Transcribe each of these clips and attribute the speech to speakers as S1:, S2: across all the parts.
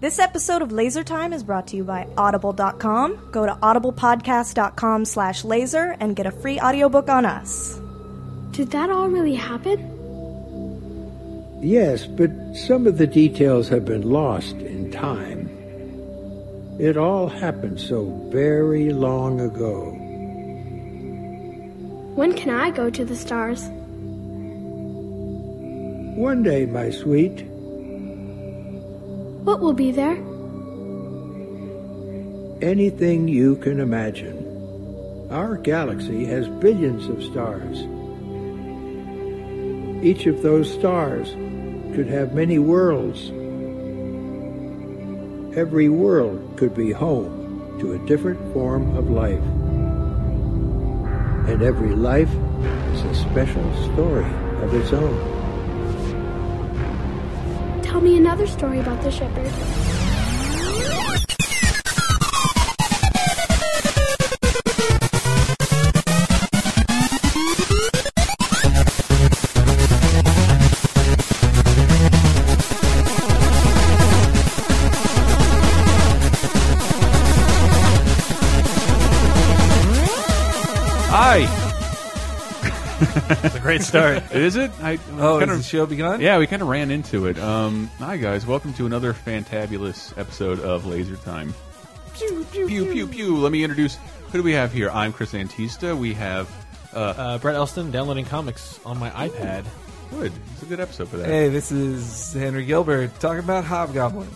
S1: This episode of Laser Time is brought to you by Audible.com. Go to audiblepodcast.com slash laser and get a free audiobook on us.
S2: Did that all really happen?
S3: Yes, but some of the details have been lost in time. It all happened so very long ago.
S2: When can I go to the stars?
S3: One day, my sweet,
S2: What will be there?
S3: anything you can imagine. Our galaxy has billions of stars. Each of those stars could have many worlds. Every world could be home to a different form of life. And every life is a special story of its own.
S2: Tell me another story about the shepherd.
S4: Hi.
S5: It's a great start.
S4: Is it? I
S5: oh,
S4: kind
S5: is
S4: of
S5: the show begun?
S4: Yeah, we kind of ran into it. Um, hi guys, welcome to another fantabulous episode of Laser Time. Pew pew pew pew. Let me introduce who do we have here? I'm Chris Antista. We have uh,
S6: Uh, Brett Elston downloading comics on my iPad.
S4: good. It's a good episode for that.
S5: Hey, this is Henry Gilbert talking about Hobgoblin.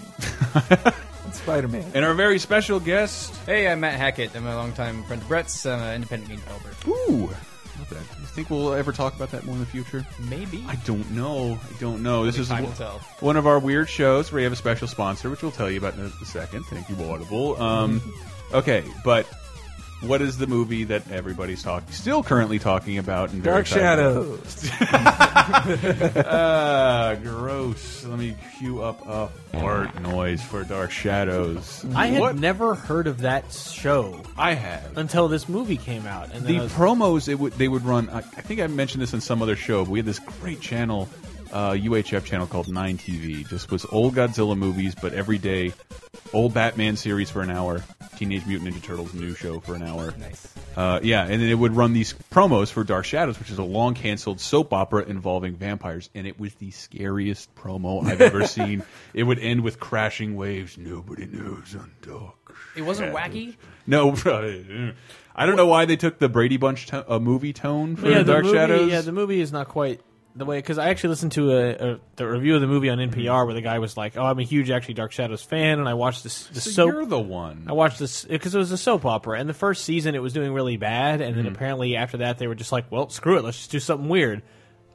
S5: Spider Man.
S4: And our very special guest.
S7: Hey, I'm Matt Hackett. I'm a longtime friend of Brett's. I'm an independent game developer.
S4: Ooh, love that. You think we'll ever talk about that more in the future?
S7: Maybe.
S4: I don't know. I don't know. This is
S7: time
S4: one-
S7: will tell.
S4: one of our weird shows where we have a special sponsor, which we'll tell you about in a second. Thank you, Audible. Um, okay, but what is the movie that everybody's talking, still currently talking about? And very
S5: Dark
S4: excited
S5: Shadows.
S4: about? Ah, gross. Let me cue up a fart noise for Dark Shadows.
S6: I had
S4: What?
S6: never heard of that show
S4: I have.
S6: until this movie came out. And then
S4: the
S6: I was-
S4: promos it would they would run. I, I think I mentioned this in some other show. But we had this great channel, uh, UHF channel called Nine TV. Just was old Godzilla movies, but every day, old Batman series for an hour, Teenage Mutant Ninja Turtles new show for an hour.
S7: Nice.
S4: Uh, yeah, and then it would run these promos for Dark Shadows, which is a long canceled soap opera involving vampires, and it was the scariest promo I've ever seen. It would end with crashing waves. Nobody knows on Dark.
S7: It wasn't
S4: Shadows."
S7: wacky?
S4: No, I don't know why they took the Brady Bunch to uh, movie tone for
S6: yeah, the
S4: Dark
S6: movie,
S4: Shadows.
S6: Yeah, the movie is not quite the way because I actually listened to a, a the review of the movie on NPR where the guy was like, "Oh, I'm a huge actually Dark Shadows fan, and I watched this the
S4: so
S6: soap."
S4: you're the one.
S6: I watched this because it was a soap opera, and the first season it was doing really bad, and
S4: Mm-hmm.
S6: then apparently after that they were just like, "Well, screw it, let's just do something weird." Ho-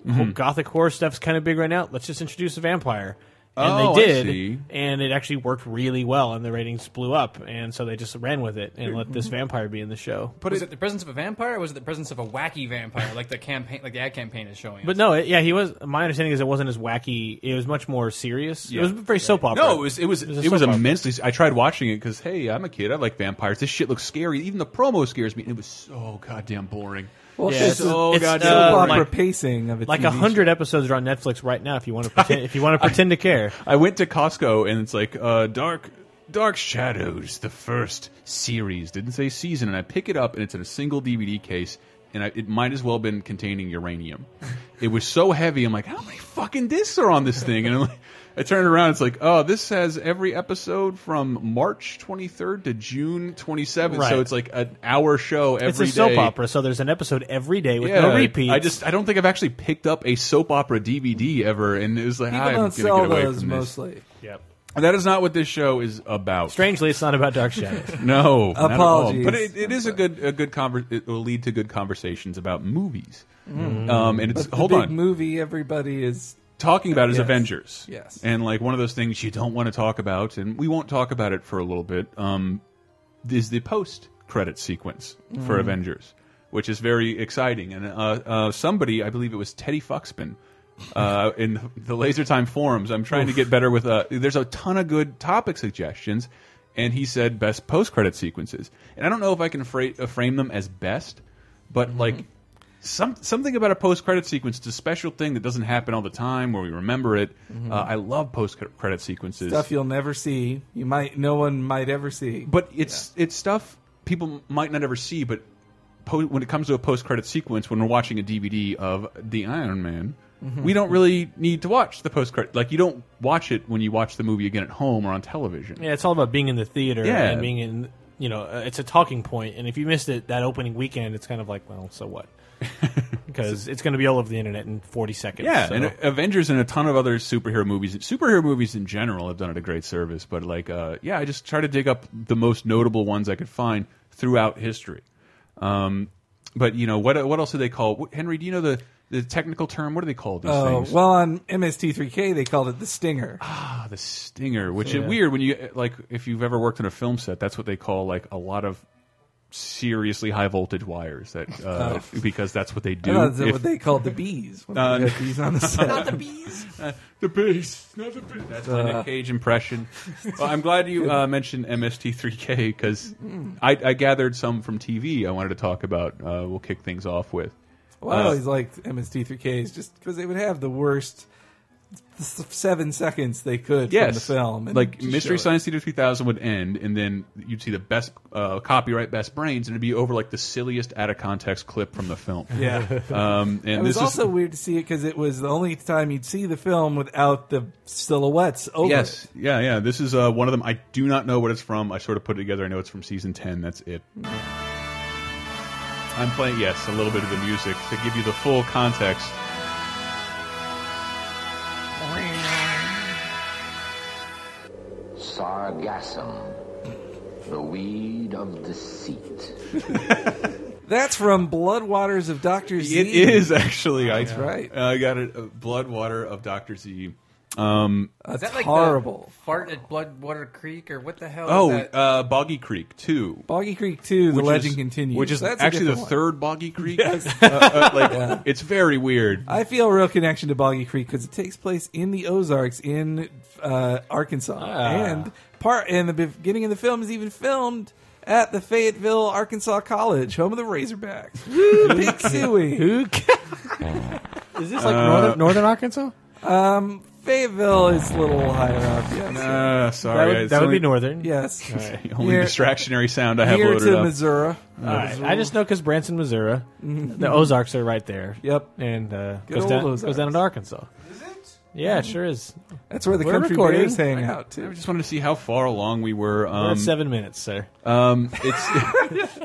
S4: Mm-hmm.
S6: Gothic horror stuff's kind of big right now. Let's just introduce a vampire, and
S4: Oh, I
S6: they did,
S4: see.
S6: and it actually worked really well, and the ratings blew up, and so they just ran with it and let this
S4: Mm-hmm.
S6: vampire be in the show.
S7: But was it, the presence of a vampire, or was it the presence of a wacky vampire, like the campaign, like the ad campaign is showing?
S6: But
S7: us?
S6: no, it, yeah, he was. My understanding is it wasn't as wacky. It was much more serious.
S4: Yeah.
S6: It was very soap opera.
S4: No, it was it was it was,
S6: soap opera.
S4: immensely. I tried watching it because hey, I'm a kid. I like vampires. This shit looks scary. Even the promo scares me. It was so goddamn boring.
S5: Well,
S6: Yeah,
S5: it's,
S6: it's-
S5: so
S6: it's,
S5: goddamn
S6: uh,
S5: opera
S6: like-
S5: pacing of a
S6: Like
S5: TV
S6: a hundred
S5: show.
S6: episodes are on Netflix right now. If you want to pretend, if you want to pretend to care,
S4: I went to Costco and it's like uh, Dark Dark Shadows, the first series. Didn't say season, and I pick it up and it's in a single DVD case, and I, it might as well have been containing uranium. it was so heavy. I'm like, how many fucking discs are on this thing? And I'm like, I turn it around. It's like, oh, this has every episode from March 23rd to June 27th.
S6: Right.
S4: So it's like an hour show every day.
S6: it's a soap opera. So there's an episode every day with
S4: Yeah,
S6: no repeats.
S4: I just I don't think I've actually picked up a soap opera DVD ever, and it was like "Ah,
S5: People
S4: I'm
S5: don't
S4: gonna
S5: sell
S4: get away
S5: those
S4: from this.
S5: mostly.
S6: Yep.
S4: That is not what this show is about.
S6: Strangely, it's not about Dark Shadows.
S4: No, not at all.
S5: Apologies.
S4: But it, it is a good a good conver- It will lead to good conversations about movies. Um, and it's
S5: Mm. But the
S4: hold
S5: big
S4: on.
S5: movie everybody is
S4: talking about is
S5: Yes.
S4: Avengers.
S5: Yes.
S4: And like one of those things you don't want to talk about, and we won't talk about it for a little bit, um, is the post credit sequence
S5: Mm.
S4: for Avengers, which is very exciting. And uh, uh, somebody, I believe it was Teddy Fuxpin. Uh, in the Laser Time forums, I'm trying to get better with. Uh, there's a ton of good topic suggestions, and he said best
S5: Mm-hmm.
S4: post credit sequences. And I don't know if I can fra uh, frame them as best, but like some something about a post credit sequence. It's a special thing that doesn't happen all the time where we remember it. Uh, I love post credit sequences.
S5: Stuff you'll never see. You might. No one might ever see.
S4: But it's it's stuff people might not ever see. But po when it comes to a post credit sequence, when we're watching a DVD of the Iron Man, we don't really need to watch the post credit. Like you don't watch it when you watch the movie again at home or on television.
S6: Yeah, it's all about being in the theater
S4: Yeah.
S6: and being in. You know, uh, it's a talking point, and if you missed it that opening weekend, it's kind of like, well, so what? Because it's going to be all over the internet in forty seconds.
S4: Yeah,
S6: so-
S4: and uh, Avengers and a ton of other superhero movies. Superhero movies in general have done it a great service, but like, uh, yeah, I just try to dig up the most notable ones I could find throughout history. Um, but you know what? What else do they call what, Henry? Do you know the the technical term? What do they call these
S5: Oh,
S4: things?
S5: well, on MST3K they called it the stinger.
S4: Ah, the stinger, which is weird when you like if you've ever worked in a film set. That's what they call like a lot of seriously high voltage wires that uh, because that's what they
S5: Oh. I
S4: do.
S5: thought that's
S4: if-
S5: what they called the bees. When
S4: Uh,
S5: they had bees on the set.
S4: The bass, not the bass. That's my Nick Cage impression. well, I'm glad you uh, mentioned MST3K because I, I gathered some from TV I wanted to talk about. Uh, we'll kick things off with.
S5: Well,
S4: Uh,
S5: I always liked MST3Ks just because they would have the worst s- seven seconds they could
S4: Yes,
S5: from the film. and
S4: like
S5: just
S4: Mystery
S5: show it.
S4: Science Theater 3000 would end, and then you'd see the best uh, copyright, best brains, and it'd be over like the silliest out of context clip from the film.
S5: Yeah.
S4: Um, and
S5: It was
S4: this
S5: also
S4: is,
S5: weird to see it because it was the only time you'd see the film without the silhouettes over
S4: Yes,
S5: it.
S4: yeah, yeah. This is uh, one of them. I do not know what it's from. I sort of put it together. I know it's from season ten. That's it. I'm playing yes, a little bit of the music to give you the full context.
S8: Sargassum, the weed of deceit.
S5: That's from Blood Waters of Doctor Z.
S4: It is actually. That's
S5: Oh, right.
S4: I got it. Uh, Blood water of Doctor Z.
S7: Is that like
S5: horrible.
S7: The fart at Bloodwater Creek or what the hell?
S4: Oh,
S7: is that?
S4: uh, Boggy Creek too.
S5: Boggy Creek 2, The
S4: which
S5: Legend
S4: is-
S5: Continues.
S4: Which is
S5: That's a
S4: actually the
S5: different one.
S4: third Boggy Creek. Uh, uh, like, It's very weird.
S5: I feel a real connection to Boggy Creek because it takes place in the Ozarks in uh, Arkansas,
S6: Ah.
S5: and part and the beginning of the film is even filmed at the Fayetteville, Arkansas College, home of the Razorbacks. Woo, Big Suey.
S6: Who ca- is this like
S4: uh,
S6: northern, northern Arkansas?
S5: Fayetteville is a little higher up. Yes,
S4: Uh,
S6: That
S4: sorry,
S6: would,
S4: it's
S6: that would
S4: only,
S6: be northern.
S5: yes.
S4: the only
S5: Near-
S4: distractionary sound I have
S5: Near
S4: loaded
S5: to
S4: up.
S5: Missouri.
S6: All right. I just know because Branson, Missouri,
S4: Mm-hmm.
S6: the Ozarks are right there.
S5: Yep.
S6: and uh,
S5: Good
S6: goes
S5: old
S6: down
S5: Ozarks.
S6: goes down to Arkansas. Is it? Yeah, it sure is.
S5: That's where the
S6: We're
S5: country
S6: recording.
S5: bears hang out
S4: I
S5: too.
S4: just wanted to see how far along we were. Um,
S6: We're at seven minutes, sir.
S4: Um, it's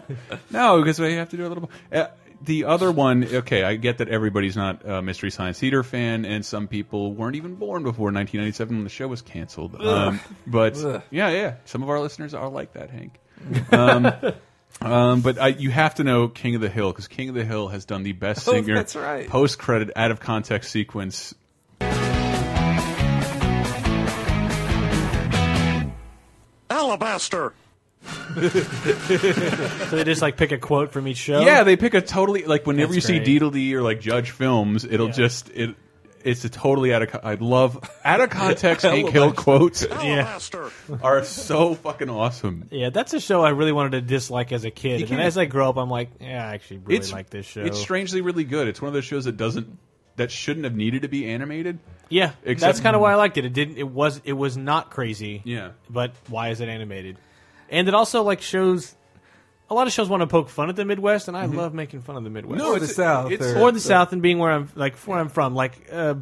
S4: no, because we have to do a little. Uh, the other one, okay, I get that everybody's not a Mystery Science Theater fan, and some people weren't even born before 1997 when the show was canceled. Um, but
S5: Ugh.
S4: yeah, yeah, some of our listeners are like that, Hank. Um, um, but I, you have to know King of the Hill because King of the Hill has done the best
S5: Oh,
S4: singer
S5: that's right.
S4: post credit out of context sequence.
S9: Alabaster!
S6: So they just like pick a quote from each
S5: Oh.
S6: show.
S4: Yeah, they pick a totally like whenever
S6: That's
S4: you see
S6: great.
S4: Deedledee or like Judge Films, it'll just it. It's a totally out of. co- I love out of context. Hank Hill quotes
S9: Alabaster!
S4: are so fucking awesome.
S6: yeah. That's a show I really wanted to dislike as a kid, and then
S4: can't-
S6: as I grow up, I'm like, yeah, I actually really
S4: it's
S6: like this show.
S4: It's strangely really good. It's one of those shows that doesn't that shouldn't have needed to be animated.
S6: yeah,
S4: Except- Hmm.
S6: that's kind of why I liked it. It didn't. It was. It was not crazy.
S4: Yeah.
S6: But why is it animated? And it also like shows. A lot of shows want to poke fun at the Midwest, and I love making fun of the Midwest.
S5: Or the South,
S4: Mm-hmm. It's,
S6: or the South and being where I'm like where I'm from, like, uh,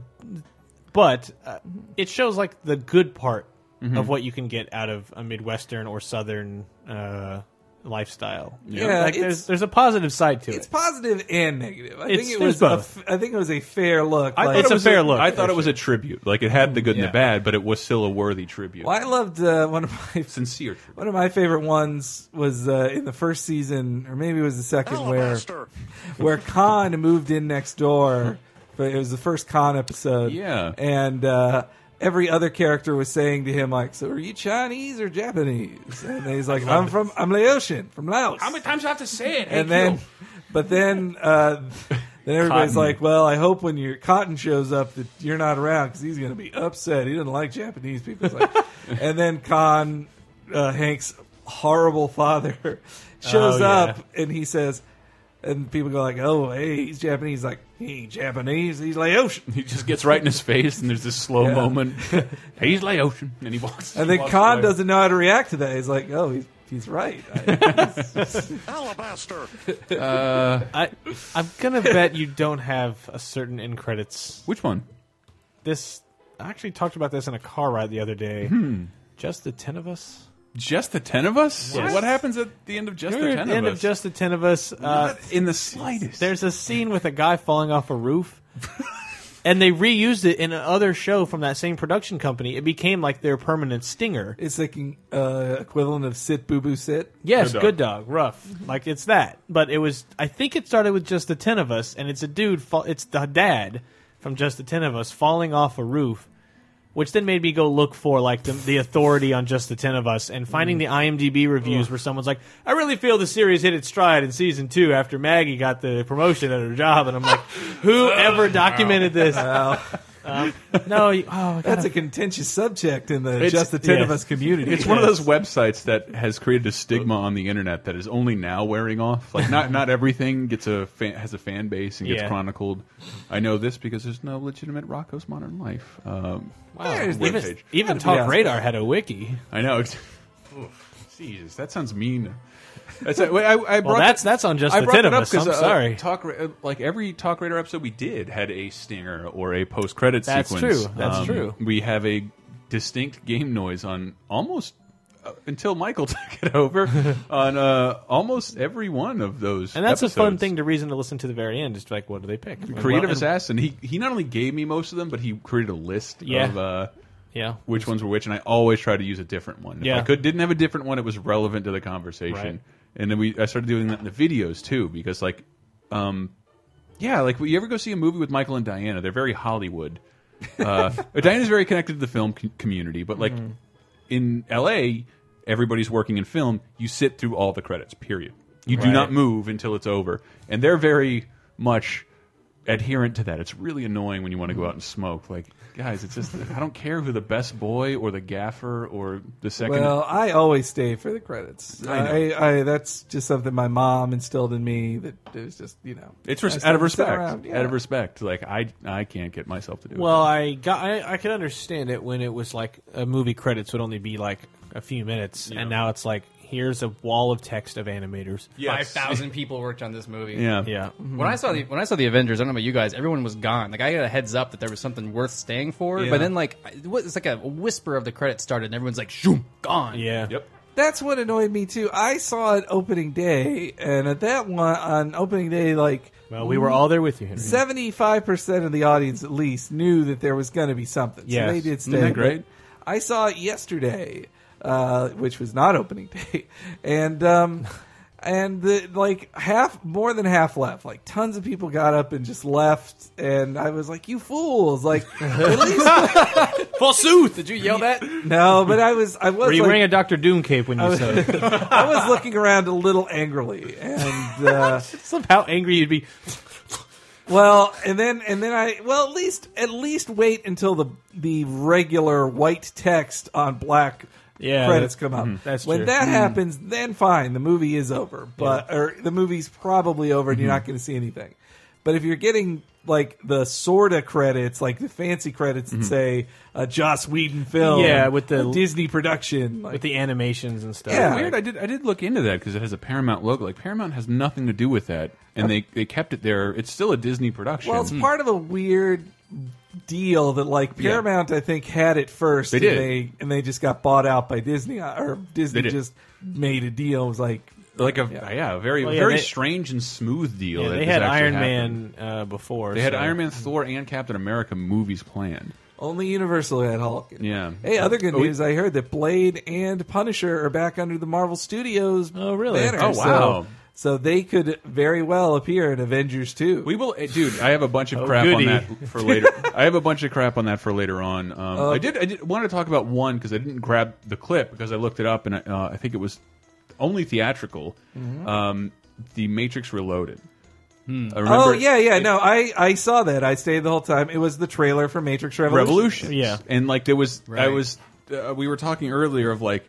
S6: but uh, it shows like the good part
S4: Mm-hmm.
S6: of what you can get out of a Midwestern or Southern uh, lifestyle.
S5: Yeah,
S6: like
S5: it's-
S6: there's there's a positive side to
S5: It's
S6: it.
S5: positive and negative. I
S6: It's-
S5: think it
S6: there's
S5: was. a
S6: both.
S5: f- I think it was a fair look.
S6: I
S5: like-
S6: thought it It's a was fair look,
S4: I thought
S6: for
S4: it was a tribute. Like it had the good and
S5: Yeah.
S4: the bad, but it was still a worthy tribute.
S5: Well, I loved uh, one of my
S4: Sincere. Tribute.
S5: One of my favorite ones was uh, in the first season, or maybe it was the second, where
S9: Alabaster!
S5: where Khan moved in next door. But it was the first Khan episode.
S4: Yeah.
S5: and uh, every other character was saying to him like, "So are you Chinese or Japanese?" And he's like, "I'm from I'm Laotian from Laos."
S7: How many times do I have to say it?
S5: and then, but then. Uh, Then everybody's
S4: Cotton.
S5: like, "Well, I hope when your cotton shows up that you're not around because he's going to be upset. He doesn't like Japanese people." It's like- and then Khan, uh, Hank's horrible father, shows
S6: Oh, yeah.
S5: up and he says, and people go like, "Oh, hey, he's Japanese." Like he ain't Japanese. He's Laotian.
S4: He just gets right in his face, and there's this slow moment. He's Laotian, and he walks.
S5: And
S4: he
S5: then
S4: walks
S5: Khan
S4: away.
S5: doesn't know how to react to that. He's like, "Oh, he's he's right." I-
S9: Alabaster.
S6: I, I'm gonna bet you don't have a certain end credits.
S4: Which one?
S6: This I actually talked about this in a car ride the other day.
S4: Hmm.
S6: Just the ten of us.
S4: Just the ten of us?
S6: Yes.
S4: What happens at the end of just the
S6: Remember
S4: ten
S6: the end
S4: of
S6: of
S4: us?
S6: just the ten of us. Uh,
S4: Not in the slightest.
S6: there's a scene with a guy falling off a roof. And they reused it in another show from that same production company. It became like their permanent stinger.
S5: it's like an uh, equivalent of "sit boo boo sit."
S6: Yes,
S4: Good dog.
S6: good dog. rough. Like it's that. But it was. I think it started with just the ten of us, and it's a dude. Fall, it's the dad from just the ten of us falling off a roof, which then made me go look for like the, the authority on just the ten of us and finding the IMDb reviews where someone's like, "I really feel the series hit its stride in season two after Maggie got the promotion at her job," and I'm like, "Whoever documented this?" Um, no, you- oh, I
S5: That's
S6: gotta-
S5: a contentious subject in the
S6: It's-
S5: just the ten
S6: yeah.
S5: of us community.
S4: It's one of those websites that has created a stigma on the internet that is only now wearing off. Like not not everything gets a fan, has a fan base and gets
S6: Yeah.
S4: chronicled. I know this because there's no legitimate Rocco's Modern Life. Um,
S5: There's the-
S4: webpage.
S6: even, even Talk
S5: honest.
S6: Radar had a wiki.
S4: I know. It's- Oof, Jesus, that sounds mean. That's I, I, I
S6: Well,
S4: brought
S6: that's that's on just
S4: I
S6: the
S4: brought
S6: ten
S4: it
S6: of
S4: up
S6: us. I'm
S4: because uh,
S6: sorry.
S4: talk ra- uh, like every talk radar episode we did had a stinger or a post credit
S6: That's
S4: sequence. Um,
S6: true. That's true.
S4: We have a distinct game noise on almost uh, until Michael took it over on uh, almost every one of those.
S6: And that's a fun
S4: episodes.
S6: thing to reason to listen to the very end. Just like, what do they pick?
S4: Creative
S6: Well,
S4: Assassin. He he not only gave me most of them, but he created a list
S6: Yeah.
S4: of. Uh,
S6: Yeah.
S4: which ones were which, and I always try to use a different one. If
S6: Yeah.
S4: I could didn't have a different one, it was relevant to the conversation.
S6: Right.
S4: And then we I started doing that in the videos too, because like um yeah, like you ever go see a movie with Michael and Diana, they're very Hollywood. Uh Diana's very connected to the film c community, but like
S5: Mm-hmm.
S4: in LA, everybody's working in film, you sit through all the credits, period. You do
S6: Right.
S4: not move until it's over. And they're very much adherent to that. It's really annoying when you want to go out and smoke. Like, guys, it's just I don't care who the best boy or the gaffer or the second.
S5: Well, I always stay for the credits.
S4: I
S5: I, I, that's just something my mom instilled in me that is just you know.
S4: it's
S5: I
S4: res-
S5: stay-
S4: out of
S5: stay
S4: respect.
S5: around, yeah.
S4: Out of respect. Like I, I can't get myself to do
S6: Well, I got I, I could understand it when it was like a movie credits would only be like a few minutes, and now it's like here's a wall of text of animators.
S4: it. Yes.
S7: Five thousand people worked on this movie.
S4: Yeah.
S6: Yeah.
S7: When I saw the when I saw the Avengers, I don't know about you guys. Everyone was gone. Like I got a heads up that there was something worth staying for. But then like it was- it's like a whisper of the credits started, and everyone's like, "Shoom, gone."
S6: Yeah.
S4: Yep.
S5: That's what annoyed me too. I saw it opening day, and at that one on opening day, like
S6: Well, we were all there with you, Henry.
S5: seventy-five percent of the audience at least knew that there was going to be something.
S6: Yes.
S5: So they did stay.
S4: Isn't that great?
S5: But I saw it yesterday, uh, which was not opening day, and um, and the, like half, more than half left. Like tons of people got up and just left, and I was like, "You fools!" Like at least
S7: Forsooth, did you yell that?
S5: no, but I was I was
S6: Were you
S5: like,
S6: wearing a Doctor Doom cape when you said it?
S5: I was looking around a little angrily, and uh,
S6: Just love how angry you'd be.
S5: well, and then and then I well at least at least wait until the the regular white text on black
S6: Yeah,
S5: credits
S6: that- mm-hmm.
S5: come up.
S6: that's
S5: when
S6: true. Mm.
S5: that happens, then fine, the movie is over, but or the movie's probably over, and
S6: Mm-hmm.
S5: you're not going to see anything. But if you're getting like the sorta credits, like the fancy credits that say a Joss Whedon film,
S6: Mm-hmm. Yeah, with the-
S5: a Disney production, like
S6: With the animations and stuff.
S5: Yeah.
S4: Weird. I did. I did look into that because it has a Paramount logo. Like Paramount has nothing to do with that, and they they kept it there. It's still a Disney production.
S5: Oh. Well,
S6: Hmm.
S5: it's part of a weird deal that like
S4: Hmm. Yeah.
S5: Paramount, I think, had it first.
S4: They did.
S5: and they, and they just got bought out by Disney, uh, or Disney
S4: They did.
S5: just made a deal. It was like,
S4: like a yeah, a very
S6: Well, yeah,
S4: very
S6: they-
S4: strange and smooth deal.
S6: Yeah,
S4: that
S6: they
S4: this
S6: had
S4: actually
S6: Iron
S4: happened.
S6: Man uh, before.
S4: They had
S6: so- Hmm.
S4: Iron Man, Thor, and Captain America movies planned.
S5: only Universal had Hulk.
S4: Yeah.
S5: Hey, other good
S4: Oh, we-
S5: news! I heard that Blade and Punisher are back under the Marvel Studios.
S6: Oh, really?
S5: Banner,
S4: Oh, wow.
S5: So, so they could very well appear in Avengers two.
S4: We will, eh, dude. I have a bunch of crap
S6: Oh, goody.
S4: on that for later. I have a bunch of crap on that for later on. Um,
S5: Uh,
S4: I did. I did wanted to talk about one because I didn't grab the clip because I looked it up and uh, I think it was only theatrical.
S6: Mm-hmm.
S4: Um, the Matrix Reloaded. I remember
S5: oh yeah, yeah. No, I I saw that. I stayed the whole time. It was the trailer for Matrix Revolution.
S4: Revolution.
S6: Yeah.
S4: and like there was, I
S7: Right.
S4: was. Uh, we were talking earlier of like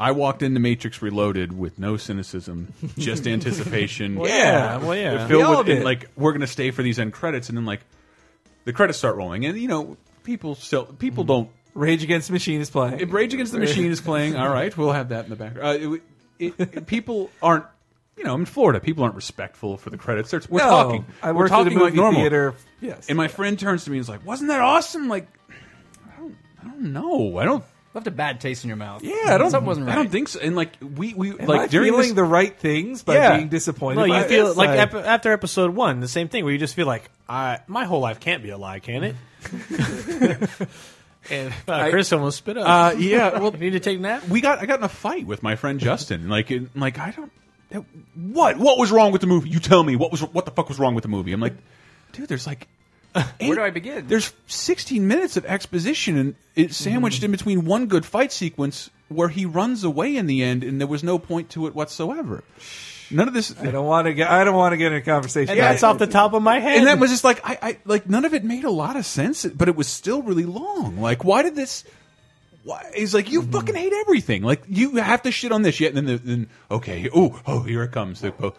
S4: I walked into Matrix Reloaded with no cynicism, just anticipation.
S5: Yeah, well,
S4: It
S5: yeah. We all
S4: filled with and,
S5: did.
S4: like we're gonna stay for these end credits, and then like the credits start rolling, and you know people still people
S5: Mm-hmm.
S4: don't.
S5: Rage Against the Machine is playing.
S4: If Rage Against the Machine is playing, all right, we'll have that in the background. Uh, it, it, it- people aren't. You know, in Florida, people aren't respectful for the credits. They're- We're
S5: No,
S4: talking.
S5: I
S4: we're
S5: worked
S4: talking
S5: at a movie
S4: like normal.
S5: theater. Yes.
S4: And my friend turns to me and is like, "Wasn't that awesome?" Like, I don't, I don't know. I don't.
S7: Left a bad taste in your mouth.
S5: yeah, I don't.
S7: something wasn't
S4: I
S7: right.
S4: don't think so. And like we we
S5: am
S4: like
S5: I
S4: during
S5: feeling
S4: this,
S5: the right things by
S4: Yeah.
S5: being disappointed.
S6: No,
S5: by
S6: you
S5: it?
S6: feel
S5: It's
S6: like ep- after episode one, the same thing where you just feel like, I my whole life can't be a lie, can it? and uh, Chris almost spit up.
S4: uh, yeah. Well,
S6: you need to take a nap.
S4: we got I got in a fight with my friend Justin. Like it, like I don't that- what what was wrong with the movie? You tell me what was what the fuck was wrong with the movie? I'm like, dude, there's like
S7: Where do I begin?
S4: there's 16 minutes of exposition and it's
S5: Mm-hmm.
S4: sandwiched in between one good fight sequence where he runs away in the end and there was no point to it whatsoever. None of this.
S5: I don't want to get. I don't want to get in a conversation.
S6: And that's off the top of my head.
S4: and that was just like I, I like none of it made a lot of sense, but it was still really long. Like, why did this? Why is like
S5: Mm-hmm.
S4: you fucking hate everything? Like you have to shit on this yet, and then the, then okay, oh oh here it comes. The- oh,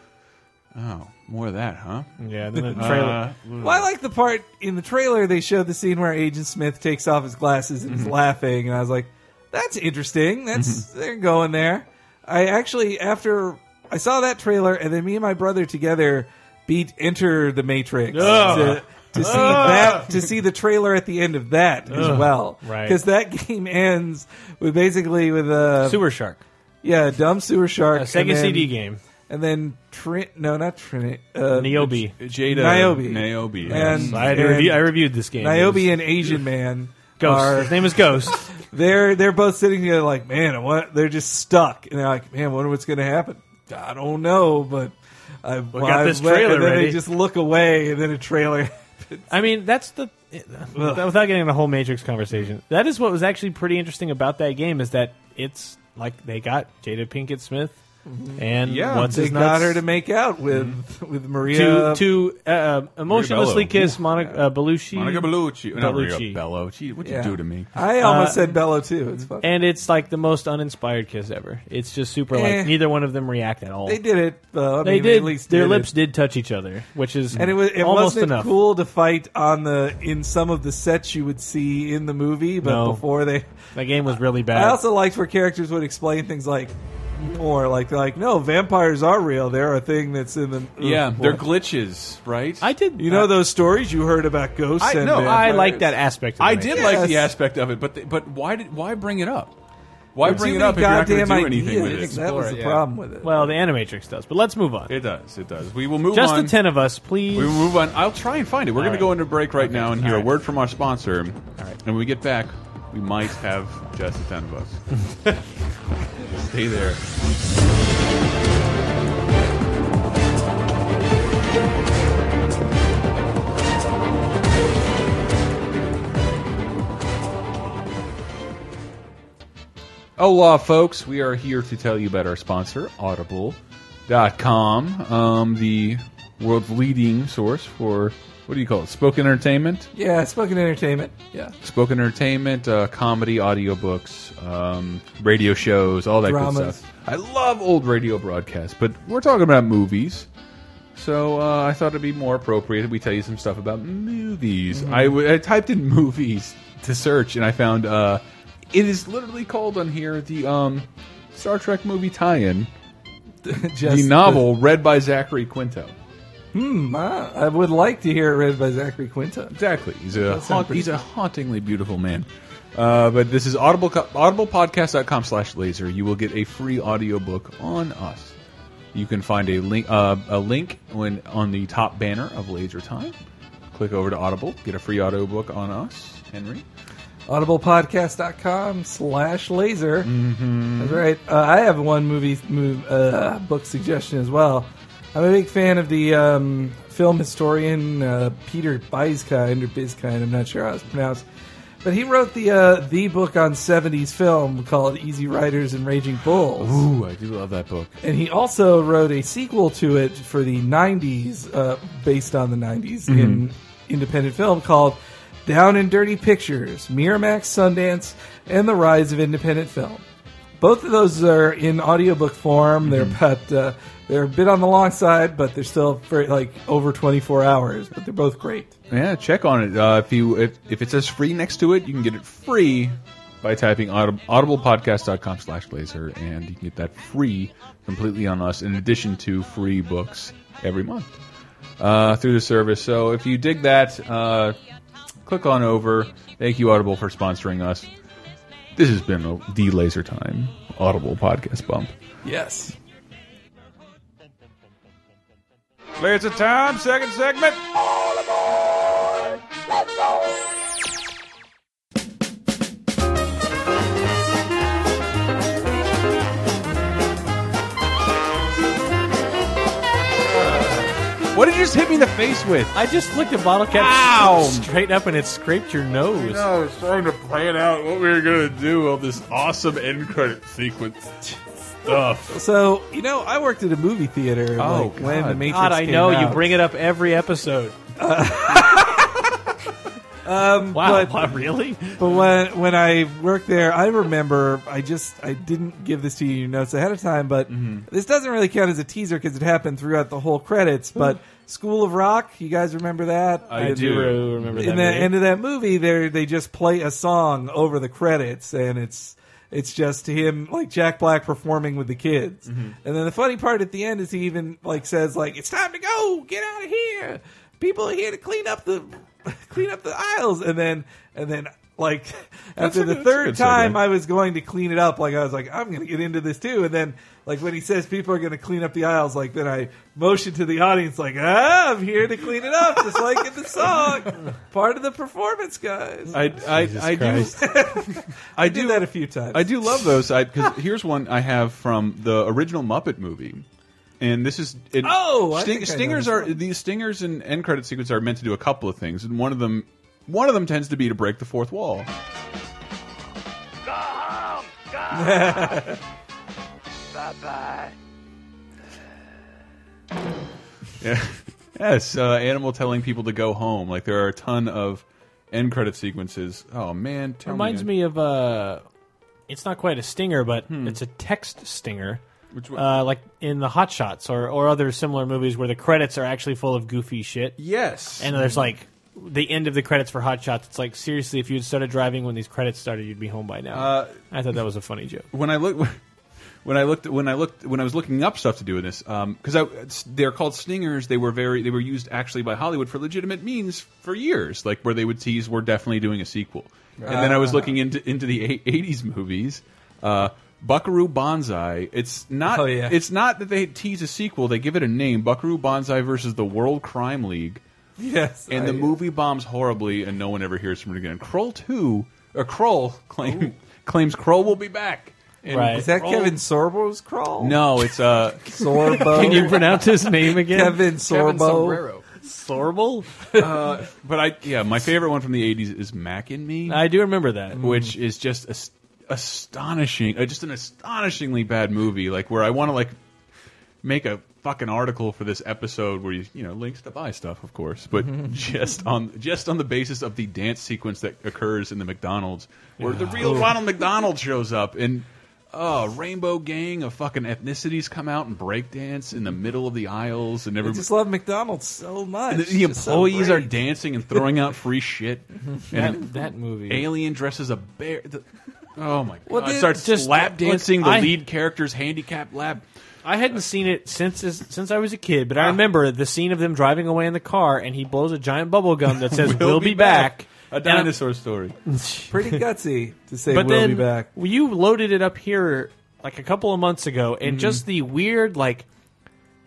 S4: oh, more of that, huh?
S6: yeah, and then the trailer.
S5: Well, I like the part in the trailer. They showed the scene where Agent Smith takes off his glasses and is laughing, and I was like, "That's interesting. That's they're going there." I actually, after I saw that trailer, and then me and my brother together beat Enter the Matrix to, to see that to see the trailer at the end of that as well,
S6: Right.
S5: Because that game ends with basically with a
S6: Sewer Shark.
S5: yeah a dumb sewer
S6: A
S5: shark, Uh, and
S6: Sega
S5: then-
S6: CD game.
S5: and then Trin no not Trinit uh,
S6: Niobe.
S4: Jada,
S5: Niobe.
S4: Niobe,
S5: and,
S6: E I, had to
S5: and
S6: review- E I reviewed this game. It
S5: Niobe and Asian Man
S6: was- Ghost.
S5: are
S6: His name is Ghost.
S5: they're they're both sitting there like, man, what? They're just stuck, and they're like, man, I wonder what's going to happen. I don't know, but I we
S6: got this trailer
S5: And then
S6: ready.
S5: they just look away, and then a trailer.
S6: I mean, that's the without without getting the whole Matrix conversation. That is what was actually pretty interesting about that game is that it's like they got Jada Pinkett Smith and
S4: Yeah,
S6: what's
S5: Mm-hmm. they
S6: his
S5: got
S6: nuts Mm-hmm.
S5: her to make out with with Maria.
S6: to to uh, uh, emotionlessly
S4: Bello.
S6: kiss Monica uh, Belushi.
S4: Monica Bellucci, not Maria
S6: Bellucci.
S4: Bello. Gee, what'd
S5: Yeah.
S4: you do to me?
S5: I almost said Bello too. It's fun.
S6: Uh, And it's like the most uninspired kiss ever. It's just super
S5: Eh.
S6: like neither one of them react at all.
S5: they did it. Though. I
S6: They
S5: mean,
S6: did.
S5: At least
S6: their
S5: did it.
S6: lips did touch each other, which is
S5: And it was it
S6: almost
S5: wasn't
S6: enough.
S5: cool to fight on the in some of the sets you would see in the movie, but
S6: No.
S5: before they
S6: That game was really bad.
S5: I also liked where characters would explain things like more like they're like no vampires are real they're a thing that's in the
S4: Yeah, they're
S5: What?
S4: glitches, right?
S6: I did.
S5: you know those stories you heard about ghosts
S4: I-
S5: and
S4: no,
S6: I
S5: vampires?
S6: like that aspect. Of the
S4: I
S6: Matrix.
S4: did like the
S5: Yes.
S4: aspect of it, but the, but why did why bring it up? Why
S5: Too
S4: bring it
S5: many
S4: up if you're not going to
S5: goddamn
S4: do anything
S5: ideas.
S4: with it?
S5: that was the
S7: yeah.
S5: problem with it
S6: Well, the Animatrix does, but let's move on.
S4: It does. It does. We will move
S6: Just
S4: on.
S6: the ten of us, please.
S4: We will move on. I'll try and find it. We're
S6: All
S4: going
S6: right.
S4: to go into break right now and hear
S6: All
S4: a
S6: right.
S4: word from our sponsor. All right. And when we get back, we might have just the ten of us. Stay there. Hola, folks. We are here to tell you about our sponsor, Audible.com, um, the world's leading source for, what do you call it, spoken entertainment?
S5: yeah spoken entertainment
S4: Yeah. Spoken entertainment, uh, comedy, audiobooks, um, radio shows, all that good
S5: Dramas.
S4: stuff. I love old radio broadcasts, but we're talking about movies. So uh, I thought it'd be more appropriate that we tell you some stuff about movies. I w I I typed in movies to search, and I found uh, it is literally called on here the um, Star Trek movie tie-in,
S5: just
S4: the novel read by Zachary Quinto.
S5: Hmm, ah, I would like to hear it read by Zachary Quinto
S4: Exactly. He's a
S5: sounds
S4: haunt,
S5: pretty
S4: he's a hauntingly beautiful man. Uh, but this is audible audiblepodcast.com slash laser. You will get a free audiobook on us. You can find a link uh, a link when on the top banner of Laser Time. Click over to Audible, get a free audiobook on us, Henry.
S5: audiblepodcast.com slash laser that's right uh, i have one movie move, uh, book suggestion as well i'm a big fan of the um, film historian uh, peter biskind or biskind i'm not sure how it's pronounced but he wrote the uh, the book on 70s film called easy riders and raging bulls
S4: Ooh, I do love that book.
S5: and he also wrote a sequel to it for the 90s, uh, based on the 90s in
S6: Mm-hmm.
S5: independent film called Down and Dirty Pictures, Miramax, Sundance, and the Rise of Independent Film. Both of those are in audiobook form. They're about
S6: Mm-hmm.
S5: uh, they're a bit on the long side, but they're still for like over 24 hours. But they're both great.
S4: Yeah, check on it. Uh, if you if, if it says free next to it, you can get it free by typing audib audiblepodcast.com slash blazer, and you can get that free completely on us in addition to free books every month uh, through the service. So if you dig that, uh, click on over. Thank you, Audible, for sponsoring us. This has been a, the Laser Time Audible Podcast Bump.
S5: Yes.
S4: Laser Time, second segment. What did you just hit me in the face with?
S6: I just flicked a bottle cap
S4: Ow!
S6: straight up and it scraped your nose.
S4: No, it's trying to plan out what we were going to do on this awesome end credit sequence stuff.
S5: So you know, I worked at a movie theater.
S4: Oh,
S5: like, when the
S4: God.
S5: Matrix
S6: God, I
S5: came
S6: know you
S5: out.
S6: bring it up every episode. um, wow,
S5: but-
S6: wow, really?
S5: But when when I worked there, I remember I just I didn't give this to you in notes ahead of time, but
S4: Mm-hmm.
S5: this doesn't really count as a teaser because it happened throughout the whole credits. But School of Rock, you guys remember that?
S4: Hmm. I do.
S6: really remember that.
S5: in the
S6: movie.
S5: end of that movie, there they just play a song over the credits, and it's it's just him like Jack Black performing with the kids. And then the funny part at the end is he even like says like it's time to go, get out of here. People are here to clean up the clean up the aisles, and then and then. Like after
S4: a
S5: the
S4: good- that's a
S5: third
S4: good
S5: time,
S4: segue.
S5: I was going to clean it up. Like I was like, I'm going to get into this too. And then, like when he says people are going to clean up the aisles, like then I motion to the audience, like ah, I'm here to clean it up, just like in the song, part of the performance, guys. I
S4: I, I, I do. I do
S5: did that a few times.
S4: I do love those. I because here's one I have from the original Muppet movie, and this is it,
S5: Oh, I
S4: Sting-
S5: think I know
S4: stingers
S5: this
S4: are
S5: one.
S4: these stingers and end credit sequences are meant to do a couple of things, and one of them one of them tends to be to break the fourth wall. Yeah. yes, uh, animal telling people to go home. Like there are a ton of end credit sequences. Oh man, tell
S6: reminds me of uh, it's not quite a stinger, but it's a text stinger.
S4: Hmm. Which one?
S6: uh, like in the Hot Shots or, or other similar movies where the credits are actually full of goofy shit.
S4: Yes,
S6: And there's like the end of the credits for Hot Shots. It's like seriously, if you had started driving when these credits started, you'd be home by now.
S4: Uh,
S6: I thought that was a funny joke.
S4: when I look when I looked when I looked when I was looking up stuff to do in this because I they're called stingers. They were very they were used actually by Hollywood for legitimate means for years, like where they would tease we're definitely doing a sequel. And then I
S5: Ah.
S4: was looking into into the eight- '80s movies. Uh, Buckaroo Banzai. It's not.
S5: Oh, yeah.
S4: It's not that they tease a sequel. They give it a name. Buckaroo Banzai versus the World Crime League.
S5: yes,
S4: And
S5: I-
S6: uh,
S4: the movie bombs horribly, and no one ever hears from it again. Kroll two or Kroll claim, claims Kroll will be back. And
S6: Right.
S5: is that
S4: Kroll-
S5: Kevin Sorbo's crawl?
S4: No, it's uh,
S5: Sorbo.
S6: Can you pronounce his name again?
S5: Kevin
S7: Kevin
S5: Sorbo.
S7: Sombrero.
S6: Sorble?
S4: but I yeah, my favorite one from the '80s is Mac and Me,
S6: I do remember that.
S5: Mm.
S4: which is just as- astonishing, uh, just an astonishingly bad movie. Like where I want to like make a fucking article for this episode where you you know links to buy stuff, of course, but just on just on the basis of the dance sequence that occurs in the McDonald's where the real Ronald McDonald shows up and. Oh, rainbow gang of fucking ethnicities come out and breakdance in the middle of the aisles, and
S5: I
S4: everybody.
S5: just love McDonald's so much.
S4: the, the
S5: It's just so
S4: employees are
S5: great.
S4: dancing and throwing out free shit. and
S6: That, that movie.
S4: an alien dresses a bear. The, oh my god!
S5: Well, dude,
S4: starts
S6: just-
S4: lap
S6: look,
S4: dancing the
S6: I-
S4: lead character's handicap lap.
S6: I hadn't seen it since since I was a kid, but I remember the scene of them driving away in the car, and he blows a giant bubble gum that says "We'll, be, back."
S4: A
S6: And I'm-
S4: dinosaur story.
S5: pretty gutsy to say
S6: but
S5: we'll
S6: then
S5: be back.
S6: you loaded it up here like a couple of months ago, and just the weird, like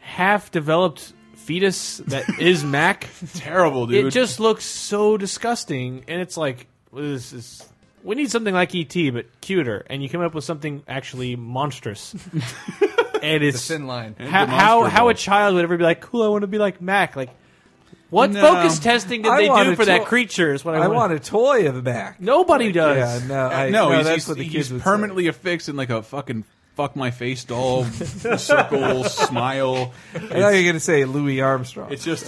S6: half-developed fetus that is Mac.
S4: Terrible, dude.
S6: it just looks so disgusting, and it's like this is. We need something like ET, but cuter, and you come up with something actually monstrous. and
S7: The
S6: it's
S7: thin line.
S6: how, how how a child would ever be like, "Cool, I want to be like Mac." Like, what
S4: No.
S6: focus testing did
S5: I
S6: they
S5: want
S6: do
S5: a
S6: for
S5: toy-
S6: that creature? Is what I,
S5: I
S6: wanna-
S5: want a toy of Mac.
S6: Nobody does.
S5: Yeah, no, I,
S4: no, he's,
S5: that's
S4: he's-
S5: what the
S4: he's
S5: kids would say.
S4: permanently affixed in like a fucking fuck my face doll circle smile.
S5: I thought you were going to say Louis Armstrong.
S4: It's just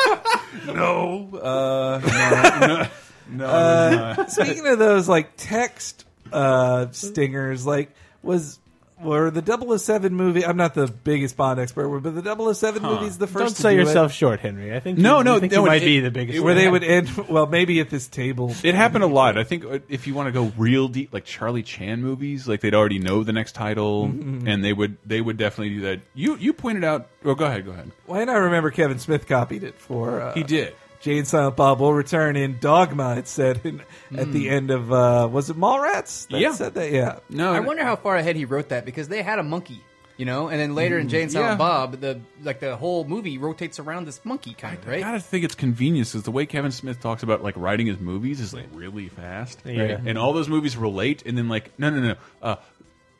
S4: no, uh, no, no. no, it's not.
S5: Speaking of those like text uh, stingers, like was were the 007 movie. I'm not the biggest Bond expert, but the 007 movies the first.
S6: Don't
S5: to
S6: sell
S5: do it,
S6: yourself short, Henry. I think
S4: No,
S6: you,
S4: no,
S6: I think
S4: no,
S6: you
S4: it-
S6: might be
S4: it-
S6: the biggest.
S5: where they
S6: one.
S5: would end. Well, maybe at this table.
S4: It happened a lot. I think uh, if you want to go real deep, like Charlie Chan movies, like they'd already know the next title, and they would they would definitely do that. You you pointed out. Oh, go ahead, go ahead.
S5: Why not remember Kevin Smith copied it for? Uh,
S4: He did.
S5: Jane Silent Bob will return in Dogma. It said in, at the end of uh, was it Mallrats? That
S4: Hmm. Yeah.
S5: said that. Yeah,
S4: No,
S7: I wonder how far ahead he wrote that because they had a monkey, you know, and then later in Jane and Silent
S4: yeah.
S7: Bob, the like the whole movie rotates around this monkey kind,
S4: I
S7: right?
S4: gotta think it's convenience because the way Kevin Smith talks about like writing his movies is like really fast,
S6: Yeah.
S4: and all those movies relate. And then like no no no, uh,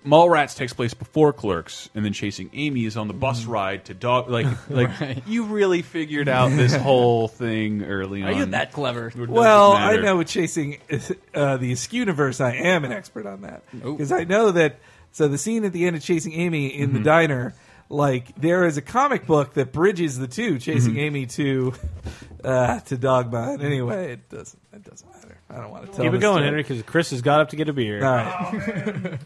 S4: Mallrats takes place before Clerks, and then Chasing Amy is on the bus ride to dog. Like like you really figured out this whole thing early
S7: Are
S4: on.
S7: you that clever?
S4: It doesn't
S5: Well, I
S4: matter.
S5: know with chasing uh, the Askew universe, I am an expert on that
S7: Oh.
S5: because I know that. So the scene at the end of Chasing Amy in
S6: Mm-hmm.
S5: the diner, like there is a comic book that bridges the two, Chasing
S6: Mm-hmm.
S5: Amy to uh, to Dogma. And anyway, it doesn't it doesn't matter. I don't want to tell.
S6: keep it
S5: this
S6: going,
S5: story.
S6: Henry, because Chris has got up to get a beer.
S5: All right.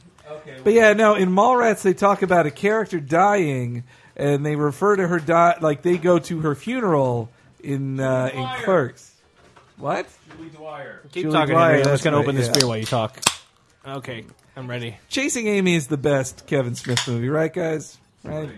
S5: but yeah, no. In Mallrats, they talk about a character dying, and they refer to her die like they go to her funeral in uh, in Clerks. What?
S6: keep
S5: Julie
S6: talking,
S5: Dwyer,
S6: Henry. I'm
S5: that's
S6: just going
S5: right,
S6: to open this
S5: yeah.
S6: beer while you talk. Okay, I'm ready.
S5: Chasing Amy is the best Kevin Smith movie, right, guys? Right?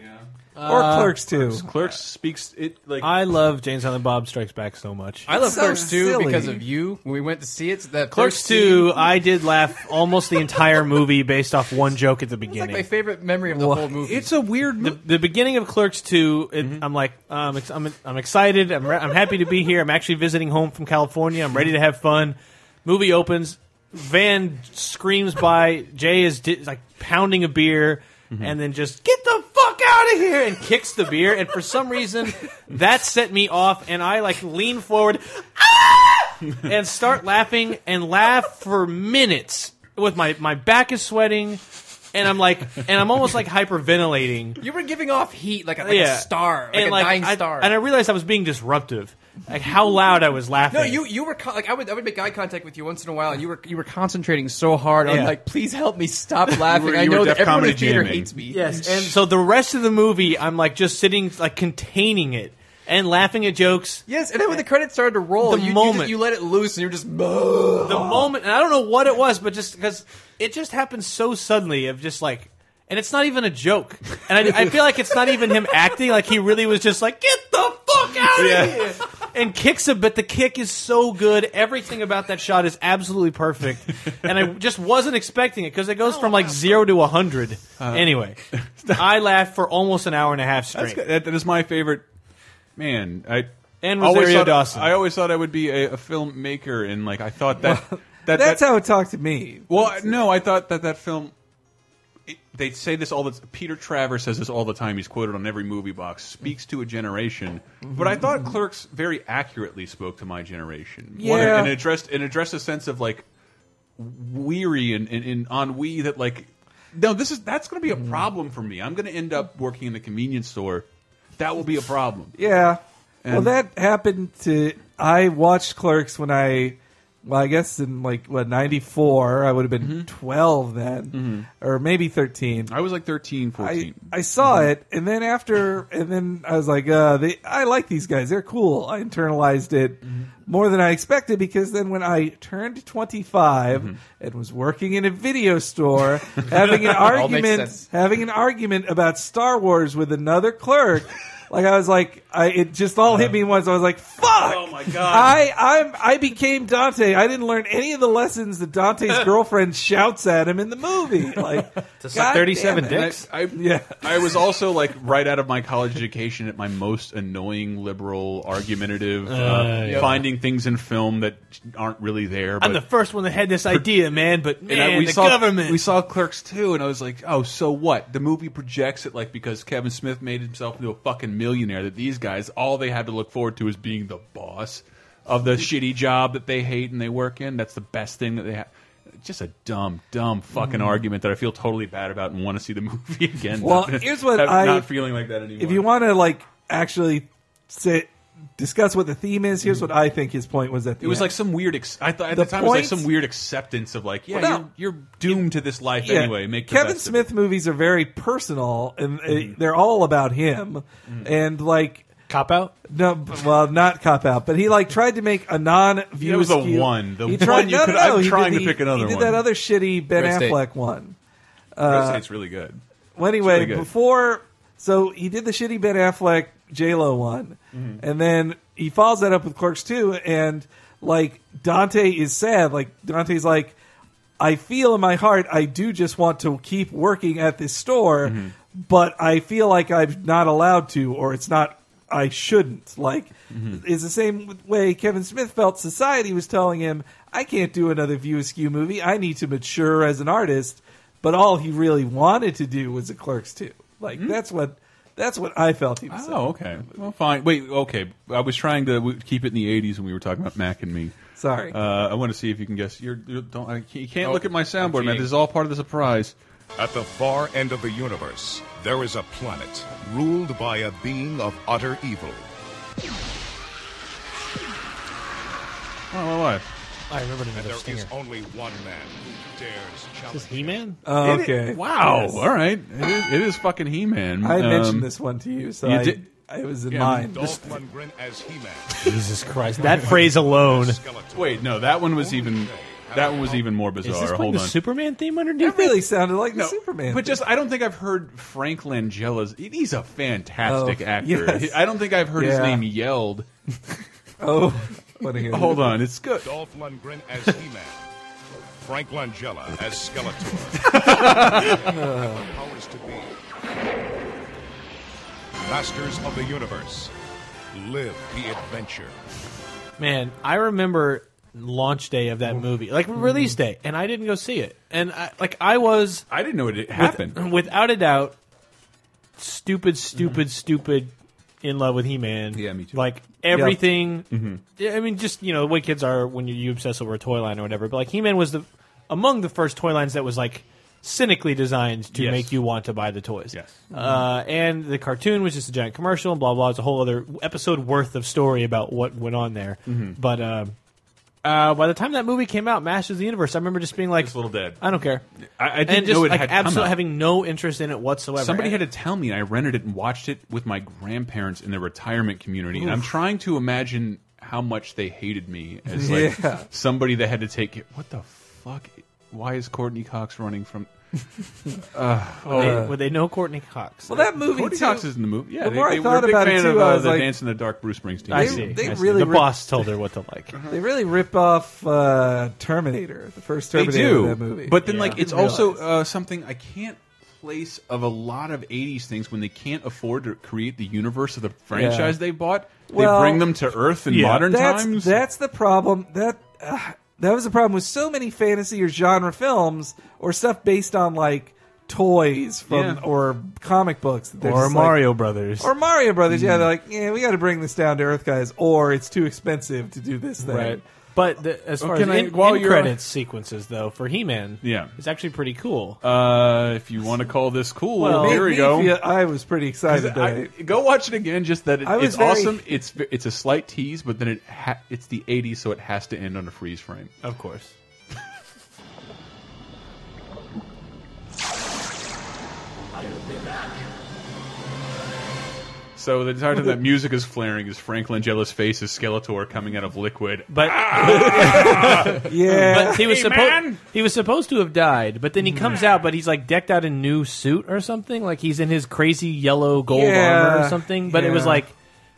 S5: or
S7: Uh,
S5: Clerks too.
S4: Clerks speaks it like
S6: I love Jane Silent Bob Strikes Back so much.
S7: I love
S5: So
S7: Clerks too
S5: silly.
S7: because of you. When we went to see it, that
S6: Clerks
S7: first scene-
S6: two, I did laugh almost the entire movie based off one joke at the
S7: It's like
S6: beginning.
S7: my favorite memory of the
S5: Wha-
S7: whole movie.
S6: a weird. The, the beginning of Clerks two, it, I'm like, um, ex- I'm I'm excited. I'm re- I'm happy to be here. I'm actually visiting home from California. I'm ready to have fun. Movie opens. Van screams by. Jay is di- like pounding a beer. And then just get the fuck out of here and kicks the beer. And for some reason, that set me off. And I like lean forward "Ah!" and start laughing and laugh for minutes with my my back is sweating and I'm like and I'm almost like hyperventilating.
S7: you were giving off heat like a, like a
S6: yeah.
S7: star, like
S6: and
S7: a
S6: like,
S7: dying
S6: I-
S7: star.
S6: And I realized I was being disruptive. Like how loud I was laughing.
S7: no, you you were con- like I would I would make eye contact with you once in a while, and you were you were concentrating so hard on
S6: Yeah.
S7: like please help me stop laughing.
S4: were-
S7: I
S4: you were
S7: know that
S4: Def
S7: everyone in the
S4: Comedy
S7: theater
S4: jamming.
S7: hates me.
S6: Yes, and so the rest of the movie I'm like just sitting like containing it and laughing at jokes.
S7: Yes, and then when the credits started to roll,
S6: The
S7: you, you just-
S6: moment.
S7: you, let it loose, and you're just "Bah."
S4: Oh.
S6: The moment and I don't know what it was, but just because it just happened so suddenly of just like and it's not even a joke. And I, I feel like it's not even him acting. Like he really was just like, get the fuck out of
S4: Yeah.
S6: here. And kicks it, but the kick is so good. Everything about that shot is absolutely perfect. And I just wasn't expecting it because it
S4: Oh,
S6: goes from like zero to a 100. anyway, I laughed for almost an hour and a half
S4: Uh-huh. That's
S6: straight.
S4: good. That- that is my favorite. Man, I
S6: And
S4: always
S6: Rosario
S4: thought,
S6: Dawson.
S4: I always thought I would be a, a filmmaker, and like I thought that that
S5: That's
S4: that,
S5: how it talked to me.
S4: Well, I- no, I thought that that film. It, they say this all the Peter Travers says this all the time. He's quoted on every movie box. Speaks to a generation, but I thought Clerks very accurately spoke to my generation. One-
S5: Yeah.
S4: and addressed and addressed a sense of like weary and, and, and ennui that like no, this is that's going to be a problem for me. I'm going to end up working in the convenience store. That will be a problem.
S5: Yeah. well,
S4: And-
S5: that happened to. I watched Clerks when I, well, I guess in like what '94. I would have been 12 then, or maybe 13.
S4: I was like 13, 14.
S5: I, I saw
S7: Mm-hmm.
S5: it, and then after, and then I was like, uh, they, I like these guys. They're cool. I internalized it
S7: Mm-hmm.
S5: more than I expected because then when I turned 25
S7: Mm-hmm.
S5: and was working in a video store, having an
S7: All makes
S5: argument,
S7: sense.
S5: having an argument about Star Wars with another clerk. Like I was like, I, it just all
S7: Uh-huh.
S5: hit me once. I was like, "Fuck!"
S4: Oh, my God.
S5: I I'm, I became Dante. I didn't learn any of the lessons that Dante's girlfriend shouts at him in the movie. Like,
S6: suck
S5: God
S6: 37
S5: damn it.
S6: dick.
S4: And I, I,
S5: Yeah.
S4: I was also like right out of my college education at my most annoying liberal, argumentative, uh,
S6: yeah.
S4: finding things in film that aren't really there. But,
S6: I'm the first one that had this idea, man, but man,
S4: and I- we
S6: the
S4: saw
S6: government.
S4: we saw Clerks too, and I was like, oh, so what? The movie projects it like because Kevin Smith made himself into a fucking millionaire. That these guys, all they had to look forward to is being the boss of the shitty job that they hate and they work in. That's the best thing that they have. Just a dumb, dumb fucking
S5: Mm-hmm.
S4: argument that I feel totally bad about and want to see the movie again.
S5: Well, here's what
S4: I'm
S5: I-
S4: not feeling like that anymore.
S5: if you want to like actually sit discuss what the theme is. Here's what I think his point was at the
S4: Mm-hmm. It was
S5: end.
S4: like some weird. Ex I thought at
S5: The
S4: the, time it was
S5: point-
S4: like some weird acceptance of like, yeah,
S5: Well, no.
S4: you're, you're doomed to this life
S5: Yeah.
S4: anyway. Make the
S5: Kevin
S4: best of it. Mm-hmm.
S5: Smith movies are very personal, and uh, they're all about him. And like,
S6: Cop out.
S5: no, b- well, not cop out, but he like tried to make a non-view.
S4: That was the
S5: askew-
S4: one. The
S5: he
S4: one
S5: tried,
S4: you
S5: no,
S4: could-
S5: no, no,
S4: I'm
S5: he
S4: trying
S5: did,
S4: to
S5: he-
S4: pick another
S5: He did
S4: one.
S5: that other shitty Ben
S7: Red State.
S5: Affleck one. uh,
S4: Red State's really good.
S5: Well, anyway,
S4: really good.
S5: before so he did the shitty Ben Affleck J Lo one, and then he follows that up with Clerks two, and like Dante is sad. Like Dante's like, I feel in my heart, I do just want to keep working at this store, but I feel like I'm not allowed to, or it's not. I shouldn't. Like, it's the same way Kevin Smith felt society was telling him, I can't do another View Askew movie. I need to mature as an artist but all he really wanted to do was the Clerks too. Like that's what that's what I felt he was.
S4: Oh, okay. Well, fine. Wait, okay. I was trying to w- keep it in the '80s when we were talking about Mac and me.
S5: Sorry.
S4: Uh, I want to see if you can guess. You're, you don't. I, can't- you can't
S7: Oh,
S4: look at my soundboard, man.
S7: cheating.
S4: This is all part of the surprise.
S9: At the far end of the universe, there is a planet ruled by a being of utter evil.
S4: Why? Why? why?
S6: I remembered
S9: And
S6: another
S9: there
S6: stinger.
S9: is only one man who dares challenge.
S6: Is He Man?
S5: Oh, okay.
S4: Wow. All right. It is, it is fucking He-Man.
S5: I
S4: Um,
S5: mentioned this one to you, so
S4: you
S5: I,
S4: did-
S5: I was in
S4: Yeah,
S5: mind.
S9: Dolph Lundgren as He-Man.
S6: Jesus Christ! That phrase alone.
S9: Skeletor.
S4: Wait, no. That one was even. That one was even more
S6: Is
S4: bizarre.
S6: this playing
S4: Hold
S6: the
S4: on.
S6: Superman theme
S5: That
S6: underneath?
S5: really sounded like
S4: No,
S5: the Superman.
S4: But
S5: thing.
S4: just, I don't think I've heard Frank Langella's. He's a fantastic
S5: Oh,
S4: actor.
S5: yes.
S4: I don't think I've heard his
S5: Yeah.
S4: name yelled.
S5: oh, what a-
S4: Hold on, it's good.
S9: Dolph Lundgren as He-Man. Frank Langella as Skeletor. Powers to be. Masters of the universe. Live the adventure.
S6: Man, I remember launch day of that movie, like release day, and I didn't go see it. And I, like I was
S4: I didn't know it
S6: with-
S4: happened.
S6: without a doubt, stupid, stupid, stupid, in love with He Man.
S4: Mm-hmm. Yeah, Mm-hmm. me too.
S6: Like everything. I mean, just you know the way kids are when you, you obsess over a toy line or whatever. But like He Man was the among the first toy lines that was like cynically designed to
S4: Yes.
S6: make you want to buy the toys.
S4: Yes.
S6: Uh, and the cartoon was just a giant commercial and blah blah. It's a whole other episode worth of story about what went on there.
S4: Mm-hmm.
S6: But. Uh, uh, by the time that movie came out, Masters of the Universe, I remember just being like,
S4: It's a little dead.
S6: I don't care."
S4: I- I didn't
S6: and just,
S4: know it
S6: like,
S4: had come
S6: absolutely
S4: out.
S6: having no interest in it whatsoever.
S4: Somebody
S6: And-
S4: had to tell me, and I rented it and watched it with my grandparents in the retirement community. And I'm trying to imagine how much they hated me as like
S5: Yeah.
S4: somebody that had to take it. What the fuck? Why is Courtney Cox running from?
S6: They- would they know Courtney Cox?
S5: well, that movie
S4: Courtney
S5: too,
S4: Cox is in the movie. Yeah,
S5: the more
S4: they,
S5: I
S4: they
S5: thought
S4: were a big
S5: about it,
S4: fan
S5: too,
S4: of uh,
S5: I was
S4: the
S5: like-
S4: Dance in the Dark Bruce Springsteen.
S6: I
S5: They-
S6: see.
S5: they
S6: I see.
S5: really
S6: the
S5: re- Uh-huh.
S6: boss told her what to like.
S5: They really rip off uh, Terminator, the first
S4: They
S5: Terminator
S4: do,
S5: of that movie.
S4: but then like
S5: Didn't
S4: it's also
S5: realize.
S4: uh, something I can't place of a lot of '80s things when they can't afford to create the universe of the franchise they bought. They
S5: Well,
S4: bring them to Earth in
S6: yeah.
S4: modern
S5: that's,
S4: times.
S5: That's the problem. That uh, that was the problem with so many fantasy or genre films or stuff based on like toys from
S4: Yeah.
S5: or comic books They're
S6: or
S5: just like-
S6: Mario Brothers.
S5: or Mario Brothers.
S6: Mm.
S5: Yeah, they're like, yeah, we got to bring this down to earth, guys, or it's too expensive to do this thing.
S6: right. But the, as far
S4: Can
S6: as
S4: I-
S6: in,
S4: while
S6: in
S4: you're-
S6: credits sequences, though, for He Man,
S4: Yeah.
S6: it's actually pretty cool.
S4: Uh, if you want to call this cool,
S6: Well,
S4: here we
S5: Me
S4: go.
S5: feel- I was pretty excited. that
S4: I, go watch it again. Just that it,
S5: I was
S4: it's
S5: very-
S4: awesome. It's it's a slight tease, but then it ha it's the '80s, so it has to end on a freeze frame.
S6: of course.
S4: So the entire time that music is flaring is Frank Langella's face is Skeletor coming out of liquid.
S6: But,
S5: yeah,
S6: but he was
S4: Hey,
S6: supposed
S4: man!
S6: he was supposed to have died, but then he comes out, but he's like decked out in new suit or something, like he's in his crazy yellow gold
S5: Yeah.
S6: armor or something. But it was
S5: Yeah.
S6: like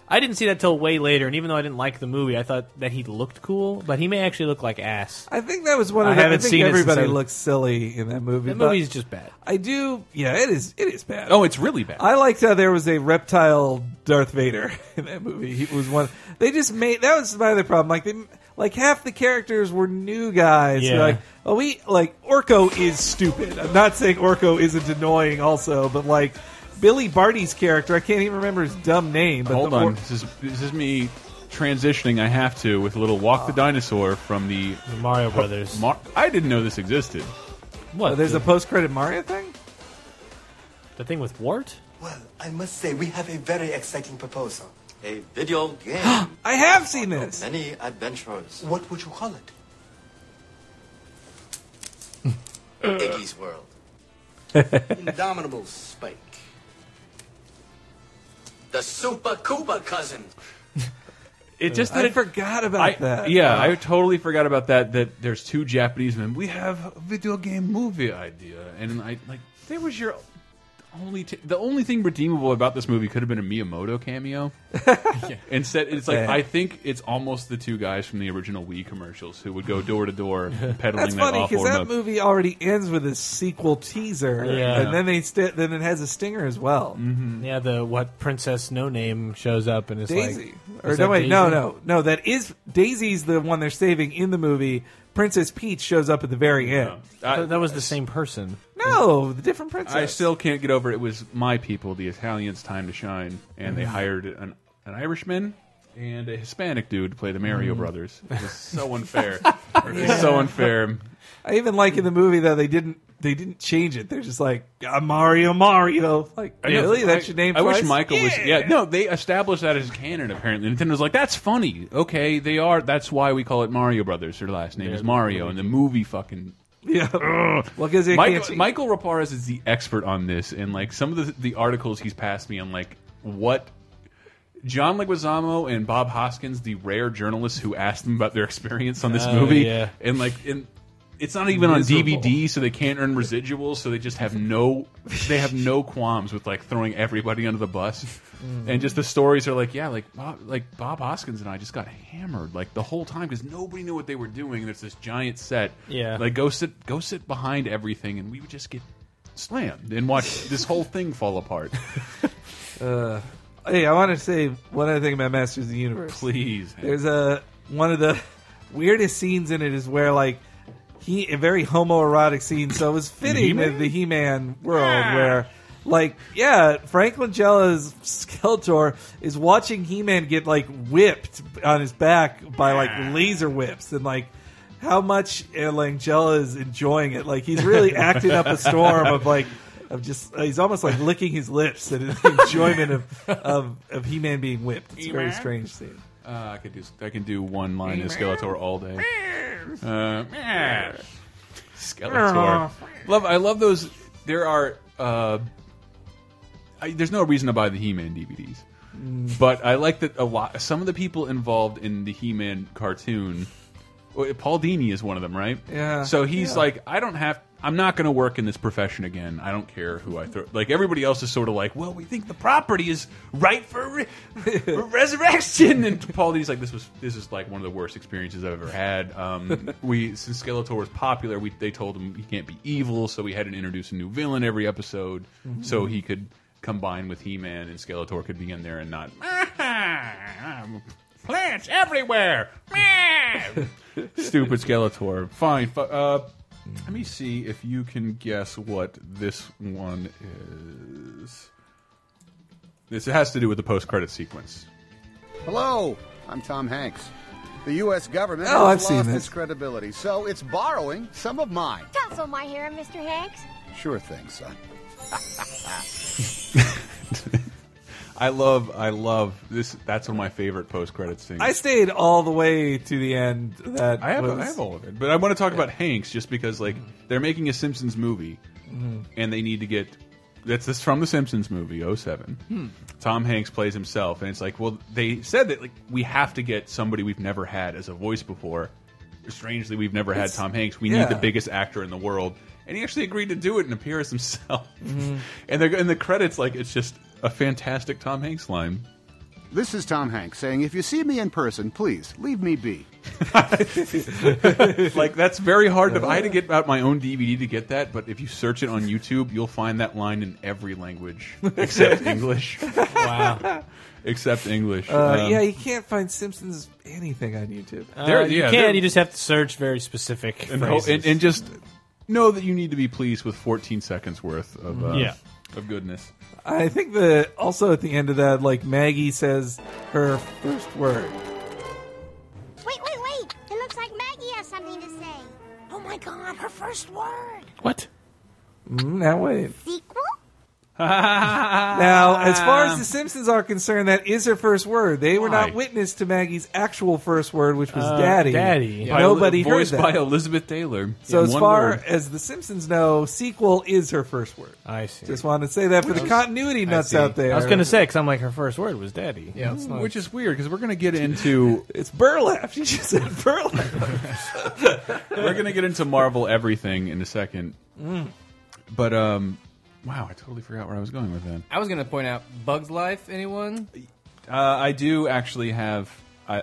S6: I didn't see that till way later, and even though I didn't like the movie, I thought that he looked cool, but he may actually look like ass.
S5: I think that was one
S6: I
S5: of. the,
S6: haven't
S5: I think
S6: seen it since
S5: everybody
S6: I was-
S5: looks silly in that movie.
S6: The
S5: but
S6: movie's just bad.
S5: I do. Yeah, it is. It is bad.
S4: Oh, it's really bad.
S5: I liked how there was a reptile Darth Vader in that movie. He was one. They just made that was my other problem. Like they, like half the characters were new guys. They're
S6: Yeah.
S5: Like oh, we like Orko is stupid. I'm not saying Orko isn't annoying, also, but like Billy Barty's character, I can't even remember his dumb name. But
S4: Hold
S5: the
S4: on,
S5: Or-
S4: this is this is me transitioning. I have to with a little walk the dinosaur from the.
S6: The Mario Brothers.
S4: Mar I didn't know this existed.
S6: what?
S5: Oh, there's a post credit Mario thing.
S6: the thing with Wart.
S10: Well, I must say we have a very exciting proposal. a video game.
S5: I have seen this.
S10: Many adventurers.
S11: What would you call it?
S9: Uh.
S10: Iggy's World.
S11: Indomitable Spike.
S10: The Super Koopa cousin.
S4: It just that
S5: I
S4: it-
S5: forgot about
S4: I-
S5: that.
S4: Yeah, I totally forgot about that. That there's two Japanese men. We have a video game movie idea, and I like there was your only t the only thing redeemable about this movie could have been a Miyamoto cameo. Instead, it's like
S5: Yeah.
S4: I think it's almost the two guys from the original Wii commercials who would go door to door peddling
S5: That's
S4: that
S5: funny
S4: awful
S5: because that
S4: remote.
S5: movie already ends with a sequel teaser,
S6: Yeah.
S5: and then they st- then it has a stinger as well.
S6: Yeah, the what Princess No Name shows up and it's
S5: Daisy,
S6: like
S5: or
S6: is
S5: no
S6: that
S5: wait, no,
S6: Daisy?
S5: no, no. That is Daisy's the one they're saving in the movie. Princess Peach shows up at the very end.
S6: I thought that was the same person.
S5: No, the different princess.
S4: I still can't get over it. was my people, the Italians' time to shine, and they hired an, an Irishman and a Hispanic dude to play the Mario Brothers. It was so unfair. It's so unfair.
S5: I even like in the movie though they didn't they didn't change it. They're just like "Ah, Mario, Mario. Like
S4: Yeah.
S5: really, that's
S4: I-
S5: your name.
S4: I wish
S5: twice?
S4: Michael was. Yeah, no, they established that as canon. Apparently, Nintendo's like, that's funny. Okay, they are. That's why we call it Mario Brothers. Their last name is Mario, and the movie fucking.
S5: yeah. well, because
S4: Michael, Michael Raparez is the expert on this, and like some of the, the articles he's passed me on, like what. John Leguizamo and Bob Hoskins, the rare journalists who asked them about their experience on this
S6: Oh,
S4: movie,
S6: yeah.
S4: and like, and it's not even
S5: Miserable.
S4: on DVD, so they can't earn residuals, so they just have no, they have no qualms with like throwing everybody under the bus,
S5: Mm-hmm.
S4: and just the stories are like, yeah, like Bob, like Bob Hoskins and I just got hammered like the whole time because nobody knew what they were doing. There's this giant set,
S6: Yeah.
S4: like go sit, go sit behind everything, and we would just get slammed and watch this whole thing fall apart.
S5: Hey, I want to say one other thing about Masters of the Universe.
S4: Please,
S5: There's a one of the weirdest scenes in it is where like he a very homoerotic scene, so it was fitting in the He-Man world where like yeah, Frank Langella's Skeletor is watching He-Man get like whipped on his back by like laser whips and like how much uh, Langella is enjoying it. Like he's really acting up a storm of like of just uh, he's almost like licking his lips and the enjoyment of of, of He-Man being whipped. It's a very strange scene.
S4: Uh, I could do I can do one line of Skeletor all day. Uh, Skeletor. Love I love those. There are uh, I, there's no reason to buy the He-Man DVDs, but I like that a lot. Some of the people involved in the He-Man cartoon, well, Paul Dini is one of them, right?
S5: Yeah.
S4: So he's
S5: Yeah.
S4: like, I don't have. I'm not going to work in this profession again. I don't care who I throw. Like everybody else is sort of like, well, we think the property is right for, re for resurrection. And Paul Dini's like, this was this is like one of the worst experiences I've ever had. Um, we since Skeletor was popular, we they told him he can't be evil, so we had to introduce a new villain every episode,
S5: Mm-hmm.
S4: so he could combine with He-Man and Skeletor could be in there and not "Ah, plants everywhere. Stupid Skeletor. Fine. fu- Uh, let me see if you can guess what this one is. This has to do with the post-credit sequence.
S11: Hello, I'm Tom Hanks. The U.S. government
S5: Oh,
S11: has
S5: I've seen
S11: lost
S5: this.
S11: its credibility, so it's borrowing some of mine.
S2: Tousle my hair, Mr. Hanks.
S11: Sure thing, son.
S4: I love, I love this. That's one of my favorite post-credit scenes.
S5: I stayed all the way to the end. That
S4: I have,
S5: was,
S4: I have all of it, but I want to talk about Hanks just because like they're making a Simpsons movie,
S5: Mm-hmm.
S4: and they need to get that's this from the Simpsons movie 07.
S5: Hmm.
S4: Tom Hanks plays himself, and it's like, well, they said that like we have to get somebody we've never had as a voice before. Strangely, we've never had Tom Hanks. We
S5: yeah.
S4: need the biggest actor in the world, and he actually agreed to do it and appear as himself.
S5: Mm-hmm.
S4: And they're in the credits like it's just a fantastic Tom Hanks line.
S11: This is Tom Hanks saying, if you see me in person, please leave me be.
S4: like that's very hard to. I had to get out my own DVD to get that, but if you search it on YouTube, you'll find that line in every language except English. wow. Except English.
S5: Uh,
S4: Um,
S5: yeah, you can't find Simpsons anything on YouTube.
S4: There-
S6: Uh, you
S4: yeah, there-
S6: can. You just have to search very specific
S4: and, ho-
S6: phrases.
S4: and, and just know that you need to be pleased with 14 seconds worth of uh,
S6: Yeah.
S4: of goodness.
S5: I think the also at the end of that, like Maggie says her first word.
S2: Wait, wait, wait! It looks like Maggie has something to say. Oh my god, her first word!
S6: what?
S5: Mm, Now wait,
S2: Sequel?
S5: now, as far
S6: Um,
S5: as the Simpsons are concerned, that is her first word. They were
S4: Why?
S5: not witness to Maggie's actual first word, which was
S6: Uh,
S5: "daddy."
S6: daddy.
S4: By-
S5: Nobody heard
S4: voiced
S5: that.
S4: by Elizabeth Taylor.
S5: so,
S4: in
S5: as
S4: one
S5: far
S4: word.
S5: as the Simpsons know, sequel is her first word.
S6: I see.
S5: Just wanted to say that for the continuity nuts
S6: see.
S5: out there.
S6: I was going to say, because I'm like, her first word was daddy. Yeah.
S4: which is weird because we're going to get into
S5: it's burlap. She just said burlap.
S4: we're going to get into Marvel everything in a second.
S5: Mm.
S4: But um, wow, I totally forgot where I was going with that.
S7: I was going to point out Bugs Life. Anyone?
S4: Uh, I do actually have. I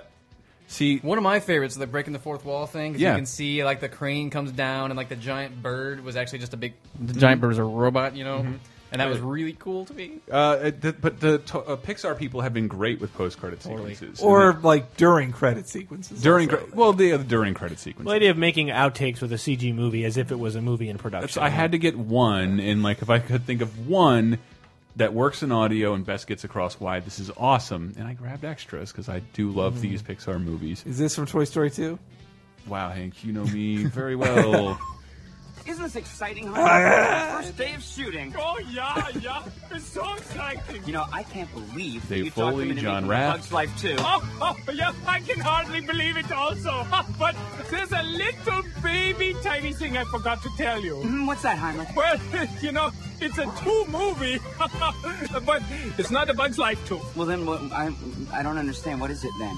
S4: see.
S7: One of my favorites is the breaking the fourth wall thing. 'cause
S4: Yeah.
S7: You can see like the crane comes down and like the giant bird was actually just a big. The giant bird was a robot, you know, and that was really cool to me.
S4: Uh, it- th- but the to uh, Pixar people have been great with post credit sequences
S5: or
S4: And
S5: like during credit sequences.
S4: they- during
S5: also.
S4: cre- well the uh, during credit sequences.
S6: The idea of making outtakes with a CG movie as if it was a movie in production.
S4: So I had to get one, and like if I could think of one that works in audio and best gets across why this is awesome, and I grabbed extras because I do love these Pixar movies.
S5: Is this from Toy Story Two?
S4: Wow, Hank, you know me very well.
S12: Isn't this exciting, huh? First day of shooting. Oh, yeah, yeah. It's so exciting. You know, I can't believe that
S4: Dave
S12: you talked
S4: Foley,
S12: him into
S4: John
S12: making
S4: Rapp.
S12: Bugs Life too. Oh, oh, yeah, I can hardly believe it also. but there's a little baby tiny thing I forgot to tell you. Hmm, what's that, Heinrich? Well, you know, it's a two movie, but it's not a Bugs Life 2.
S13: Well, then what, I, I don't understand. What is it then?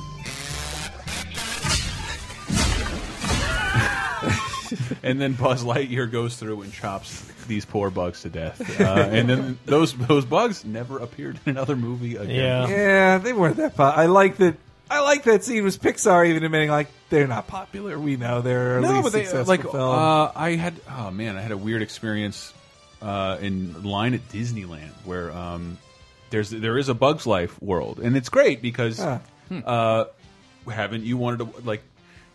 S4: and then Buzz Lightyear goes through and chops these poor bugs to death, uh, and then those those bugs never appeared in another movie again.
S6: Yeah.
S5: Yeah, they weren't that pop. I like that. I like that scene was Pixar even admitting like they're not popular. We know they're
S4: no,
S5: least
S4: but they,
S5: successful
S4: like
S5: film.
S4: uh, I had oh man, I had a weird experience uh, in line at Disneyland where um, there's there is a Bugs Life world, and it's great because
S5: Huh.
S4: uh, haven't you wanted to like.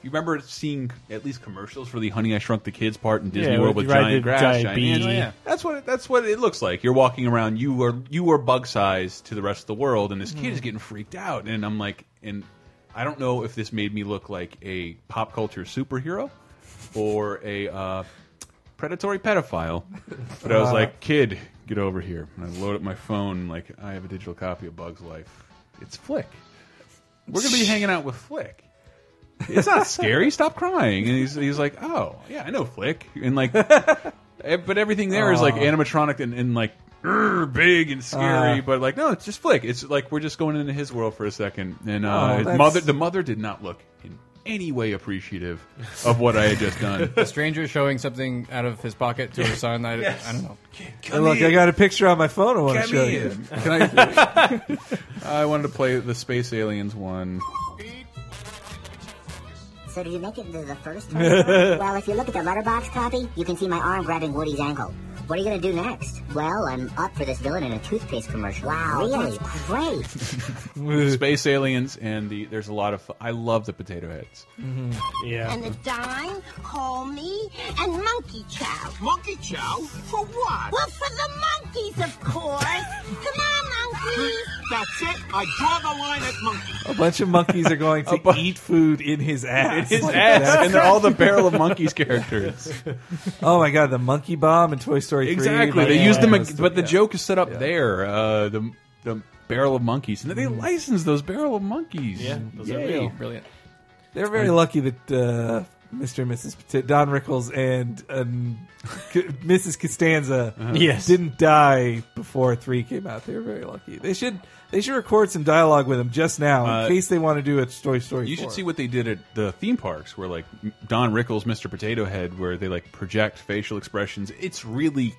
S4: You remember seeing at least commercials for the "Honey I Shrunk the Kids" part in Disney
S6: Yeah,
S4: World
S6: with
S4: with
S6: the- right,
S4: giant
S6: the
S4: grass,
S6: giant
S4: giant
S6: bee.
S4: ants?
S6: Oh, yeah.
S4: That's what that's what it looks like. You're walking around. You are you are bug sized to the rest of the world, and this kid
S6: Mm.
S4: is getting freaked out. And I'm like, and I don't know if this made me look like a pop culture superhero or a uh, predatory pedophile, but I was like, kid, get over here. And I load up my phone. Like I have a digital copy of Bug's Life. It's Flick. We're gonna be hanging out with Flick it's not scary. Stop crying. And he's he's like, oh yeah, I know Flick, and like, eh, but everything there is like animatronic and, and like "Urgh," big and scary.
S5: Ah.
S4: but like, no, it's just Flick. It's like we're just going into his world for a second. And
S5: Oh,
S4: uh, his
S5: that's-
S4: mother, the mother, did not look in any way appreciative of what I had just done.
S7: A stranger showing something out of his pocket to her son. I, I don't know.
S5: And look, I got a picture on my phone. I want to show you.
S4: Can I? I wanted to play the space aliens one.
S2: So do you make it to the first Toy Story? well, if you look at the letterbox copy, you can see my arm grabbing Woody's ankle. What are you going to do next? Well, I'm up for this villain in a toothpaste commercial. Wow, really? That's great.
S4: Space aliens and the there's a lot of fu- I love the potato heads.
S6: yeah.
S2: And the dime, call me, and monkey chow.
S12: Monkey Chow? For what?
S2: Well, for the monkeys, of course. Come on, monkeys.
S12: That's it. I draw the line at monkey.
S5: A bunch of monkeys are going to eat food in his ass.
S4: His
S5: Like
S4: ass,
S5: that.
S4: and they're all the barrel of monkeys characters.
S5: Oh my god, the monkey bomb in Toy Story
S4: Exactly.
S5: 3.
S4: They
S5: Like,
S4: use
S5: yeah,
S4: them,
S5: those two,
S4: but the
S5: yeah.
S4: joke is set up there. Uh, the the barrel of monkeys, and they license those barrel of monkeys.
S6: Yeah, those are
S4: Yay.
S6: real.
S7: Brilliant.
S5: They're very lucky that uh, Mr. and Mrs. Pati- Don Rickles and um, C- Mrs. Costanza
S4: Uh-huh.
S6: Yes.
S5: didn't die before three came out. They were very lucky. They should they should record some dialogue with them just now in
S4: Uh,
S5: case they want to do a Toy Story.
S4: You should
S5: 4.
S4: see what they did at the theme parks, where like Don Rickles, Mr. Potato Head, where they like project facial expressions. It's really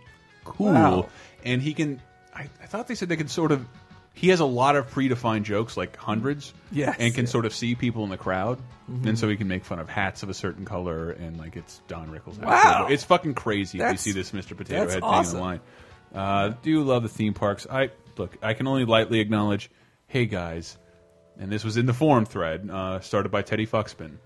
S4: cool,
S5: Wow.
S4: and he can. I, I thought they said they could sort of. He has a lot of predefined jokes, like hundreds,
S5: Yes, Mm-hmm.
S4: and can
S5: yeah.
S4: sort of see people in the crowd, and so he can make fun of hats of a certain color, and like it's Don Rickles. hat.
S5: Wow.
S4: it's fucking crazy if you
S5: That's-
S4: see this Mr. Potato
S5: that's
S4: Head
S5: awesome.
S4: thing online. Uh, do love the theme parks. I look. I can only lightly acknowledge. Hey guys, and this was in the forum thread uh, started by Teddy Foxman,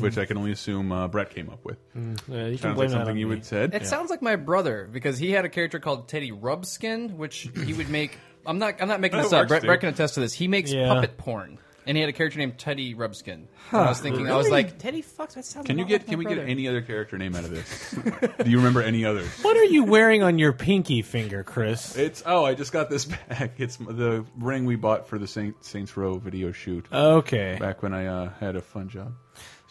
S4: which I can only assume uh, Brett came up with.
S6: Yeah, you
S4: Sounds
S6: can Mm-hmm.
S4: like
S6: blame that on
S4: something you
S6: me.
S4: would said.
S7: It sounds like my brother because he had a character called Teddy Rubskin, which he would make. I'm not. I'm not making this
S4: That
S7: up.
S4: works,
S7: Brett,
S4: dude.
S7: Brett can attest to this. He makes
S6: Yeah.
S7: puppet porn. And he had a character named Teddy Rubskin. And I was thinking, I was
S6: Really?
S7: like,
S6: Teddy Fox. That sounds.
S4: Can
S6: a
S4: you
S6: lot
S4: get
S6: like
S4: can
S6: my
S4: we
S6: brother.
S4: get any other character name out of this? Do you remember any others?
S6: What are you wearing on your pinky finger, Chris?
S4: It's oh, I just got this back. It's the ring we bought for the Saint, Saints Row video shoot.
S6: Uh, Okay.
S4: back when I uh, had a fun job.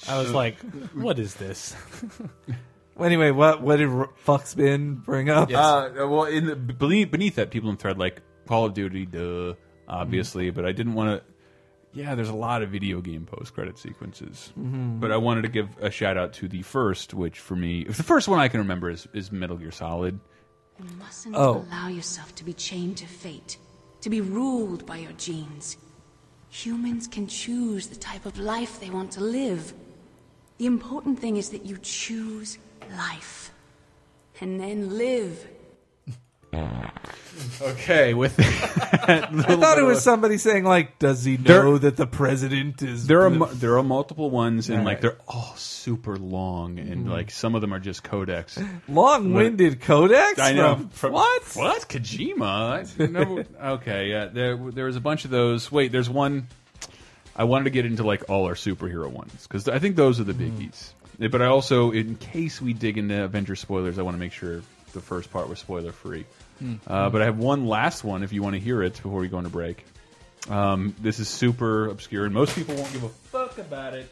S6: I was like, what is this?
S5: Well, anyway, what what did R- Fuckspin bring up?
S4: Uh, well, in the, beneath, beneath that, people in thread like Call of Duty, duh, obviously, but I didn't want to. Yeah, there's a lot of video game post credit sequences,
S5: Mhm.
S4: but I wanted to give a shout out to the first, which for me, the first one I can remember is is Metal Gear Solid.
S14: You
S5: Uh,
S14: mustn't
S4: Oh.
S14: allow yourself to be chained to fate, to be ruled by your genes. Humans can choose the type of life they want to live. The important thing is that you choose life and then live.
S4: Okay, with
S5: I thought it was somebody saying like, "Does he know that the president is?"
S4: There are
S5: the-
S4: mu- there are multiple ones, and like
S5: Alright.
S4: they're all super long, and
S5: Mhm.
S4: like some of them are just codex.
S5: Long-winded codex
S4: I know.
S5: from- what?
S4: What Kojima? I never- okay, yeah. There there was a bunch of those. Wait, there's one. I wanted to get into like all our superhero ones because I think those are the
S5: Mm-hmm.
S4: biggies. But I also, in case we dig into Avengers spoilers, I want to make sure the first part was spoiler free.
S5: Hmm.
S4: Uh, but I have one last one if you want to hear it before we go into break. Um, this is super obscure, and most people won't give a fuck about it.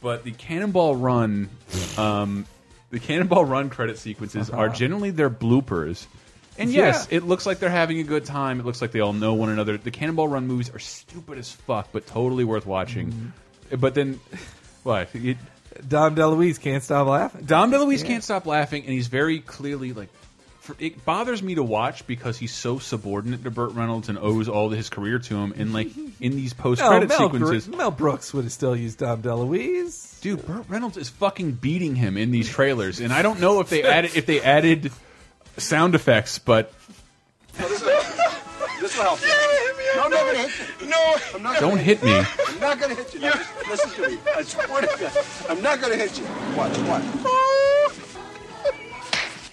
S4: But the Cannonball Run, um, the Cannonball Run credit sequences are
S5: Uh-huh.
S4: generally their bloopers. And
S5: Yeah.
S4: yes, it looks like they're having a good time. It looks like they all know one another. The Cannonball Run movies are stupid as fuck, but totally worth watching.
S5: Mm-hmm.
S4: But then, what? It,
S5: Dom DeLuise can't stop laughing.
S4: Dom DeLuise can't stop laughing, and he's very clearly like. For, it bothers me to watch because he's so subordinate to Burt Reynolds and owes all his career to him. And like in these post
S5: No,
S4: credit
S5: Oh, Mel, Br-
S4: sequences,
S5: Mel Brooks would have still used Dom DeLuise.
S4: dude, Burt Reynolds is fucking beating him in these trailers. And I don't know if they added if they added sound effects, but
S15: This will help you. no, I'm not gonna hit you. No, I'm not.
S4: Don't
S15: gonna
S4: hit me.
S15: I'm not gonna hit you. Now, just listen to me. I swear to God, I'm not gonna hit you. Watch, watch.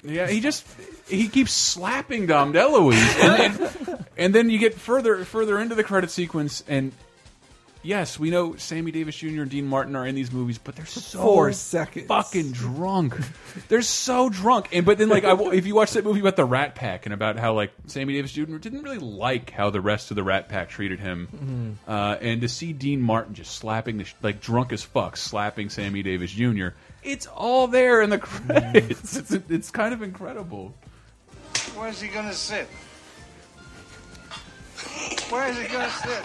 S4: Yeah, he just he keeps slapping Dom DeLuise, and then and then you get further further into the credit sequence, and yes, we know Sammy Davis Jr. and Dean Martin are in these movies, but they're so
S5: Four seconds.
S4: fucking drunk. They're so drunk, and but then like I, wa- if you watch that movie about the Rat Pack and about how like Sammy Davis Jr. didn't really like how the rest of the Rat Pack treated him,
S5: Mm-hmm.
S4: uh, and to see Dean Martin just slapping the sh like drunk as fuck, slapping Sammy Davis Jr. It's all there in the credits.
S5: Mm.
S4: It's, it's kind of incredible.
S15: Where's he gonna sit? Where is he gonna sit?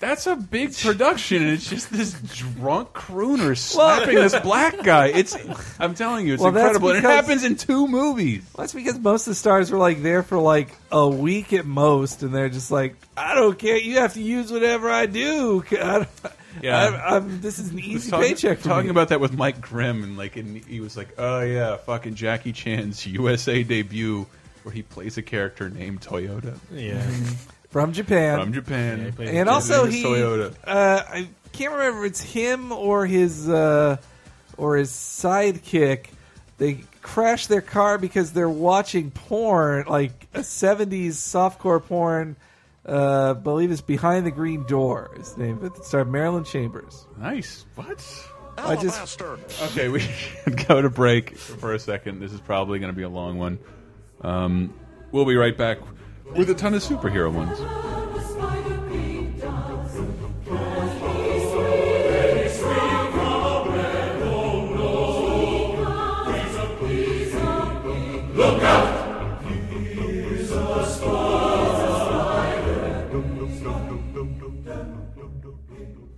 S4: That's a big production, and it's just this drunk crooner slapping this black guy. It's I'm telling you, it's
S5: Well, that's
S4: incredible. And it
S5: because-
S4: happens in two movies.
S5: Well, that's because most of the stars were like there for like a week at most, and they're just like, I don't care. You have to use whatever I do. I,
S4: Yeah.
S5: I, am this is an easy paycheck. For
S4: Talking
S5: me.
S4: about that with Mike Grimm, and like, and he was like, "Oh yeah, fucking Jackie Chan's USA debut, where he plays a character named Toyota."
S5: Yeah. from Japan,
S4: From Japan. Yeah, he plays
S5: and
S4: a
S5: also
S4: Japanese
S5: he.
S4: Toyota.
S5: Uh, I can't remember if it's him or his uh, or his sidekick. They crash their car because they're watching porn, like a '70s softcore porn. Uh, I believe it's behind the green door. Is the name of it? It starred Marilyn Chambers.
S4: Nice. What?
S5: I just-
S4: okay. We should go to break for a second. This is probably going to be a long one. Um, we'll be right back with a ton of superhero ones.
S16: Look out!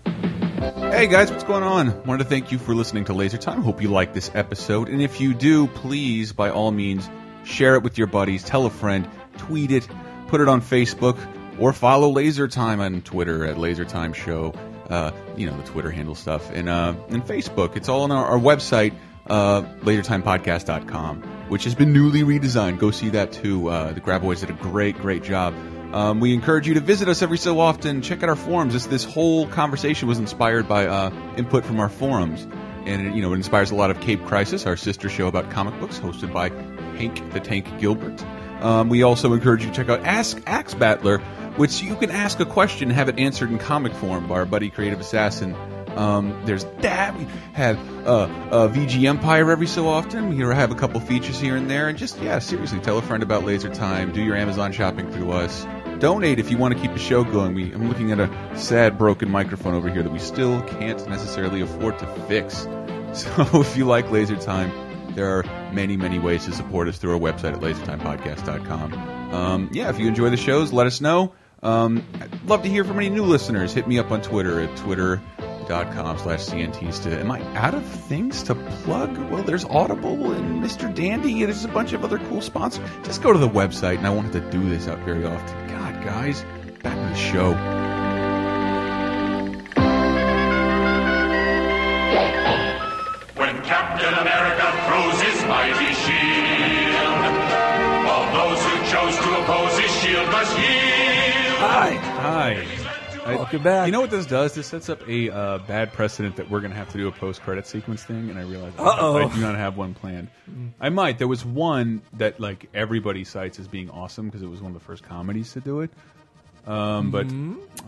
S4: Hey guys, what's going on? Wanted to thank you for listening to Laser Time. Hope you like this episode. And if you do, please, by all means, share it with your buddies, tell a friend, tweet it, put it on Facebook, or follow Laser Time on Twitter at Laser Time Show. Uh, you know, the Twitter handle stuff. And, uh, and Facebook. It's all on our, our website, uh, lasertimepodcast.com, which has been newly redesigned. Go see that too. Uh, the Graboids did a great, great job. Um, we encourage you to visit us every so often. Check out our forums. This this whole conversation was inspired by uh, input from our forums, and it, you know it inspires a lot of Cape Crisis, our sister show about comic books, hosted by Hank the Tank Gilbert. Um, we also encourage you to check out Ask Axe Battler, which you can ask a question, have it answered in comic form by our buddy Creative Assassin. Um, there's that. We have uh, uh, VG Empire every so often. We have a couple features here and there. And just, yeah, seriously, tell a friend about Laser Time. Do your Amazon shopping through us. Donate if you want to keep the show going. We, I'm looking at a sad, broken microphone over here that we still can't necessarily afford to fix. So if you like Laser Time, there are many, many ways to support us through our website at lasertimepodcast.com. Um, yeah, if you enjoy the shows, let us know. Um, I'd love to hear from any new listeners. Hit me up on Twitter at twitter.com slash cntista. Am I out of things to plug? Well, there's Audible and Mr. Dandy. and There's a bunch of other cool sponsors. Just go to the website, and I won't have to do this out very often. God, guys, back to the show.
S16: When Captain America throws his mighty shield, all those who chose to oppose his shield must yield.
S4: Hi. I- You know what this does? This sets up a uh, bad precedent that we're going to have to do a post-credit sequence thing, and I realize I-
S5: Uh-oh.
S4: I, do not have one planned. I might. There was one that like everybody cites as being awesome because it was one of the first comedies to do it. Um, but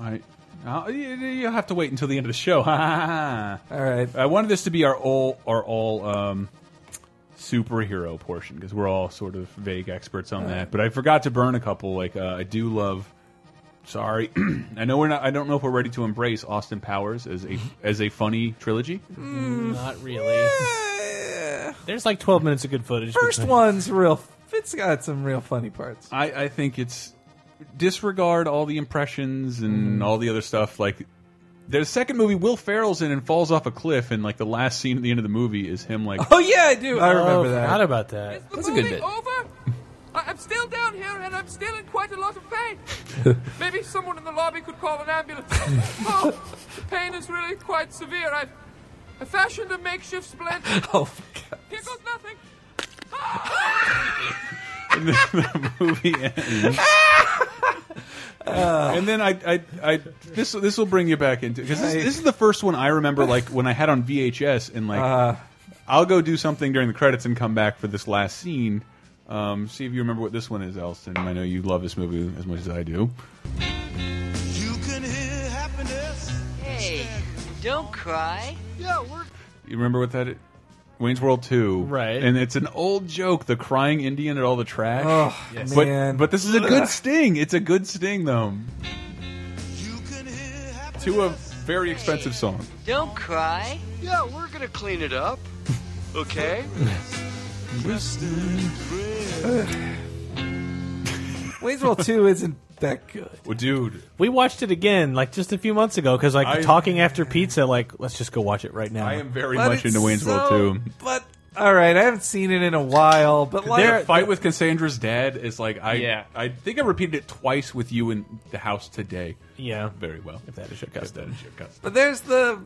S4: I, I'll- you, you'll have to wait until the end of the show. all
S5: right.
S4: I wanted this to be our all our all um, superhero portion because we're all sort of vague experts on that. But I forgot to burn a couple. Like uh, I do love. Sorry, I know we're not. I don't know if we're ready to embrace Austin Powers as a as a funny trilogy.
S6: Not really. There's like 12 minutes of good footage.
S5: First one's real. It's got some real funny parts.
S4: I, I think it's disregard all the impressions and all the other stuff. Like their second movie, Will Ferrell's in and falls off a cliff, and like the last scene at the end of the movie is him like.
S5: Oh yeah, I do. I
S6: Oh,
S5: remember that.
S6: forgot about that.
S4: That's a good bit.
S12: Over? I- I'm still down here and I'm still in quite a lot of pain. Maybe someone in the lobby could call an ambulance. oh, the pain is really quite severe. I've I fashioned a makeshift splint.
S5: Oh,
S12: Here goes nothing.
S4: and then the movie ends.
S5: Uh.
S4: and then I, I, I this this will bring you back into because this, this is the first one I remember like when I had on VHS and like
S5: Uh.
S4: I'll go do something during the credits and come back for this last scene. Um, see if you remember what this one is, Elston. I know you love this movie as much as I do.
S17: Hey, don't cry. Yeah, we're
S4: You remember what that? i- Wayne's World Two, right? And it's an old joke: the crying Indian at all the trash.
S5: Oh,
S4: Yes.
S5: man.
S4: But but this is a good
S5: Ugh.
S4: sting. It's a good sting, though. To a very expensive song.
S17: don't cry. Yeah, we're gonna clean it up. Okay.
S5: Wayne's World Two isn't that good.
S4: Well, dude,
S6: we watched it again like just a few months ago because like
S5: I-
S6: talking after pizza, like let's just go watch it right now. I
S4: am very
S5: But it's so- But all right, I haven't seen it in a while. But like,
S4: Their fight with Cassandra's dad is like I.
S5: Yeah.
S4: I think I repeated it twice with you in the house today.
S6: Yeah,
S4: very well. If that is your custom, that is your custom.
S5: But there's the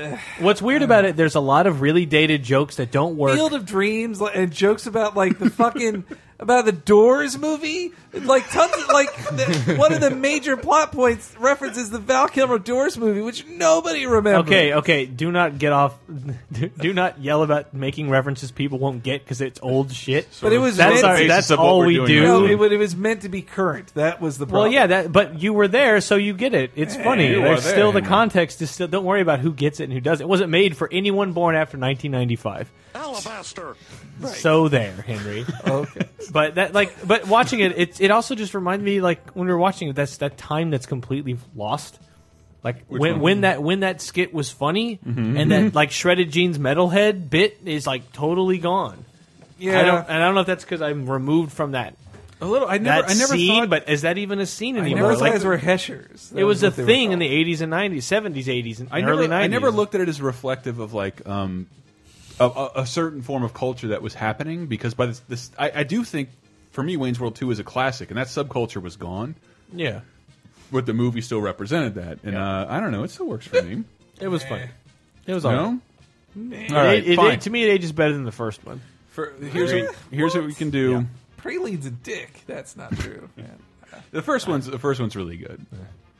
S5: uh,
S6: What's weird about it? There's a lot of really dated jokes that don't work.
S5: Field of Dreams like, and jokes about like the fucking about the Doors movie. Like tons of like the, one of the major plot points references the Val Kilmer Doors movie, which nobody remembers.
S6: Okay, okay. Do not get off. Do, do not yell about making references people won't get because it's old shit.
S5: But it was
S6: that's,
S5: meant-
S6: our- that's all we do.
S5: No, it, wa- it was meant to be current. That was the
S6: well,
S5: problem.
S6: yeah, that. But you were there, so you get it. It's
S5: Yeah,
S6: funny.
S5: you
S6: There's
S5: are there.
S6: still the context is still. Don't worry about who gets it and who doesn't. It wasn't made for anyone born after 1995.
S9: Alabaster.
S6: So there, Henry. okay. But that like but watching it it it also just reminded me like when we were watching it that's that time that's completely lost. Like
S4: Which
S6: when
S4: one?
S6: when that when that skit was funny
S4: Mhm.
S6: and that like shredded jeans metalhead bit is like totally gone.
S4: Yeah.
S6: I don't and I don't know if that's cuz I'm removed from that.
S4: A little I never-
S6: that
S4: I never
S6: scene,
S4: thought-
S6: but is that even a scene
S4: never
S6: anymore?
S4: thought
S6: Like,
S4: those were Heshers. That
S6: It
S4: was
S6: was, a
S4: what they were
S6: thing in the 80s and 90s, 70s, 80s and
S4: I never,
S6: early 90s.
S4: I never looked at it as reflective of like um, a, a, a certain form of culture that was happening because by this, this I, I do think for me Wayne's World Two is a classic and that subculture was gone,
S6: Yeah.
S4: but the movie still represented that and uh, I don't know it still works for me.
S6: It was funny. It was
S4: No?
S6: all
S4: All right,
S6: It- it-
S4: fine.
S6: to me it ages better than the first one.
S4: For, here's what, here's what we can do.
S5: Preline's a dick. That's not true. man.
S4: The first one's the first one's really good,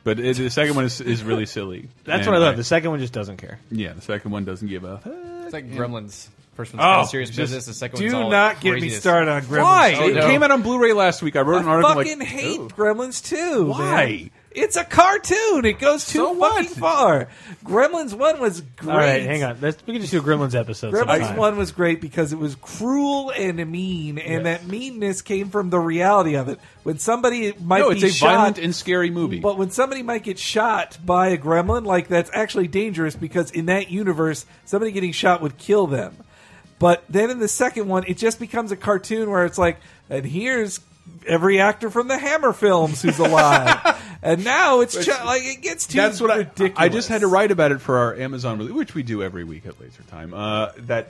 S4: but it, the second one is, is really silly.
S6: That's
S4: And
S6: what I love. The second one just doesn't care.
S4: Yeah, the second one doesn't give a
S7: It's like Gremlins. First one's
S4: Oh,
S7: kind of serious
S4: just
S7: business. The second
S4: do
S7: one's all
S4: not
S5: get me
S7: craziness.
S5: started on Gremlins.
S4: Why?
S5: Oh,
S4: it
S5: no.
S4: came out on Blu-ray last week. I wrote an
S5: I
S4: article
S5: fucking
S4: like,
S5: hate
S4: "Ooh."
S5: Gremlins too.
S4: Why?
S5: It's a cartoon. It goes too fucking far. Gremlins one was great.
S6: All right, hang on. Let's, we can just do a Gremlins episode.
S5: Gremlins
S6: sometime.
S5: one was great because it was cruel and mean, and that meanness came from the reality of it. When somebody might
S4: No,
S5: be
S4: it's a
S5: shot,
S4: violent and scary movie.
S5: but when somebody might get shot by a gremlin, like that's actually dangerous because in that universe, somebody getting shot would kill them. But then in the second one, it just becomes a cartoon where it's like, and here's every actor from the Hammer films who's alive, and now it's ju- like it gets too
S4: That's what I-
S5: ridiculous.
S4: I, just had to write about it for our Amazon release, which we do every week at Laser Time. Uh, that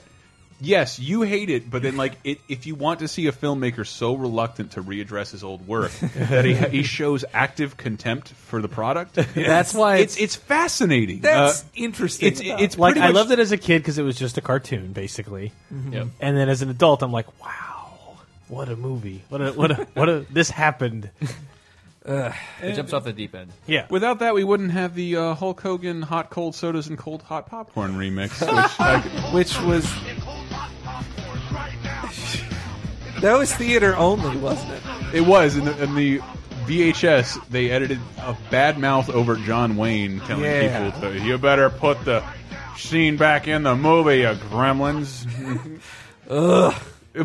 S4: yes, you hate it, but then like it, if you want to see a filmmaker so reluctant to readdress his old work that he, he shows active contempt for the product,
S6: That's why
S4: it's it's fascinating.
S5: That's
S4: Uh,
S5: interesting.
S4: It's it's
S6: like
S4: pretty
S6: I
S4: much-
S6: loved it as a kid because it was just a cartoon, basically.
S7: Mm-hmm.
S4: Mhm. Yep.
S6: And then as an adult, I'm like, wow, what a movie! What a what a what a this happened.
S7: It jumps off the deep end.
S6: Yeah.
S4: Without that, we wouldn't have the uh, Hulk Hogan hot cold sodas and cold hot popcorn remix, which I,
S5: which was that was theater only, wasn't it?
S4: It was in the, in the VHS. They edited a bad mouth over John Wayne telling
S5: Yeah.
S4: people to you better put the scene back in the movie, you gremlins.
S5: Ugh.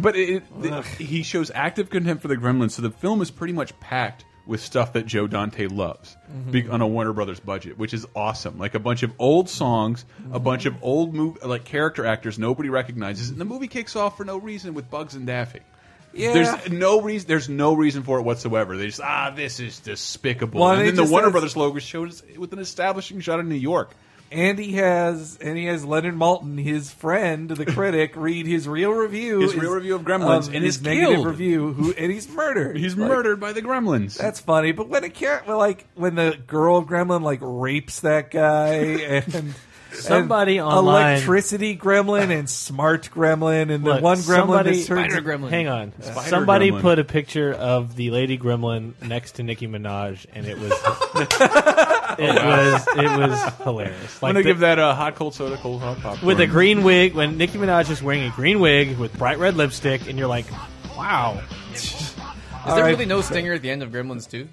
S4: But it, it- he shows active contempt for the gremlins, so the film is pretty much packed with stuff that Joe Dante loves
S5: Mm-hmm.
S9: Mhm.
S4: big, on a Warner Brothers budget, which is awesome. Like a bunch of old songs, a
S5: Mm-hmm.
S4: bunch of old mov like character actors nobody recognizes, and the movie kicks off for no reason with Bugs and Daffy.
S5: Yeah.
S4: There's no reason. There's no reason for it whatsoever. They just ah, this is despicable.
S5: Well,
S4: and
S5: it
S4: then the
S5: just
S4: Warner
S5: has-
S4: Brothers logo shows with an establishing shot in New York.
S5: And he has and he has Leonard Malton, his friend, the critic, read his real review,
S4: His real review of Gremlins, and
S5: his
S4: is
S5: negative
S4: killed.
S5: review, who and he's murdered.
S4: He's
S5: Like,
S4: murdered by the Gremlins.
S5: That's funny. But when a cat, well, like when the girl gremlin like rapes that guy and.
S6: Somebody
S5: and
S6: online-
S5: electricity gremlin and smart gremlin, and the
S6: Look,
S5: one gremlin
S6: somebody-
S5: is turns-
S6: Hang on.
S5: Spider
S6: somebody
S5: gremlin.
S6: put a picture of the lady gremlin next to Nicki Minaj, and it was it
S7: Oh,
S6: was it was hilarious.
S4: I'm gonna
S6: the-
S4: give that a hot cold soda, cold hot popcorn
S6: with a green wig when Nicki Minaj is wearing a green wig with bright red lipstick, and you're like, wow.
S7: Is there really no stinger at the end of Gremlins 2?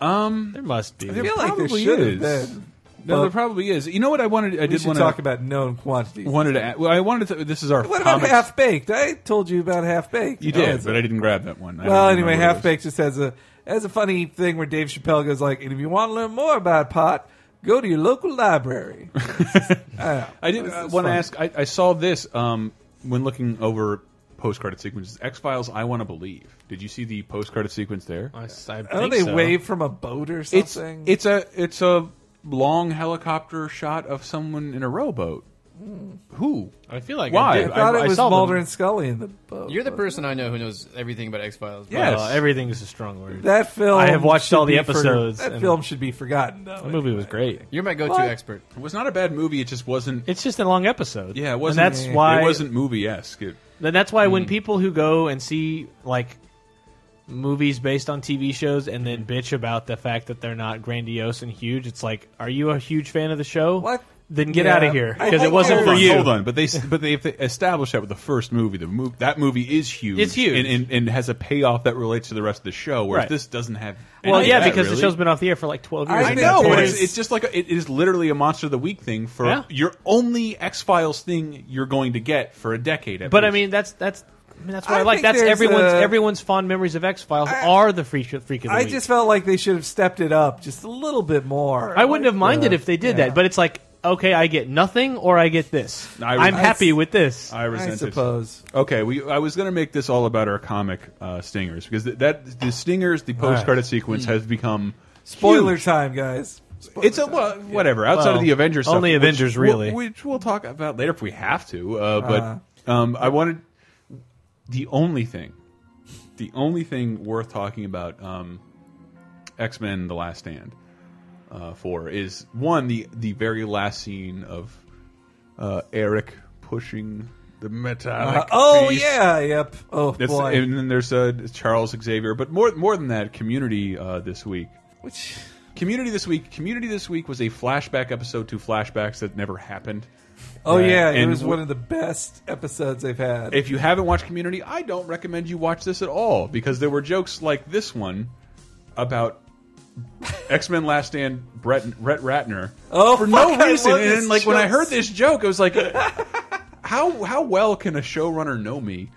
S4: Um,
S6: there must be. uh,
S7: There probably
S4: is.
S7: is.
S4: No,
S5: Well,
S4: there probably is. You know what I wanted? I
S5: we
S4: did
S5: should
S4: want
S5: talk about known quantities.
S4: Wanted to. add- Well, I wanted to. This is our.
S5: What about
S4: comics-
S5: half baked? I told you about Oh, half baked.
S4: You did, but I didn't grab that one. I
S5: Well,
S4: don't remember
S5: anyway,
S4: what it
S5: Half Baked just has a has a funny thing where Dave Chappelle goes like, "And if you want to learn more about pot, go to your local library."
S4: I did
S5: This
S4: uh,
S5: is
S4: want to
S5: fun.
S4: ask. I, I saw this um, when looking over post-credit sequences. X Files. I want to believe. Did you see the post-credit sequence there?
S6: I,
S5: Oh, they wave from a boat or
S4: It's
S5: something.
S4: it's a it's a long helicopter shot of someone in a rowboat. Who?
S7: I feel like I
S4: why?
S7: did. I thought it was Mulder
S5: and Scully in the boat.
S7: You're the person I know who knows everything about X Files.
S6: Yes. Well, everything is a strong word.
S5: that film.
S6: I have watched
S5: should
S6: all the
S5: be for-
S6: episodes.
S5: that
S6: and
S5: film should be forgotten. Though.
S6: The movie was great.
S7: You're my go-to
S5: What?
S7: expert.
S4: It was not a bad movie. It just wasn't.
S6: It's just a long episode.
S4: Yeah, it
S6: And
S4: wasn't.
S6: that's why
S4: it wasn't movie esque.
S6: Then that's why when people who go and see like movies based on TV shows and then bitch about the fact that they're not grandiose and huge, it's like, are you a huge fan of the show? What? Then get
S4: Yeah.
S6: out of here
S4: I
S6: because it
S4: think
S6: wasn't
S4: hold
S6: for
S4: on,
S6: you.
S4: Hold on, but they but they established that with the first movie. The mov that movie is huge.
S6: It's huge.
S4: and, and, and has a payoff that relates to the rest of the show. Whereas
S6: Right.
S4: this doesn't have. any
S6: Well,
S4: of
S6: yeah,
S4: that,
S6: because
S4: really.
S6: the show's been off the air for like twelve years.
S4: I know. but It's, it's just like a, it is literally a monster of the week thing for
S6: Yeah.
S4: your only X Files thing you're going to get for a decade. At
S6: but I
S4: least.
S6: mean, that's that's. I mean, that's what
S5: I
S6: I, like.
S5: think
S6: That's
S5: there's
S6: everyone's
S5: a-
S6: everyone's fond memories of X Files are the freak freak of the
S5: I
S6: week.
S5: just felt like they should have stepped it up just a little bit more.
S6: I wouldn't have minded
S5: Uh,
S6: if they did
S5: yeah.
S6: that, but it's like, okay, I get nothing or I get this.
S4: I
S6: I'm
S4: resent-
S6: happy with this.
S4: I resent it.
S5: suppose.
S4: Okay, we. I was going to make this all about our comic uh, stingers because th- that the stingers, the post credit sequence
S6: Hmm.
S4: has become
S5: Spoiler
S4: huge.
S5: time, guys.
S4: It's a well, whatever outside of
S6: Well,
S4: the Avengers. stuff,
S6: only
S4: which
S6: Avengers,
S4: we'll-
S6: really.
S4: which we'll talk about later if we have to. Uh, but um, I wanted the only thing, the only thing worth talking about um, X Men: The Last Stand uh, for is one the the very last scene of uh, Eric pushing the metallic.
S5: Uh, oh
S4: beast.
S5: yeah, yep. Oh
S4: That's-
S5: boy.
S4: and then there's uh, Charles Xavier, but more more than that, Community uh, this week.
S5: Which
S4: Community this week? Community this week was a flashback episode to flashbacks that never happened.
S5: Oh
S4: Right.
S5: yeah, it
S4: And
S5: was
S4: w-
S5: one of the best episodes they've had.
S4: If you haven't watched Community, I don't recommend you watch this at all because there were jokes like this one about X Men Last Stand Brett, Brett Ratner.
S5: Oh,
S4: for no
S5: fuck, I
S4: reason.
S5: love
S4: And
S5: this
S4: then, like when I
S5: joke.
S4: heard this joke, I was like, how how well can a showrunner know me?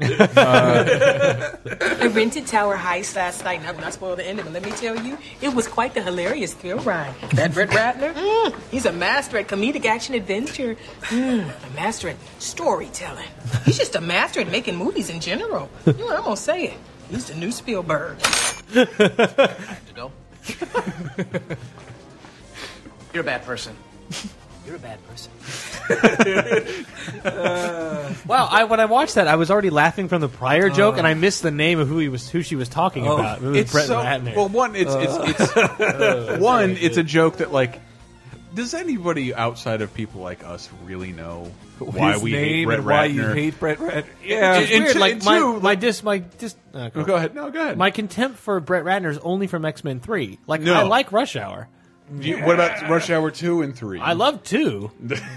S4: Uh,
S18: I rented Tower Heist last night, and I'm not spoiled the ending, but let me tell you, it was quite the hilarious thrill ride. That Brett Ratner, mm, he's a master at comedic action adventure, mm, a master at storytelling. He's just a master at making movies in general. You know, I'm gonna say it. He's the new Spielberg.
S10: You're a bad person. You're a bad person.
S6: Wow, Uh, I, when I watched that, I was already laughing from the prior joke, and I missed the name of who he was, who she was talking
S4: Oh,
S6: about. It was
S4: it's
S6: Brett
S4: so-
S6: Ratner.
S4: well, one, it's- it's- it's-
S6: Uh,
S4: one,
S6: very
S4: it's a
S6: good.
S4: joke that like. Does anybody outside of people like us really know why
S5: His
S4: we hate
S5: name
S4: Brett
S5: and why
S4: Ratner?
S5: you hate Brett Ratner.
S4: Yeah,
S6: it's
S4: and
S6: weird.
S4: two-
S6: like
S4: and
S6: my
S4: two,
S6: my dis my dis. oh,
S4: Oh, go ahead. No, go ahead.
S6: My contempt for Brett Ratner is only from X Men Three. Like
S4: No.
S6: I like Rush Hour.
S4: Do you- What about Rush Hour two and three?
S6: I love two.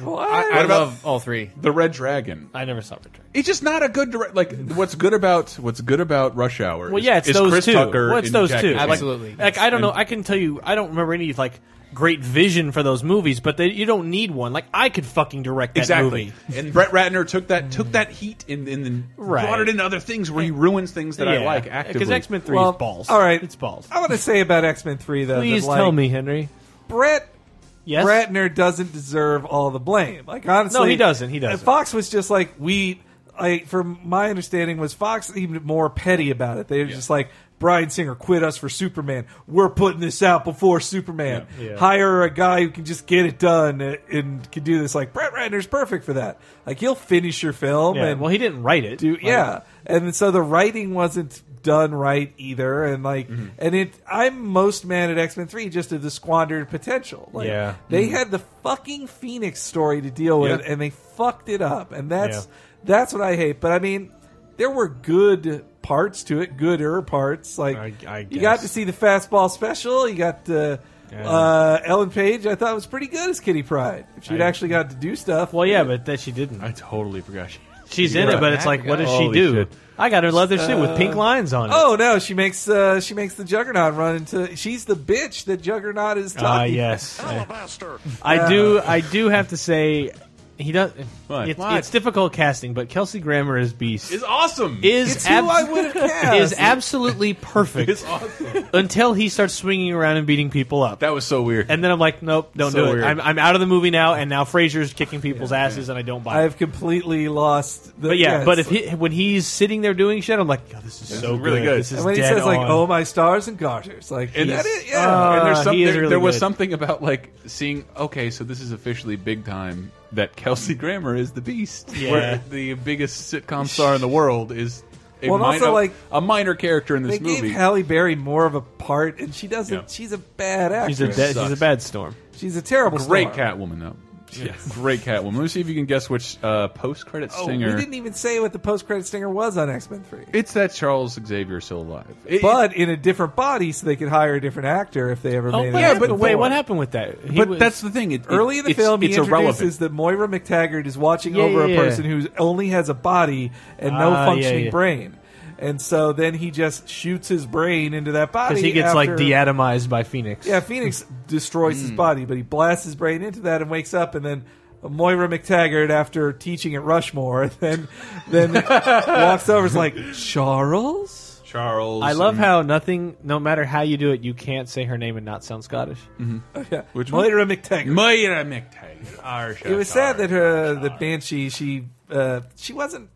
S4: what?
S6: I love
S4: all three. The Red Dragon.
S6: I never saw Red Dragon.
S4: It's just not a good direct. Like what's good about what's good about Rush Hour?
S6: Well,
S4: is-
S6: yeah, it's
S4: is
S6: those
S4: Chris
S6: two.
S4: Tucker
S6: well, it's
S4: and
S6: those
S4: Jack
S6: two.
S4: Black.
S6: Like, like, I don't know. I can tell you. I don't remember any like great vision for those movies, but they, you don't need one. Like I could fucking direct that
S4: exactly.
S6: movie.
S4: And Brett Ratner took that took that heat and, and then
S6: Right.
S4: brought it into other things where he ruins things that I
S6: Yeah,
S4: like
S6: 'cause
S4: actively.
S6: X-Men 3 is
S5: Well,
S6: balls.
S5: All right, Oh,
S6: It's balls.
S5: I want to say about X Men Three though.
S6: Please
S5: that, like,
S6: tell me, Henry.
S5: Brett
S6: Yes?
S5: Ratner doesn't deserve all the blame. Like honestly,
S6: No, he doesn't. He doesn't.
S5: Fox was just like we. Like from my understanding, was Fox even more petty about it? They were just like Brian Singer quit us for Superman. We're putting this out before Superman.
S6: Yeah. Yeah.
S5: Hire a guy who can just get it done uh, and can do this. Like Brett Ratner's perfect for that. Like he'll finish your film.
S6: Yeah,
S5: And
S6: well, he didn't write it.
S5: do-
S6: Like-
S5: yeah, and so the writing wasn't done right either and like
S6: Mm-hmm.
S5: and it i'm most mad at x-men 3 just at the squandered potential like
S6: Yeah.
S5: they
S6: Mhm.
S5: had the fucking phoenix story to deal with
S6: Yeah.
S5: and they fucked it up and that's that's what i hate but i mean there were good parts to it gooder parts like you got to see the fastball special you got the uh, Ellen Page, I thought was pretty good as Kitty Pride. If she'd
S6: I-
S5: actually got to do stuff,
S6: Well, yeah, but that she didn't. I
S4: totally forgot. She,
S6: She's
S5: Yeah.
S6: in it, but it's like, what does she
S5: Holy
S6: do?
S5: shit.
S6: I got her leather suit with pink
S5: Uh,
S6: lines on it.
S5: Oh no, she makes uh, she makes the Juggernaut run into. She's the bitch that Juggernaut is talking.
S6: Ah, yes.
S4: Oh,
S6: I do. I do have to say, he does. It's,
S4: What?
S6: it's difficult casting, but Kelsey Grammer is beast.
S4: It's awesome.
S6: Is
S4: It's
S6: ab-
S4: who I would've cast.
S6: Is absolutely perfect.
S4: It's awesome.
S6: Until he starts swinging around and beating people up.
S4: That was so weird.
S6: And then I'm like, nope, don't
S5: So
S6: do
S5: weird.
S6: it. I'm, I'm out of the movie now, and now Frasier's kicking people's asses, and I don't buy it.
S5: I've completely lost. The,
S6: But yeah, but if
S5: it's-
S6: he, when he's sitting there doing shit, I'm like, oh, this is
S5: This
S6: so
S5: is really good.
S6: This is
S5: And when he
S6: dead
S5: says, like,
S6: on.
S5: "Oh, my stars and garters," like,
S4: And,
S5: he's-
S4: that is- yeah. and there's
S6: Ah,
S4: some,
S6: he is
S4: there,
S6: really
S4: there was
S6: good.
S4: something about like seeing okay, so this is officially big time that Kelsey Grammer is the beast,
S6: Yeah.
S4: where the biggest sitcom star in the world is a,
S5: Well, and
S4: minor,
S5: also, like,
S4: a minor character in this
S5: they gave
S4: movie.
S5: Halle Berry more of a part, and she doesn't.
S4: Yeah.
S5: She's a bad actress.
S6: She's a dead- she's a bad storm.
S5: She's a terrible.
S4: Great
S5: storm.
S4: Catwoman though. Great Catwoman. Let me see if you can guess which uh, post-credit
S5: Oh, we
S4: singer.
S5: didn't even say what the post-credit stinger was on X Men Three.
S4: It's that Charles Xavier is still alive. It-
S5: but in a different body, so they could hire a different actor if they ever
S6: Oh,
S5: made
S6: what
S5: it.
S6: happened- wait,
S5: before.
S6: what happened with that? He
S4: But
S6: was-
S4: that's the thing. It, it-
S5: Early in the
S4: it's-
S5: film, he
S4: it's
S5: introduces
S4: irrelevant.
S5: that Moira McTaggart is watching
S6: Yeah,
S5: over
S6: yeah,
S5: a
S6: yeah.
S5: person who only has a body and no
S6: Ah, yeah,
S5: functioning
S6: yeah.
S5: brain. And so then he just shoots his brain into that body.
S6: Because he gets like
S5: after-
S6: deatomized by Phoenix.
S5: Yeah, Phoenix destroys his body, but he blasts his brain into that and wakes up. And then Moira McTaggart, after teaching at Rushmore, then then walks over. and Is like Charles.
S4: Charles.
S6: I love how nothing, no matter how you do it, you can't say her name and not sound Scottish.
S5: Mm-hmm. Yeah.
S4: Which
S5: Moira McTaggart.
S4: Moira McTaggart. Arsha
S5: It was sad that her the banshee she uh, she wasn't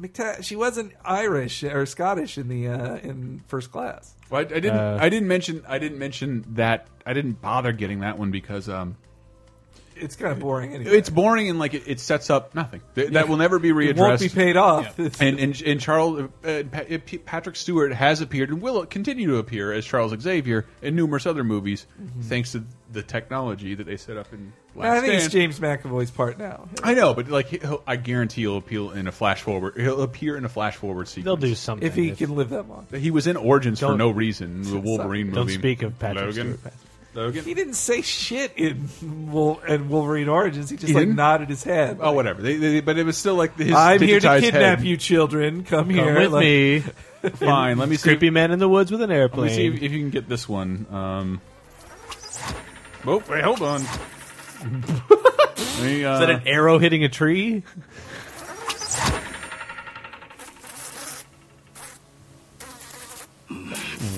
S5: McTa- she wasn't Irish or Scottish in the uh, in first class.
S4: Well, I, I didn't.
S5: Uh,
S4: I didn't mention. I didn't mention that. I didn't bother getting that one because um,
S5: It's kind of boring anyway.
S4: it's boring and like it, it sets up nothing Th-
S5: Yeah.
S4: that will never be
S5: It won't
S4: readdressed.
S5: be paid off.
S4: Yeah. and, and and Charles uh, Pa- uh, P- Patrick Stewart has appeared and will continue to appear as Charles Xavier in numerous other movies, thanks to the technology that they set up in. Last
S5: Mm-hmm. I think it's
S4: Stand.
S5: James McAvoy's part now.
S4: I know, but like, he'll, I guarantee he'll appeal in a flash forward. He'll appear in a flash forward sequence.
S6: They'll do something.
S5: If he can live that long.
S4: He was in Origins for
S6: Don't-
S4: no reason. The Wolverine
S6: Don't
S4: movie.
S6: speak of Patrick Stewart.
S4: Logan?
S5: He didn't say shit in Wol- and Wolverine Origins. He just
S4: He
S5: like
S4: didn't?
S5: nodded his head.
S4: Oh, whatever. They, they, but it was still like his.
S5: I'm here to
S4: digitized
S5: kidnap
S4: head.
S5: you, children. Come, here
S4: with
S5: Like-
S4: me. Fine. Let me see.
S6: Creepy man in the woods with an
S4: Let me
S6: airplane.
S4: see if, if you can get this one. Um, oh, wait, hold on. Let me, uh,
S6: Is that an arrow hitting a tree?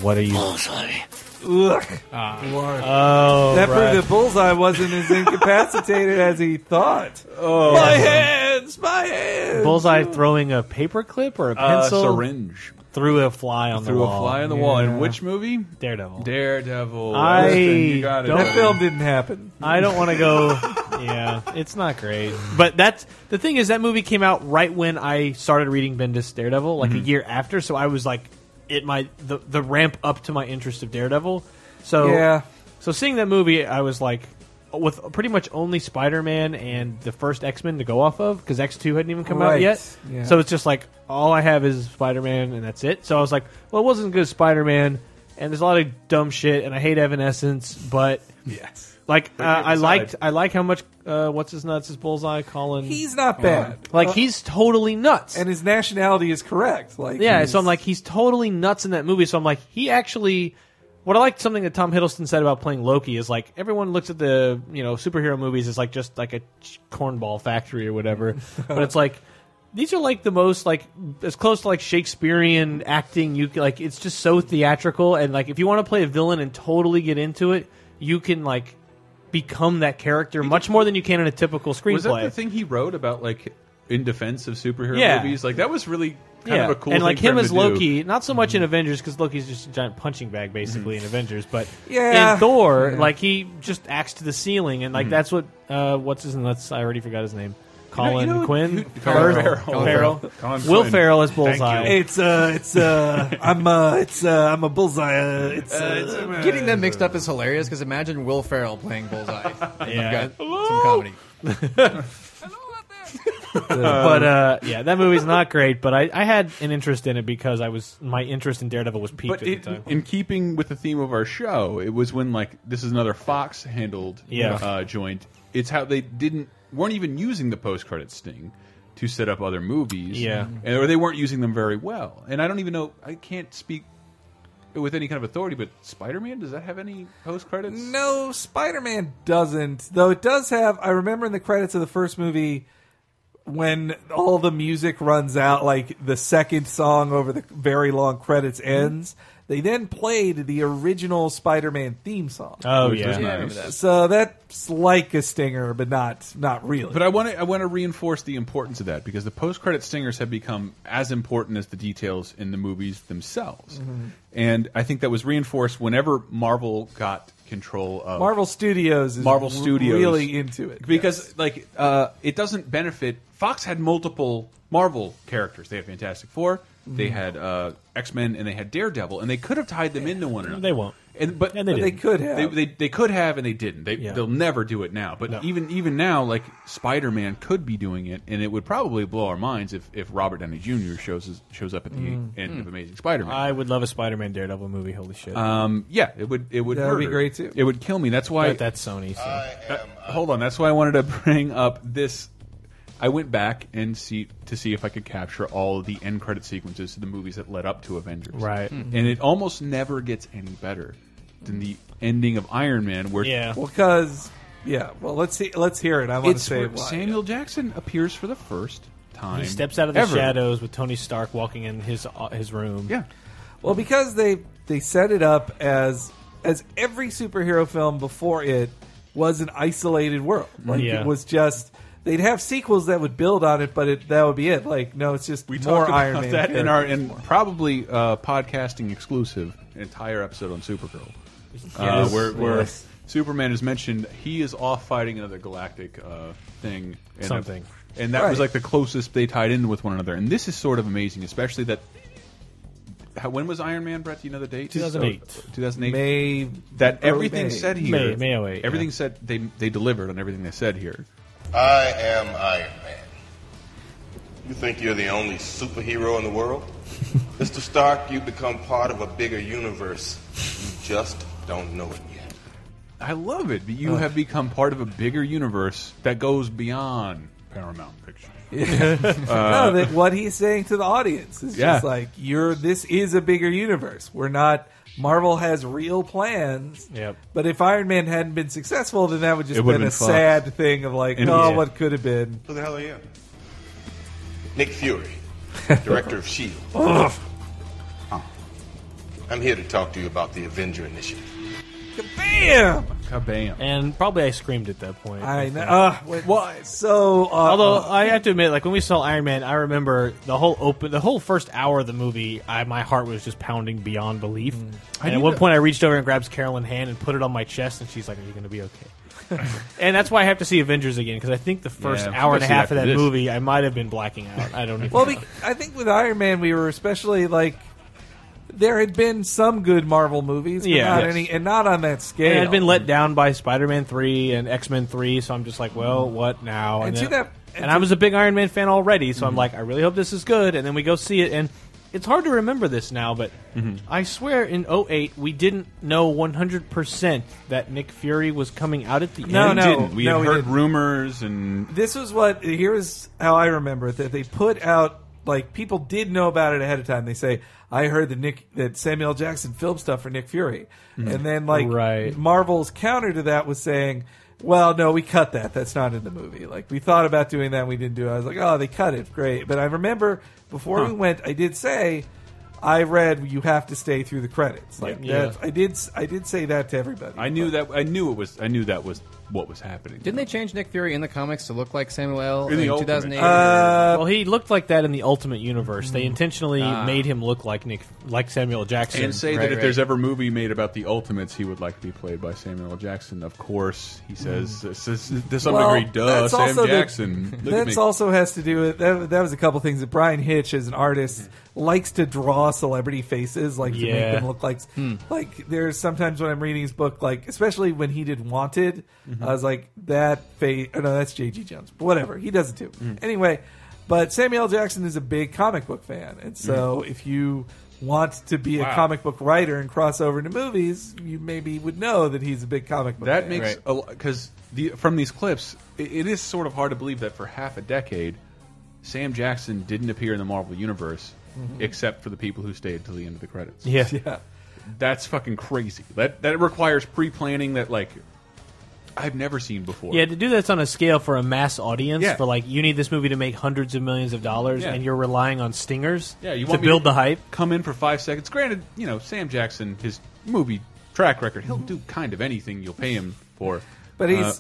S6: What are you?
S5: Bullseye. Look.
S4: Ah.
S6: Oh,
S5: Pepper
S6: right.
S5: the bullseye wasn't as incapacitated as he thought. Oh. My hands, my hands.
S6: Bullseye throwing a paperclip or a
S4: Uh,
S6: pencil
S4: syringe.
S6: through a fly on
S4: Threw
S6: the
S4: a
S6: wall.
S4: fly on the wall. In
S6: Yeah.
S4: which movie?
S6: Daredevil.
S4: Daredevil.
S6: I
S4: Listen, you got it,
S6: don't-
S4: buddy.
S5: That film didn't happen.
S6: I don't want to go. yeah, it's not great. But that's the thing is that movie came out right when I started reading Bendis Daredevil, like
S5: Mhm.
S6: a year after. So I was like, it my the the ramp up to my interest of Daredevil. So
S5: Yeah.
S6: So seeing that movie, I was like, with pretty much only Spider Man and the first X Men to go off of because X Two hadn't even come out
S5: Right.
S6: yet.
S5: Yeah.
S6: So it's just like all I have is Spider Man and that's it. So I was like, well, it wasn't good Spider Man, and there's a lot of dumb shit, and I hate Evanescence, but
S5: yes,
S6: like uh,
S5: But you
S6: I
S5: decide.
S6: liked I like how much uh, what's his nuts is Bullseye Colin.
S5: He's not bad.
S6: Like
S5: Uh,
S6: he's totally nuts,
S5: and his nationality is correct. Like
S6: yeah,
S5: he's-
S6: so I'm like, he's totally nuts in that movie. So I'm like, he actually. What I liked something that Tom Hiddleston said about playing Loki is like everyone looks at the you know superhero movies as like just like a ch- cornball factory or whatever, but it's like these are like the most like as close to like Shakespearean acting you c- like it's just so theatrical and like if you want to play a villain and totally get into it, you can like become that character much more than you can in a typical screenplay.
S4: Was that the thing he wrote about like in defense of superhero
S6: Yeah.
S4: movies? Like that was really kind of a cool
S6: and
S4: thing
S6: like
S4: for
S6: him as
S4: to do.
S6: Loki, not so much in Avengers because Loki's just a giant punching bag basically in Avengers, but
S5: Yeah.
S6: in Thor,
S5: Yeah.
S6: like he just acts to the ceiling, and like
S5: Mhm.
S6: that's what uh, what's his nuts? I already forgot his name.
S5: You know- you
S6: Colin
S5: know who-
S6: Quinn,
S5: who-
S6: Firth?
S5: Farrell.
S6: Farrell.
S5: Colin
S6: Will
S5: Quinn.
S6: Farrell as
S5: Thank
S6: Bullseye.
S5: you. It's uh, it's uh, I'm uh, it's uh, I'm a bullseye. Uh, it's uh,
S7: Getting them mixed up is hilarious because imagine Will Ferrell playing Bullseye.
S6: Yeah.
S7: You've got some comedy.
S6: but uh, yeah, that movie's not great. But I, I had an interest in it because I was my interest in Daredevil was peaked
S4: But
S6: at
S4: it,
S6: the time.
S4: in keeping with the theme of our show, it was when like this is another Fox handled
S6: Yeah.
S4: uh, joint. It's how they didn't weren't even using the post credit sting to set up other movies.
S6: Yeah.
S4: and, or they weren't using them very well. And I don't even know. I can't speak with any kind of authority. But Spider Man does that have any post credits?
S5: No, Spider Man doesn't. Though it does have. I remember in the credits of the first movie when all the music runs out, like the second song over the very long credits ends. They then played the original Spider Man theme song.
S6: Oh, Which yeah. was
S4: Yeah, I remember nice. that.
S5: So that's like a stinger, but not not really.
S4: But I want to I want to reinforce the importance of that because the post credit stingers have become as important as the details in the movies themselves,
S5: Mhm.
S4: and I think that was reinforced whenever Marvel got control of
S5: Marvel Studios is
S4: Marvel
S5: r-
S4: Studios
S5: really into it
S4: because like uh, it doesn't benefit. Fox had multiple Marvel characters. They had Fantastic 4 they
S5: Mhm.
S4: had uh, X Men, and they had Daredevil, and they could have tied them into one another.
S6: They won't.
S4: And but
S6: And they But they didn't.
S5: could have.
S4: They, they, they could have, and they didn't. They
S6: Yeah.
S4: they'll never do it now. But
S6: No.
S4: even even now, like Spider Man could be doing it, and it would probably blow our minds if, if Robert Downey Jr. shows shows up at the
S6: Mm.
S4: end
S6: Mm.
S4: of Amazing Spider Man.
S6: I would love a Spider-Man Daredevil movie. Holy shit!
S4: Um, yeah, it would. It would.
S6: That would be
S4: murder.
S6: great, too.
S4: It would kill me. That's why.
S6: But that's Sony, so.
S4: Uh, hold on. That's why I wanted to bring up this. I went back and see to see if I could capture all the end credit sequences to the movies that led up to Avengers.
S6: Right. Mhm.
S4: And it almost never gets any better than the ending of Iron Man, where
S5: because yeah. Well, let's see. Let's hear it. I want to
S4: It's
S5: say
S4: where
S5: why.
S4: Samuel Jackson appears for the first time.
S6: He steps out of the
S4: ever.
S6: shadows with Tony Stark walking in his uh, his room.
S4: Yeah.
S5: Well, because they they set it up as as every superhero film before it was an isolated world.
S4: Mm-hmm.
S5: Like
S6: Yeah.
S5: it was just they'd have sequels that would build on it, but it, that would be it. Like no, it's just
S4: We
S5: more
S4: talked about
S5: Iron Man.
S4: that in our
S5: characters.
S4: in probably uh, podcasting exclusive an entire episode on Supergirl, uh,
S5: Yes.
S4: where, where
S5: Yes.
S4: Superman is mentioned. He is off fighting another galactic uh, thing, and
S6: Something.
S4: and that was
S6: Right.
S4: like the closest they tied in with one another. And this is sort of amazing, especially that. How, when was Iron Man, Brett? Do you know the date?
S6: 2008.
S4: 2008.
S5: May-
S4: That
S5: early
S4: everything
S5: May.
S4: said here.
S6: May- May 08, yeah.
S4: Everything said they they delivered on everything they said here.
S19: I am Iron Man. You think you're the only superhero in the world? Mr. Stark, you become part of a bigger universe. You just don't know it yet.
S4: I love it. But you
S5: Ugh.
S4: have become part of a bigger universe that goes beyond Paramount Pictures.
S5: no, that what he's saying to the audience is
S4: Yeah.
S5: just like you're. This is a bigger universe. We're not. Marvel has real plans.
S6: Yep.
S5: But if Iron Man hadn't been successful, then that would just
S4: It
S5: been,
S4: would've
S5: a
S4: been fucked.
S5: sad thing of like,
S4: It
S5: oh,
S4: was-
S5: what could have been.
S19: Who the hell are you? Nick Fury, director of S.H.I.E.L.D.
S5: Ugh.
S19: I'm here to talk to you about the Avenger Initiative.
S5: Bam.
S4: Kabam.
S6: And probably I screamed at that point.
S5: I
S6: think.
S5: know. Uh, well, so uh,
S6: Although
S5: uh,
S6: I have to admit, like when we saw Iron Man, I remember the whole open, the whole first hour of the movie. I my heart was just pounding beyond belief.
S5: Mm.
S4: I
S6: And
S4: need
S6: at one
S4: to-
S6: point, I reached over and grabs Carolyn's hand and put it on my chest, and she's like, "Are you going to be okay?" and that's why I have to see Avengers again because I think the first
S4: Yeah,
S6: hour
S4: I
S6: and a
S4: see
S6: half of
S4: after
S6: that
S4: this.
S6: movie, I might have been blacking out. I don't even.
S5: Well,
S6: know.
S5: be- I think with Iron Man, we were especially like there had been some good Marvel movies, but
S6: Yeah.
S5: not
S6: Yes.
S5: any, and not on that scale.
S6: And I'd been let down by Spider Man three and X Men three, so I'm just like, well, what now?
S5: And
S6: then-
S5: to that- Mm-hmm.
S6: and
S5: and
S6: I
S5: to-
S6: was a big Iron Man fan already, so I'm like, I really hope this is good. And then we go see it, and it's hard to remember this now, but
S5: Mm-hmm.
S6: I swear in 08, we didn't know 100 percent that Nick Fury was coming out at the
S5: No,
S6: end.
S5: no,
S4: didn't. We
S5: no,
S4: had
S5: we
S4: heard
S5: didn't.
S4: rumors and
S5: This was what here's how I remember it that they put out like people did know about it ahead of time. They say I heard that Nick that Samuel L. Jackson filmed stuff for Nick Fury,
S6: Mhm.
S5: and then like
S6: Right.
S5: Marvel's counter to that was saying. Well, no, we cut that. That's not in the movie. Like we thought about doing that, and we didn't do it. I was like, oh, they cut it, great. But I remember before
S6: Huh.
S5: we went, I did say, I read you have to stay through the credits. Like
S4: Yeah.
S5: that's- I did, I did say that to everybody.
S4: I knew that. I knew it was. I knew that was what was happening.
S7: Didn't they change Nick Fury in the comics to look like Samuel L.
S4: In
S7: in,
S4: the Uh, Ultimate.
S7: 2008?
S6: well, he looked like that in the Ultimate Universe.
S5: Mm-hmm.
S6: They intentionally
S7: Ah.
S6: made him look like Nick, like Samuel L. Jackson,
S4: And say that if there's ever a movie made about the Ultimates, he would like to be played by Samuel L. Jackson. Of course, he says this is- to some
S5: Mm. Well,
S4: degree, duh,
S5: that's
S4: Sam
S5: also the-
S4: Jackson. Look at
S5: that's
S4: me.
S5: also has to do with that, that was a couple things that Brian Hitch as an artist likes to draw celebrity faces like to
S6: Yeah.
S5: make them look like
S6: Hmm.
S5: like there's sometimes when I'm reading his book like especially when he did Wanted
S4: Mm-hmm.
S5: I was like that face oh no that's JG Jones but whatever he does it too
S4: Mm.
S5: anyway but Samuel L. Jackson is a big comic book fan and so
S4: Mm-hmm.
S5: if you want to be
S4: Wow.
S5: a comic book writer and cross over into movies you maybe would know that he's a big comic book
S4: That
S5: fan.
S4: makes because the, from these clips, it, it is sort of hard to believe that for half a decade, Sam Jackson didn't appear in the Marvel universe,
S5: Mhm.
S4: except for the people who stayed till the end of the credits.
S6: Mm-hmm. Yeah.
S5: Yeah.
S4: that's fucking crazy. That that requires pre planning that like I've never seen before.
S6: Yeah, to do this on a scale for a mass audience,
S4: Yeah.
S6: for like you need this movie to make hundreds of millions of dollars,
S4: Yeah.
S6: and you're relying on stingers.
S4: Yeah, you
S6: to
S4: want me
S6: build
S4: to
S6: the hype.
S4: Come in for five seconds. Granted, you know Sam Jackson, his movie track record, he'll
S6: Mm-hmm.
S4: do kind of anything you'll pay him for.
S5: But he's
S4: Uh,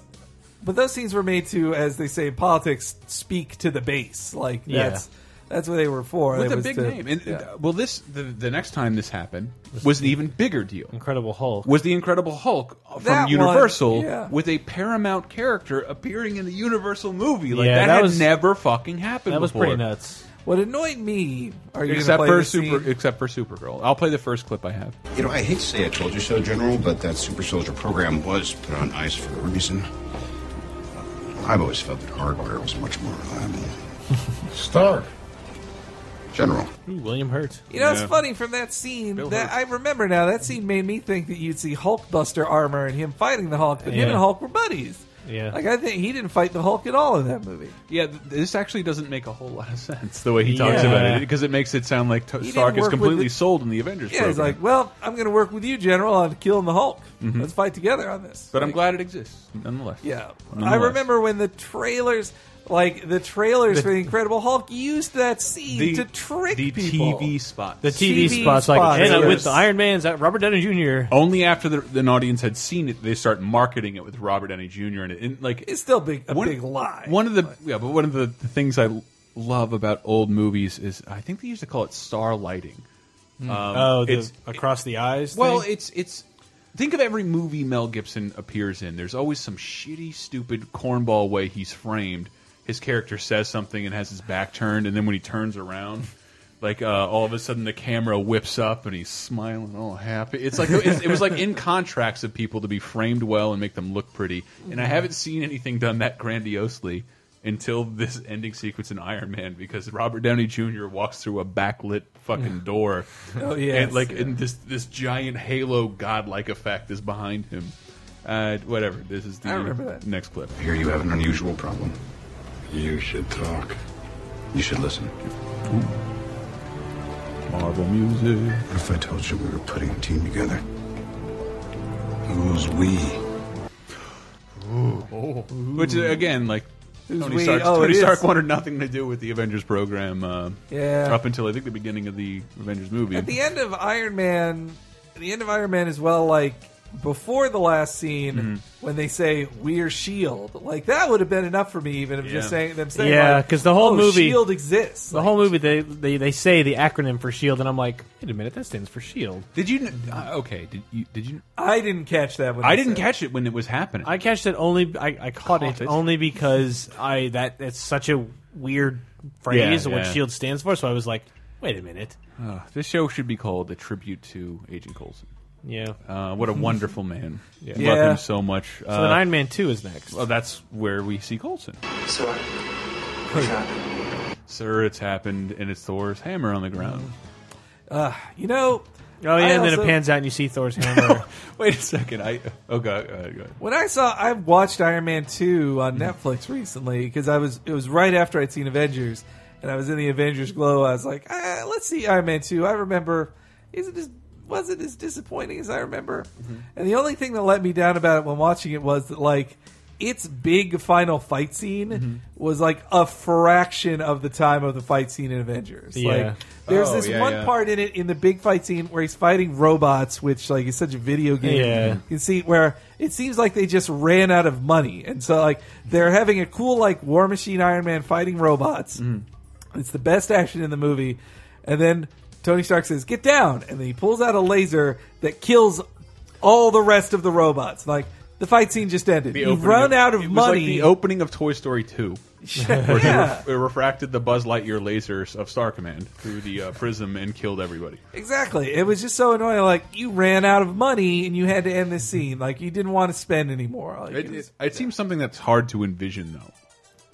S5: but those scenes were made to, as they say in politics, speak to the base. Like
S4: Yeah.
S5: that's that's what they were for.
S4: with
S5: It
S4: a
S5: was
S4: big
S5: to-
S4: name. And
S5: yeah.
S4: uh, well, this the, the next time this happened was an even bigger deal.
S6: Incredible Hulk
S4: was the Incredible Hulk from
S5: That one,
S4: Universal
S5: yeah.
S4: with a Paramount character appearing in the Universal movie. Like
S6: Yeah,
S4: that,
S6: that
S4: had
S6: was-
S4: never fucking happened.
S6: That was
S4: before.
S6: pretty nuts.
S5: What annoyed me are you gonna
S4: except
S5: play
S4: for
S5: the
S4: super,
S5: scene?
S4: except for Supergirl. I'll play the first clip I have.
S20: You know, I hate to say I told you so, General, but that super soldier program was put on ice for a reason. I've always felt that hardware was much more reliable. Stark. General.
S6: Ooh, William Hurt.
S5: You know, it's funny from that scene
S6: Bill
S5: that
S6: Hurt.
S5: I remember now. That scene made me think that you'd see Hulkbuster armor and him fighting the Hulk, but
S4: Yeah.
S5: him and Hulk were buddies.
S4: Yeah.
S5: like I think he didn't fight the Hulk at all in that movie.
S4: Yeah, th- this actually doesn't make a whole lot of sense the way he talks
S5: Yeah.
S4: about it because it makes it sound like to
S5: He
S4: Stark
S5: didn't
S4: is
S5: work with
S4: completely
S5: the-
S4: sold in the Avengers.
S5: Yeah, he's
S4: program.
S5: like, well, I'm going to work with you, General, on killing the Hulk.
S4: Mhm.
S5: Let's fight together on this.
S4: but I'm glad it exists nonetheless.
S5: Yeah, I
S4: Nonetheless.
S5: remember when the trailers, like the trailers
S4: The-
S5: for the Incredible Hulk, used that scene
S4: The-
S5: to trick
S4: the
S5: people.
S4: TV spots.
S6: The TV,
S5: TV
S6: spots,
S5: spots,
S6: like and, uh,
S5: yes.
S6: with the Iron Man's uh, Robert Downey Jr.
S4: Only after the, an audience had seen it, they start marketing it with Robert Downey Jr. in it. And like,
S5: it's still big, a
S4: one-
S5: big lie.
S4: One of the yeah, but one of the, the things I love about old movies is I think they used to call it star lighting.
S6: Mm. Oh, the
S4: across
S6: the eyes.
S4: Well,
S6: thing?
S4: it's it's. Think of every movie Mel Gibson appears in. There's always some shitty, stupid cornball way he's framed. His character says something and has his back turned, and then when he turns around, like uh, all of a sudden the camera whips up and he's smiling all happy. It's like it's, it was like in contracts of people to be framed well and make them look pretty. And I haven't seen anything done that grandiosely until this ending sequence in Iron Man because Robert Downey Jr. walks through a backlit fucking door.
S5: Oh,
S4: And
S5: yes,
S4: like
S5: yeah.
S4: and this this giant halo godlike effect is behind him. Uh, whatever. This is the
S20: I remember that.
S4: next clip.
S20: I hear you have an unusual problem. You should talk. You should listen.
S4: Marvel music.
S20: What if I told you we were putting a team together? Who's we?
S4: Which uh, again, like
S5: Who's
S4: Tony,
S5: we?
S4: Stark,
S5: Oh, it
S4: Tony
S5: is.
S4: Stark wanted nothing to do with the Avengers program. Uh,
S5: Yeah.
S4: Up until I think the beginning of the Avengers movie.
S5: At the end of Iron Man, the end of Iron Man is well like before the last scene
S6: Mm-hmm.
S5: when they say "We're Shield." E Like that would have been enough for me, even if just saying them saying
S6: yeah,
S5: like,
S6: because the whole
S5: "Oh,
S6: movie
S5: Shield exists.
S6: The whole movie they, they they say the acronym for Shield, E and I'm like, wait a minute, that stands for Shield.
S4: Did you? kn- Uh, okay. Did you? Did you?
S5: I didn't catch that. When
S4: I
S5: they
S4: didn't
S5: said
S4: catch it when it was happening.
S6: I catched it only. I, I caught, it, only because I that that's such a weird phrase
S4: Yeah,
S6: what
S4: yeah.
S6: Shield stands for. So I was like, wait a minute.
S4: Uh, this show should be called a tribute to Agent Coulson.
S6: Yeah.
S4: Uh, what a wonderful man.
S6: Yeah.
S4: Love
S6: Yeah.
S4: him so much.
S6: So then Iron Man 2 is next.
S4: Uh, Well, that's where we see Coulson.
S15: Sir,
S4: Sir, it's happened, and it's Thor's hammer on the ground.
S5: Uh, you know.
S6: Oh yeah,
S5: I
S6: and then it
S5: also-
S6: pans out and you see Thor's hammer.
S4: Wait a second. I oh god. Uh, go ahead.
S5: When I saw, I watched Iron Man two
S6: Hmm.
S5: on Netflix recently because I was it was right after I'd seen Avengers, and I was in the Avengers glow. I was like, ah, let's see Iron Man two. I remember, isn't as wasn't as disappointing as I remember.
S6: Mm-hmm.
S5: And the only thing that let me down about it when watching it was that like its big final fight scene
S6: Mm-hmm.
S5: was like a fraction of the time of the fight scene in Avengers.
S6: Yeah.
S5: Like there's
S6: Oh,
S5: this
S6: yeah,
S5: one
S6: yeah.
S5: part in it in the big fight scene where he's fighting robots, which like is such a video game.
S6: Yeah.
S5: You can see where it seems like they just ran out of money, and so like they're having a cool like War Machine Iron Man fighting robots.
S4: Mm-hmm.
S5: It's the best action in the movie, and then Tony Stark says, "Get down!" and then he pulls out a laser that kills all the rest of the robots. Like the fight scene just ended.
S4: The
S5: You've
S4: opening
S5: run out of
S4: it was
S5: money.
S4: like the opening of Toy Story Two, where he
S5: Yeah.
S4: ref- refracted the Buzz Lightyear lasers of Star Command through the uh, prism and killed everybody.
S5: Exactly. It was just so annoying. Like you ran out of money and you had to end this scene. Like you didn't want to spend anymore. Like,
S4: It,
S5: it was-
S4: it, it seems something that's hard to envision, though.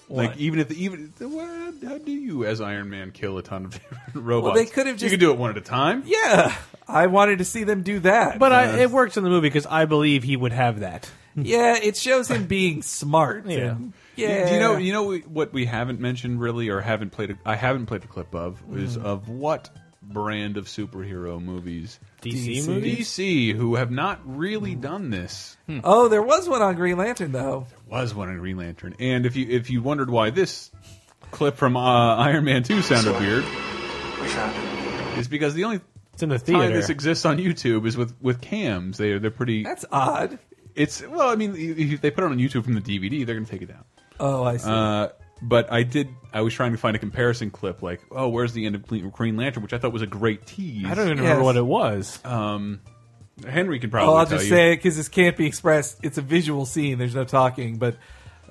S5: What?
S4: Like even if the, even what, how do you as Iron Man kill a ton of different robots?
S5: they could have
S4: you
S5: just-
S4: could do it one at a time.
S5: yeah, I wanted to see them do that. Uh,
S6: but I, it works in the movie because I believe he would have that.
S5: yeah, it shows him being smart.
S6: Yeah.
S5: and-
S4: You-
S5: yeah.
S4: Do you know? You know we- what we haven't mentioned really, or haven't played? A, I haven't played a clip of is
S5: Mm-hmm.
S4: of what brand of superhero movies?
S6: DC DC. movies?
S4: DC, who have not
S5: Mm-hmm.
S4: really done this.
S5: Oh, there was one on Green Lantern though.
S4: Was one in Green Lantern, and if you if you wondered why this clip from uh, Iron Man Two sounded weird, is because the only
S6: It's in the
S4: time
S6: theater.
S4: this exists on YouTube is with with cams. They they're pretty.
S5: That's odd.
S4: It's well, I mean, if they put it on YouTube from the DVD, they're going to take it down.
S5: Oh, I see.
S4: Uh, but I did. I was trying to find a comparison clip, like, oh, where's the end of Cle- Green Lantern, which I thought was a great tease.
S6: I don't even remember
S5: Yes.
S6: what it was.
S4: Um, Henry can
S5: Oh,
S4: probably.
S5: I'll
S4: tell
S5: just
S4: you.
S5: say it because this can't be expressed. It's a visual scene. There's no talking, but.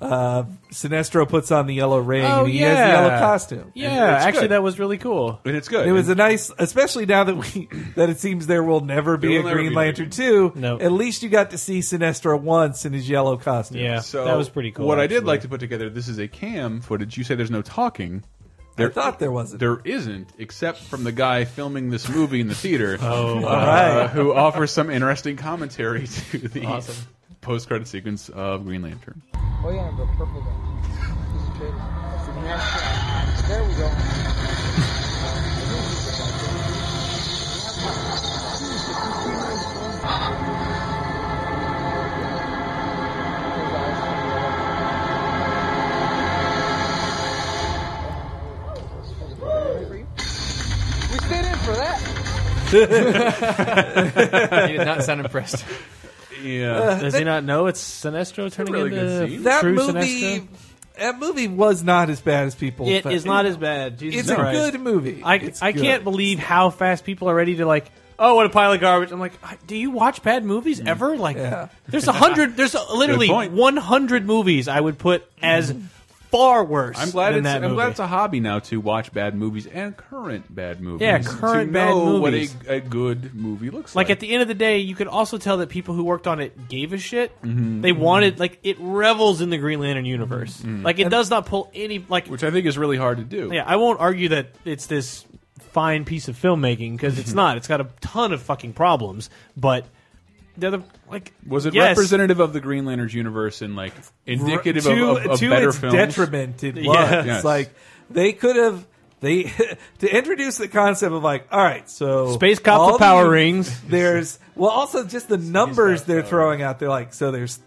S5: Uh, Sinestro puts on the yellow ring
S6: Oh,
S5: and he has the yellow
S6: yeah.
S5: costume.
S6: Yeah,
S4: it's
S6: actually,
S4: good.
S6: that was really cool.
S4: and it's good.
S5: It was a nice, especially now that we that it seems there will never be
S4: There
S5: a
S4: will never
S5: Green
S4: be
S5: Lantern two.
S6: No.
S5: At least you got to see Sinestro once in his yellow costume.
S6: Yeah,
S4: So
S6: that was pretty cool.
S4: What I did
S6: actually.
S4: like to put together, this is a cam footage. You say there's no talking. There,
S5: thought there wasn't.
S4: There isn't, except from the guy filming this movie in the theater.
S6: Oh,
S4: uh,
S5: wow.
S4: who offers some interesting commentary to the post-credit sequence of Green Lantern.
S10: Oh yeah, the purple guy. There we go. We stayed in for that.
S7: He did not sound impressed.
S4: Yeah.
S6: Does he not know it's Sinestro turning
S4: really good
S6: into
S4: scene.
S5: that
S6: true
S5: movie.
S6: Sinestro?
S5: That movie was not as bad as people.
S6: It
S5: thought.
S6: is not as bad. Jesus
S5: It's a
S6: Christ.
S5: good movie.
S6: I,
S5: It's
S6: I
S5: good.
S6: can't believe how fast people are ready to like. Oh, what a pile of garbage! I'm like, do you watch bad movies ever? Like,
S5: Yeah.
S6: there's a hundred. There's a, literally
S4: Mm. point. Mm.
S6: 100 movies I would put as far worse.
S4: I'm glad
S6: than
S4: it's
S6: that
S4: I'm
S6: movie.
S4: glad it's a hobby now to watch bad movies and current bad movies.
S6: Yeah, current
S4: to
S6: bad
S4: know
S6: movies.
S4: What a, a good movie looks like.
S6: like at the end of the day, you could also tell that people who worked on it gave a shit.
S4: Mm-hmm.
S6: They wanted like it revels in the Green Lantern universe.
S4: Mm-hmm.
S6: Like it does not pull any like
S4: which I think is really hard to do.
S6: Yeah, I won't argue that it's this fine piece of filmmaking because it's not. It's got a ton of fucking problems, but they're the like
S4: Was it
S6: yes.
S4: representative of the Green Lanterns universe and like indicative
S5: to,
S4: of, of, of
S5: to
S4: better
S5: its
S4: films?
S5: detriment it was
S4: Yes.
S5: like they could have they to introduce the concept of like all right so
S6: Space cop with
S5: all
S6: power rings.
S5: there's well also just the numbers they're throwing out there like so there's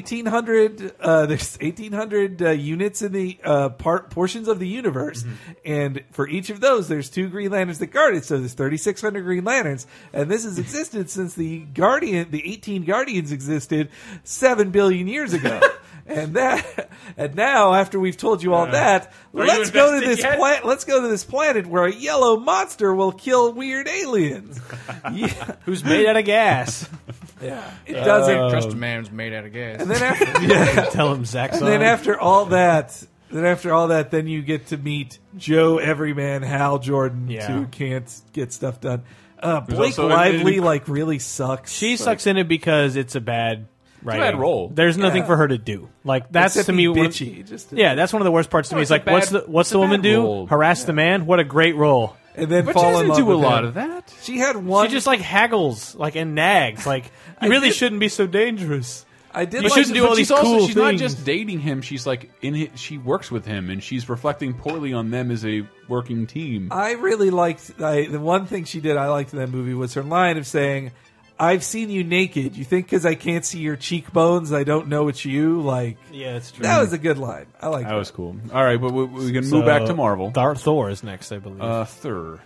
S5: 1800 uh, there's 1800 uh, units in the uh, part portions of the universe
S4: Mm-hmm.
S5: and for each of those there's two green lanterns that guard it so there's 3600 green lanterns and this has existed since the guardian the 18 guardians existed 7 billion years ago and that and now after we've told you all
S6: Yeah.
S5: that
S6: Are you
S5: let's go to
S6: invested
S5: this
S6: yet?
S5: planet let's go to this planet where a yellow monster will kill weird aliens yeah.
S6: who's made Uh, out of gas.
S5: yeah it doesn't
S4: Um,
S7: Trust a man who's made out of gas.
S5: and then after, And then after all that, then after all that, then you get to meet Joe Everyman, Hal Jordan,
S6: Yeah.
S5: who can't get stuff done. Uh,
S6: Who's
S5: Blake
S6: also in-
S5: Lively,
S6: in-
S5: like, really sucks.
S6: She
S5: Like,
S6: sucks in it because it's a bad. writing.
S5: bad role.
S6: There's nothing
S5: Yeah.
S6: for her to do. Like that's
S5: Except
S6: to me
S5: be
S6: one-
S5: bitchy, just-
S6: yeah, that's one of the worst parts to
S5: No,
S6: me.
S5: it's
S6: It's
S5: a
S6: like what's the
S5: bad-
S6: what's
S5: it's
S6: the
S5: a
S6: woman
S5: bad
S6: do?
S5: role.
S6: Harass the man. What a great role.
S5: And then But she fall in doesn't love do a with lot him. of
S4: that.
S5: She had one.
S6: She just like haggles, like and nags. Like
S5: I
S6: you really
S5: did-
S6: shouldn't be so dangerous.
S5: I did
S6: You
S5: like-
S6: shouldn't do
S4: But
S6: all
S4: she's
S6: these
S4: also-
S6: cool
S4: She's not
S6: things.
S4: just dating him. She's like in. His, she works with him, and she's reflecting poorly on them as a working team.
S5: I really liked I, the one thing she did. I liked in that movie was her line of saying, "I've seen you naked. You think because I can't see your cheekbones, I don't know it's you." Like,
S6: Yeah, it's true.
S5: That was a good line. I like
S4: That was cool. All right, but we, we can move back to Marvel.
S6: Uh, Thor, Thor is next, I believe.
S4: Uh, Thor.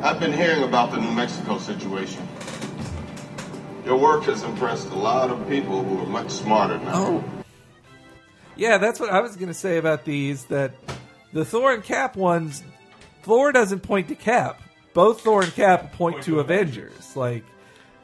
S19: I've been hearing about the New Mexico situation. Your work has impressed a lot of people who are much smarter now.
S20: Oh,
S5: Yeah, that's what I was going to say about these. That the Thor and Cap ones, Thor doesn't point to Cap. Both Thor and Cap point, to Avengers. Like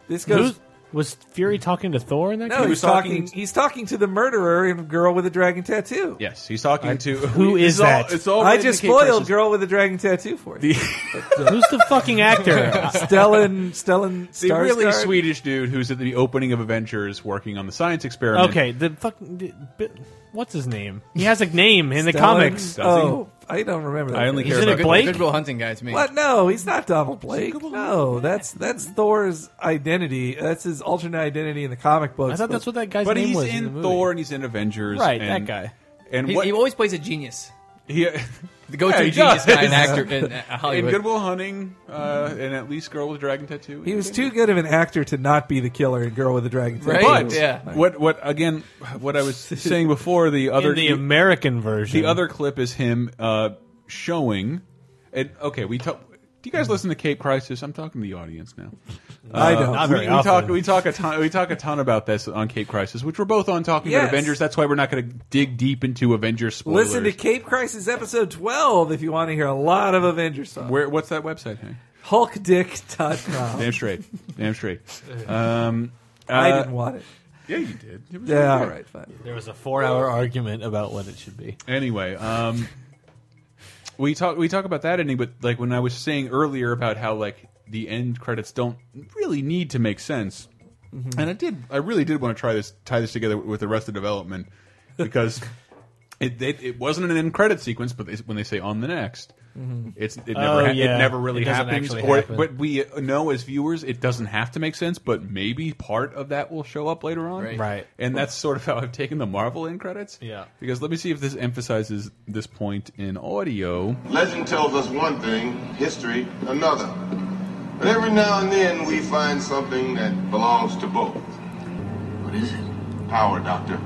S5: this goes.
S6: Who's- was Fury talking to Thor in that?
S5: no,
S6: case?
S5: he's talking. He's talking to the murderer and girl with a dragon tattoo.
S4: Yes, he's talking to
S6: who
S4: It's
S6: is
S4: all-
S6: that?
S4: it's all
S5: I
S4: written in
S5: just
S4: Kate
S5: spoiled
S4: Press's-
S5: girl with a dragon tattoo for you.
S6: Who's the fucking actor?
S5: Stellan Stellan
S4: The really
S5: Skarsgård?
S4: Swedish dude who's at the opening of Avengers working on the science experiment.
S6: Uh, Okay, the fucking the- bi- what's his name? He has a name in the
S5: Stellan-
S6: comics.
S5: Oh, I don't remember. That
S4: I only
S5: guy.
S4: care He's in about a Blake?
S7: Good Will Hunting guy to me.
S5: What? No, he's not Donald Blake. No, that's that's Thor's identity. That's his alternate identity in the comic books.
S6: I thought that's what that guy's
S4: but
S6: name
S4: he's
S6: was in,
S4: in,
S6: the movie.
S4: Thor and he's in Avengers.
S6: Right,
S4: and,
S6: that guy.
S4: And
S7: He,
S4: what
S7: he always plays a genius.
S4: he,
S7: The go-to
S4: Yeah, he
S7: genius
S4: does.
S7: guy and actor in uh, Hollywood.
S4: In Goodwill Hunting, uh, and at least Girl with a Dragon Tattoo.
S5: He was too good of an actor to not be the killer in Girl with a Dragon Tattoo.
S4: But what what again? What I was saying before the other
S6: in the American version.
S4: the other clip is him uh, showing. And okay, we talk. Do you guys listen to Cape Crisis? I'm talking to the audience now.
S5: I don't.
S6: Uh, Not
S4: we,
S6: very
S4: we
S6: often.
S4: talk. We talk a ton. We talk a ton about this on Cape Crisis, which we're both on talking
S5: Yes.
S4: about Avengers. That's why we're not going to dig deep into Avengers spoilers.
S5: Listen to Cape Crisis episode 12 if you want to hear a lot of Avengers stuff.
S4: Where? What's that website? Hank?
S5: HulkDick.com.
S4: Damn straight. Damn straight. Um,
S5: I
S4: uh,
S5: didn't want it.
S4: Yeah, you did. It
S6: Uh,
S4: was
S5: Yeah,
S4: really
S5: all
S4: good.
S5: right, fine.
S6: there was a four-hour argument about what it should be.
S4: Anyway, um, we talk we talk about that ending, but like when I was saying earlier about how like the end credits don't really need to make sense,
S6: Mm-hmm.
S4: and I did I really did want to try this tie this together with the rest of development because it, it it wasn't an end credit sequence, but they, when they say on the next. It's it
S6: Oh,
S4: never ha-
S6: yeah.
S4: it never really
S6: It doesn't
S4: happens,
S6: actually
S4: or
S6: happen.
S4: but we know as viewers it doesn't have to make sense, but maybe part of that will show up later on,
S6: Right. Right.
S4: And that's sort of how I've taken the Marvel end credits,
S6: Yeah.
S4: because let me see if this emphasizes this point in audio.
S19: Legend tells us one thing, history another. But every now and then we find something that belongs to both. What is it? Power, Doctor.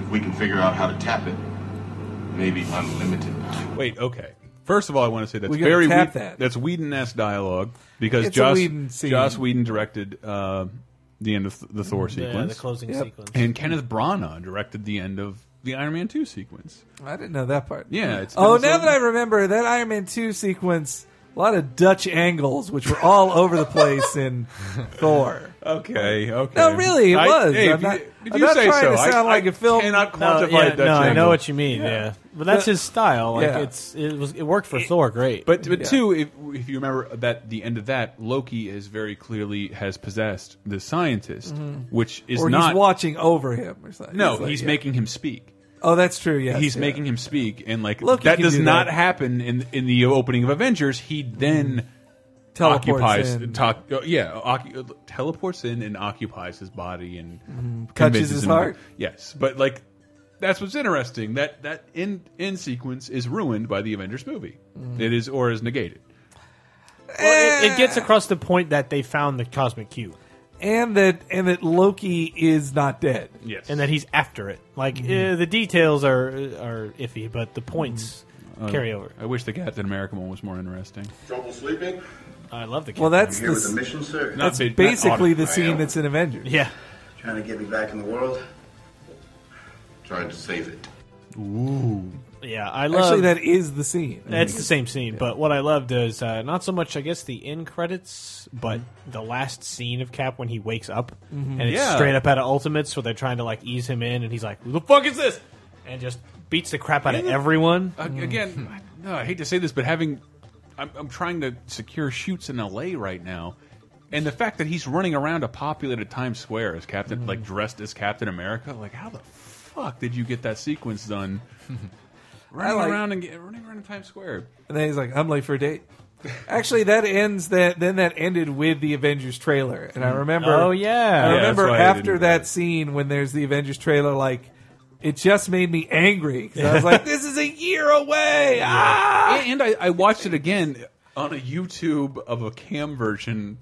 S19: If we can figure out how to tap it, maybe unlimited.
S4: Wait, okay. First of all, I want to say that's
S5: We gotta
S4: very
S5: tap
S4: Whedon-
S5: that.
S4: that's Whedon-esque dialogue because
S5: It's a
S4: Joss
S5: Whedon scene.
S4: Joss Whedon directed uh, the end of th- the Thor
S6: Yeah,
S4: sequence,
S6: the closing
S5: Yep.
S6: sequence.
S4: and Kenneth Branagh directed the end of the Iron Man two sequence.
S5: I didn't know that part.
S4: Yeah, it's
S5: oh,
S4: been
S5: now
S4: so-
S5: that I remember that Iron Man 2 sequence, a lot of Dutch angles, which were all over the place in Thor.
S4: Okay, okay.
S5: No, really, it
S4: I-
S5: was.
S4: hey, if
S5: I'm
S4: you-
S5: not,
S4: if
S5: I'm
S4: you
S5: not
S4: say
S5: trying
S4: so,
S5: to
S4: I-
S5: sound
S4: I
S5: like a film.
S4: cannot
S6: No,
S4: quantify
S6: Uh, yeah,
S4: that.
S6: no, I
S4: angle.
S6: know what you mean. Yeah, but that's his style. Like
S5: Yeah.
S6: it's it was it worked for Thor, great.
S4: But but
S5: Yeah.
S4: two, if if you remember that the end of that, Loki is very clearly has possessed the scientist, which is
S5: Mm-hmm. or
S4: not
S5: he's watching over him or something.
S4: no,
S5: like,
S4: he's
S5: yeah.
S4: making him speak.
S5: Oh, that's true. Yes,
S4: he's
S5: yeah.
S4: making him speak, and like
S5: Loki
S4: that
S5: can
S4: does
S5: do
S4: not
S5: that. Mm-hmm.
S4: happen in in the opening of Avengers. He then
S5: Teleports
S4: occupies,
S5: in.
S4: talk- uh, yeah, occu- teleports in and occupies his body and
S5: Mhm. Touches
S4: convinces
S5: his
S4: him-
S5: heart?
S4: Yes, but like that's what's interesting. That that end end sequence is ruined by the Avengers movie.
S5: Mm-hmm.
S6: Mhm.
S4: It is or is negated.
S6: Well, it, it
S4: Eh.
S6: gets across the point that they found the cosmic cube.
S5: and that and that Loki is not dead.
S4: Yes,
S6: and that he's after it. Like
S5: Mhm.
S6: uh, the details are are iffy, but the points
S5: Mm-hmm.
S4: Uh,
S5: Oh,
S6: carry over.
S4: I wish the Captain America one was more interesting.
S19: Trouble sleeping?
S6: I love the.
S5: Well, that's
S6: Captain
S5: the,
S6: America.
S5: s- that's basically the scene that's in Avengers.
S6: Yeah.
S19: Trying to get me back in the world? Trying to save it.
S5: Ooh.
S6: Yeah, I love.
S5: Actually, that is the scene.
S6: That's the same scene, but what I loved is uh, not so much, I guess, the end credits, but the last scene of Cap when he wakes up,
S5: Mhm.
S6: and it's
S5: Mm-hmm. Yeah.
S6: straight up out of Ultimates, where they're trying to like ease him in, and he's like, "Who the fuck is this?" and just beats the crap out of
S4: Yeah.
S6: everyone.
S4: Ag- Again, no, I hate to say this, but having I'm, I'm trying to secure shoots in L.A. right now, and the fact that he's running around a populated Times Square as Captain, like dressed as Captain America, like how the fuck did you get that sequence done? running
S5: like-
S4: around and get, running around in Times Square.
S5: And then he's like, "I'm late for a date." Actually, that ends that. Then that ended with the Avengers trailer, and I remember.
S6: Oh,
S5: I
S6: yeah. Yeah,
S5: remember
S6: that's why I
S5: after
S6: didn't-
S5: that scene when there's the Avengers trailer, like it just made me angry 'cause I was like, "This is a year away." Ah!
S4: And I, I watched it again on a YouTube of a cam version.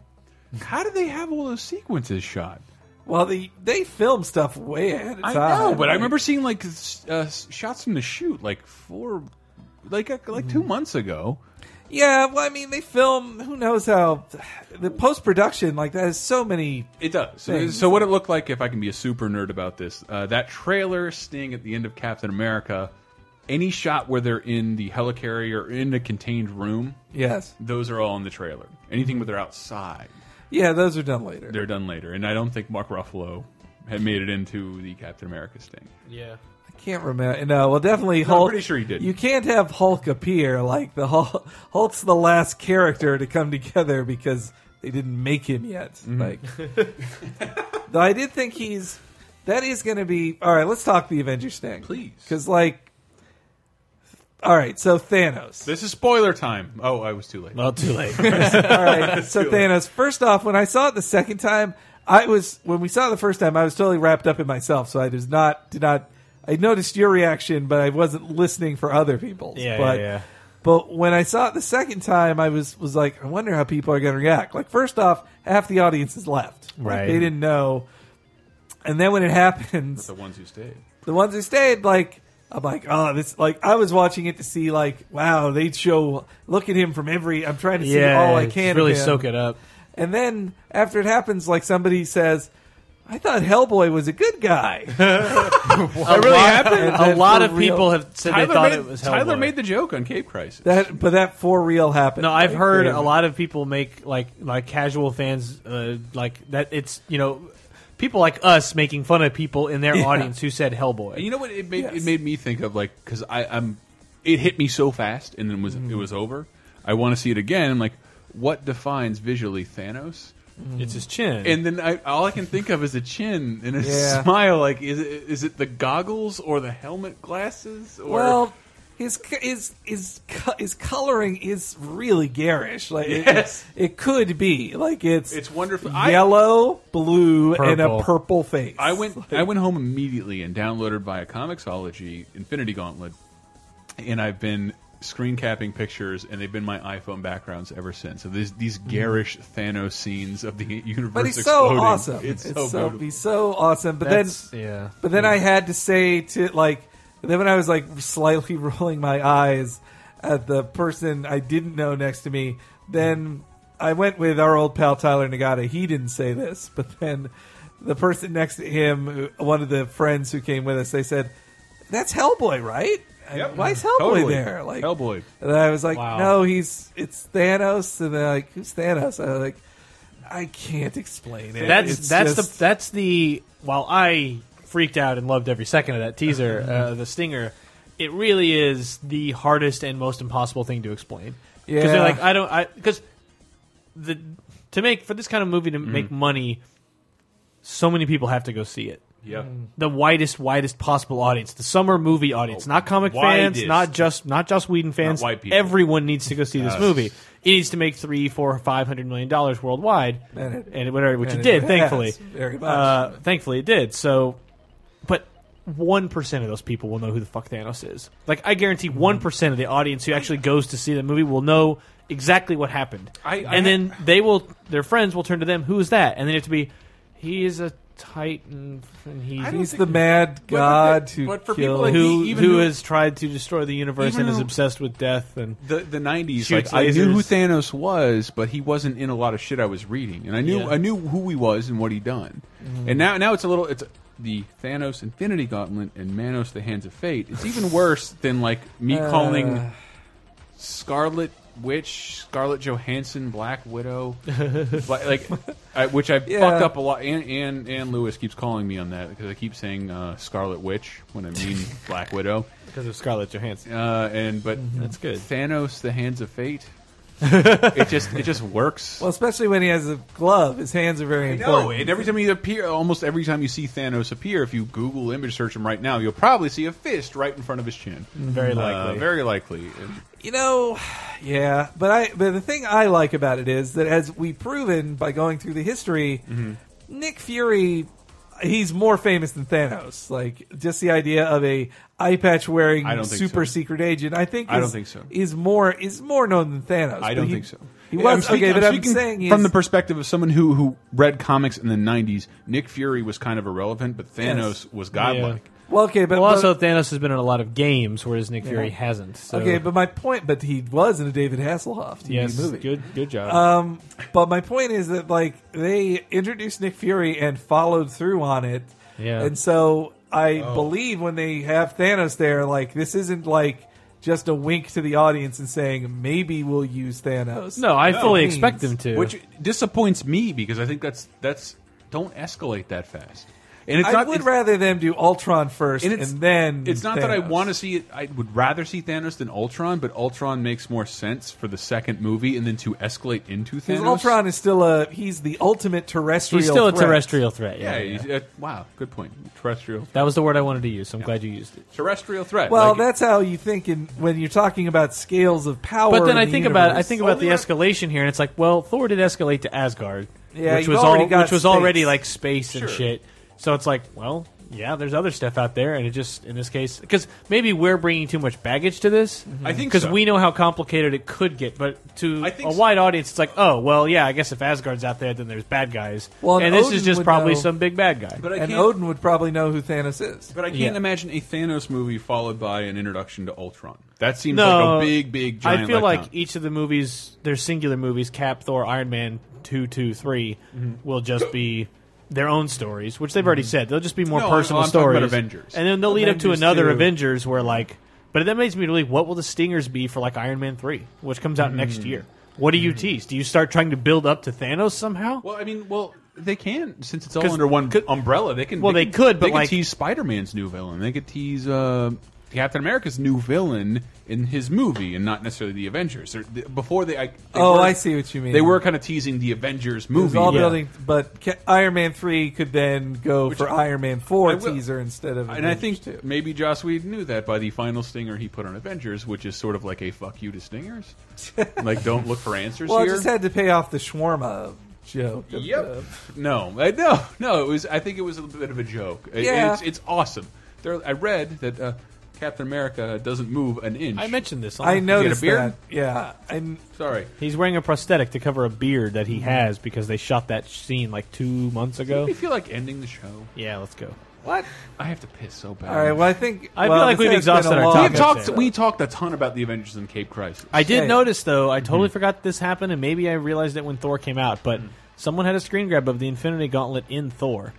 S4: How do they have all those sequences shot?
S5: Well, they they film stuff way ahead of
S4: I
S5: time.
S4: know, but I remember seeing like s- uh, shots from the shoot like four, like uh, like two months ago.
S5: Yeah, well, I mean, they film. Who knows how the post production like that has so many.
S4: It does. So,
S5: things.
S4: so what it looked like, if I can be a super nerd about this, uh, that trailer sting at the end of Captain America, any shot where they're in the helicarrier or in a contained room,
S5: Yes.
S4: those are all in the trailer. Anything where they're outside,
S5: Yeah, those are done later.
S4: they're done later. And I don't think Mark Ruffalo had made it into the Captain America sting.
S6: Yeah.
S5: I can't remember. No, well, definitely
S4: No, I'm
S5: Hulk.
S4: pretty sure he didn't.
S5: You can't have Hulk appear like the Hulk. Hulk's the last character to come together because they didn't make him yet.
S4: Mm-hmm.
S10: Mhm.
S5: Like, though I did think he's that is going to be all right. Let's talk the Avengers thing, please, because like, all right, so Thanos.
S4: This is spoiler time. Oh, I was too late.
S6: Well, too late.
S5: All right. So
S4: Too late.
S5: Thanos. First off, when I saw it the second time, I was when we saw it the first time, I was totally wrapped up in myself, so I did not did not. I noticed your reaction, but I wasn't listening for other people's.
S6: Yeah,
S5: but,
S6: yeah, yeah.
S5: But when I saw it the second time, I was was like, I wonder how people are going to react. Like, first off, half the audience is left. Like,
S6: Right.
S5: they didn't know. And then when it happens,
S4: The ones who stayed.
S5: the ones who stayed, like I'm like, oh, this like I was watching it to see like, wow, they show look at him from every. I'm trying to see
S6: Yeah,
S5: all I
S6: just
S5: can. of
S6: really
S5: him.
S6: soak it up.
S5: And then after it happens, like somebody says, I thought Hellboy was a good guy.
S6: That really happened? A lot of people have said they
S4: Tyler
S6: thought
S4: made-
S6: it was
S4: Tyler
S6: Hellboy.
S4: made the joke on Cape Crisis.
S5: that, but that for real happened.
S6: No, I've
S5: Like,
S6: heard
S5: they-
S6: a lot of people make like like casual fans uh, like that. It's you know people like us making fun of people in their
S4: Yeah.
S6: audience who said Hellboy.
S4: You know what it made it made me think of like because I I'm it hit me so fast and then was it was over. I want to see it again. I'm like, what defines visually Thanos?
S5: Mm-hmm.
S6: It's his chin.
S4: And then I, all I can think of is a chin and a
S5: Yeah.
S4: smile. Like, is it is it the goggles or the helmet glasses? Or
S5: well. His, co- his his co- his coloring is really garish. Like it-
S4: Yes.
S5: it, it could be like it's
S4: It's wonderful. I-
S5: yellow, blue, and a
S4: Purple.
S5: purple face.
S4: I went I went home immediately and downloaded via Comixology Infinity Gauntlet, and I've been screen capping pictures, and they've been my iPhone backgrounds ever since. So these these garish Thanos scenes of the universe,
S5: Mm-hmm. but he's so
S4: exploding.
S5: awesome.
S4: It's, so, beautiful.
S5: he's so awesome. But
S6: That's-
S5: then,
S6: yeah.
S5: But then I had to say to like, then when I was like slightly rolling my eyes at the person I didn't know next to me, then I went with our old pal Tyler Nagata. He didn't say this, but then the person next to him, who- one of the friends who came with us, they said, "That's Hellboy, right?" And
S4: Yep.
S5: Why is Hellboy
S4: Totally.
S5: there? Like
S4: Hellboy.
S5: And I was like,
S4: Wow.
S5: "No, he's it's Thanos." And they're like, "Who's Thanos?" I was like, "I can't explain it."
S6: That's
S5: It's
S6: that's
S5: just-
S6: the that's the while I freaked out and loved every second of that teaser, uh, the stinger. It really is the hardest and most impossible thing to explain. Because
S5: Yeah.
S6: they're like, I don't, I because the to make for this kind of movie to make money, so many people have to go see it.
S4: Yeah.
S6: the widest, widest possible audience, the summer movie audience, not comic
S4: widest.
S6: fans, not just not just Whedon fans.
S4: white people.
S6: Everyone needs to go see this
S4: Yes.
S6: movie. It needs to make three, four, five hundred million dollars worldwide,
S5: And it-
S6: whatever, which
S5: and
S6: it
S5: it
S6: did,
S5: has,
S6: thankfully.
S5: very much.
S6: Uh, thankfully, it did. So, but one percent of those people will know who the fuck Thanos is. Like, I guarantee one percent of the audience who actually goes to see the movie will know exactly what happened.
S5: I- I-
S6: and then they will, their friends will turn to them. Who is that? And then it to be, he is a titan, and he,
S5: I don't He's think- the mad but- but- god who
S4: but for people killed- like me,
S6: who,
S4: even
S6: who
S4: who-
S6: has tried to destroy the universe and
S4: Even
S6: is
S4: who-
S6: obsessed with death and
S4: the the nineties.
S6: shoots
S4: Like I knew who
S6: lasers.
S4: Thanos was, but he wasn't in a lot of shit I was reading, and I knew
S6: Yeah.
S4: I knew who he was and what he done.
S6: Mhm.
S4: And now now it's a little it's the Thanos Infinity Gauntlet and Manos the Hands of Fate. It's even worse than like me
S5: Uh.
S4: calling Scarlet Witch, Scarlet Johansson, Black Widow, Bla- like I, which I
S5: Yeah.
S4: fucked up a lot. And and and Lewis keeps calling me on that because I keep saying uh, Scarlet Witch when I mean Black Widow
S6: because of Scarlett Johansson.
S4: Uh, and but
S5: Mm-hmm.
S6: That's good.
S4: Thanos, the Hands of Fate. it just it just works.
S5: Well, especially when he has a glove, his hands are very important.
S4: No, and every time you appear, almost every time you see Thanos appear, if you Google image search him right now, you'll probably see a fist right in front of his chin.
S5: Mm-hmm.
S6: Very
S4: Uh,
S6: likely.
S4: very likely.
S5: you know, yeah, but I but the thing I like about it is that as we proven by going through the history,
S4: Mm-hmm.
S5: Nick Fury he's more famous than Thanos. Like just the idea of a eye patch wearing
S4: I don't think
S5: super
S4: so.
S5: secret agent, I think
S4: I don't
S5: is-
S4: think so.
S5: is more is more known than Thanos.
S4: I
S5: But
S4: don't
S5: he-
S4: think so.
S5: He was
S4: I'm speaking-
S5: okay, but
S4: I'm
S5: I'm,
S4: speaking
S5: saying he's,
S4: from the perspective of someone who who read comics in the '90s, Nick Fury was kind of irrelevant, but Thanos
S5: Yes.
S4: was godlike.
S5: well, okay, but
S6: well,
S5: but-
S6: also Thanos has been in a lot of games, whereas Nick Fury
S5: Yeah.
S6: hasn't. So.
S4: uh,
S5: Okay, but my point, but he was in a David Hasselhoff TV
S6: Yes,
S5: movie.
S6: good- good job.
S5: Um, but my point is that like they introduced Nick Fury and followed through on it.
S6: Yeah.
S5: and so I
S6: Oh.
S5: believe when they have Thanos there, like this isn't like just a wink to the audience and saying maybe we'll use Thanos. It means-
S4: Which disappoints me because I think that's that's don't escalate that fast. And it's
S5: I
S4: not,
S5: would
S4: it's-
S5: rather them do Ultron first and,
S4: it's-
S5: then
S4: it's not that I
S5: Thanos.
S4: want to see it. I would rather see Thanos than Ultron, but Ultron makes more sense for the second movie, and then to escalate into
S5: Because
S4: Thanos.
S5: Ultron is still a he's the ultimate terrestrial.
S6: He's still a
S5: threat.
S6: terrestrial threat. Yeah, yeah.
S4: he's- uh, wow, good point. Terrestrial,
S6: That was the word I wanted to use. so I'm glad you used it.
S4: terrestrial threat.
S5: Well,
S4: Like,
S5: that's how you think in, when you're talking about scales of power.
S6: But
S5: in
S6: then I
S5: the
S6: think about I
S5: universe.
S6: think about the escalation here, and it's like, well, Thor did escalate to Asgard,
S5: Yeah,
S6: which
S5: you've
S6: was
S5: already
S6: all,
S5: got
S6: which was
S5: space.
S6: already like space
S5: Sure.
S6: and shit. So it's like, well, yeah, there's other stuff out there, and it just in this case because maybe we're bringing too much baggage to this.
S5: Mm-hmm.
S4: I think
S6: because
S4: so.
S6: we know how complicated it could get, but to a
S4: think so.
S6: wide audience, it's like, oh, well, yeah, I guess if Asgard's out there, then there's bad guys.
S5: Well,
S6: and, this is
S5: Odin
S6: just
S5: would
S6: probably
S5: know-
S6: some big bad guy.
S4: But I
S5: and
S4: can't-
S5: Odin would probably know who Thanos is.
S4: But I can't imagine a Thanos movie followed by an introduction to Ultron. That seems
S6: no,
S4: like a big, big. Giant
S6: I feel like
S4: letdown.
S6: each of the movies, their singular movies, Cap, Thor, Iron Man, two, two, three,
S4: Mm-hmm.
S6: will just be their own stories, which they've already said. They'll just be more
S4: No,
S6: personal
S4: I'm talking
S6: stories.
S4: about Avengers.
S6: and then they'll lead up to
S5: Avengers
S6: another
S5: two.
S6: Avengers where like, but that makes me believe what will the stingers be for like Iron Man three, which comes out next
S4: Mm.
S6: year. What do you tease? Do you start trying to build up to Thanos somehow?
S4: Well, I mean, well, they can since it's all
S6: 'Cause-
S4: under one umbrella. They can.
S6: Well, they
S4: can-
S6: could, but
S4: they
S6: like-
S4: could tease Spider-Man's new villain. They could tease uh, Captain America's new villain in his movie, and not necessarily the Avengers. They're- they- before they, I, they
S5: Oh,
S4: were-
S5: I see what you mean.
S4: They were kind of teasing the Avengers
S5: It was
S4: movie.
S5: all building, but Ca- Iron Man three could then go for Iron Man four
S4: I will-
S5: teaser instead of.
S4: And I think maybe Joss Whedon knew that by the final stinger he put on Avengers, which is sort of like a fuck you to stingers. like, don't look for answers
S5: well, I
S4: here.
S5: just had to pay off the shawarma joke. of
S4: Yep.
S5: the-
S4: No, I, no, no. It was. I think it was a little bit of a joke. It-
S5: Yeah.
S4: it's, it's awesome. There, I read that uh, Captain America doesn't move an inch.
S6: I mentioned this.
S5: I noticed
S4: You get a
S5: that.
S4: beard?
S5: Yeah, and
S4: Sorry.
S6: He's wearing a prosthetic to cover a beard that
S4: Mm-hmm.
S6: he has because they shot that scene like two months
S4: Do
S6: ago.
S4: we feel like ending the show?
S6: Yeah, let's go.
S5: What?
S4: I have to piss so bad.
S5: All right, well, I think-
S6: I feel well, like we've exhausted our
S4: We
S6: topic
S4: talked.
S6: there.
S4: We talked a ton about the Avengers and Cape Crisis.
S6: I did notice though. I
S5: Mm-hmm.
S6: totally forgot this happened, and maybe I realized it when Thor came out. But
S5: Mm.
S6: someone had a screen grab of the Infinity Gauntlet in Thor,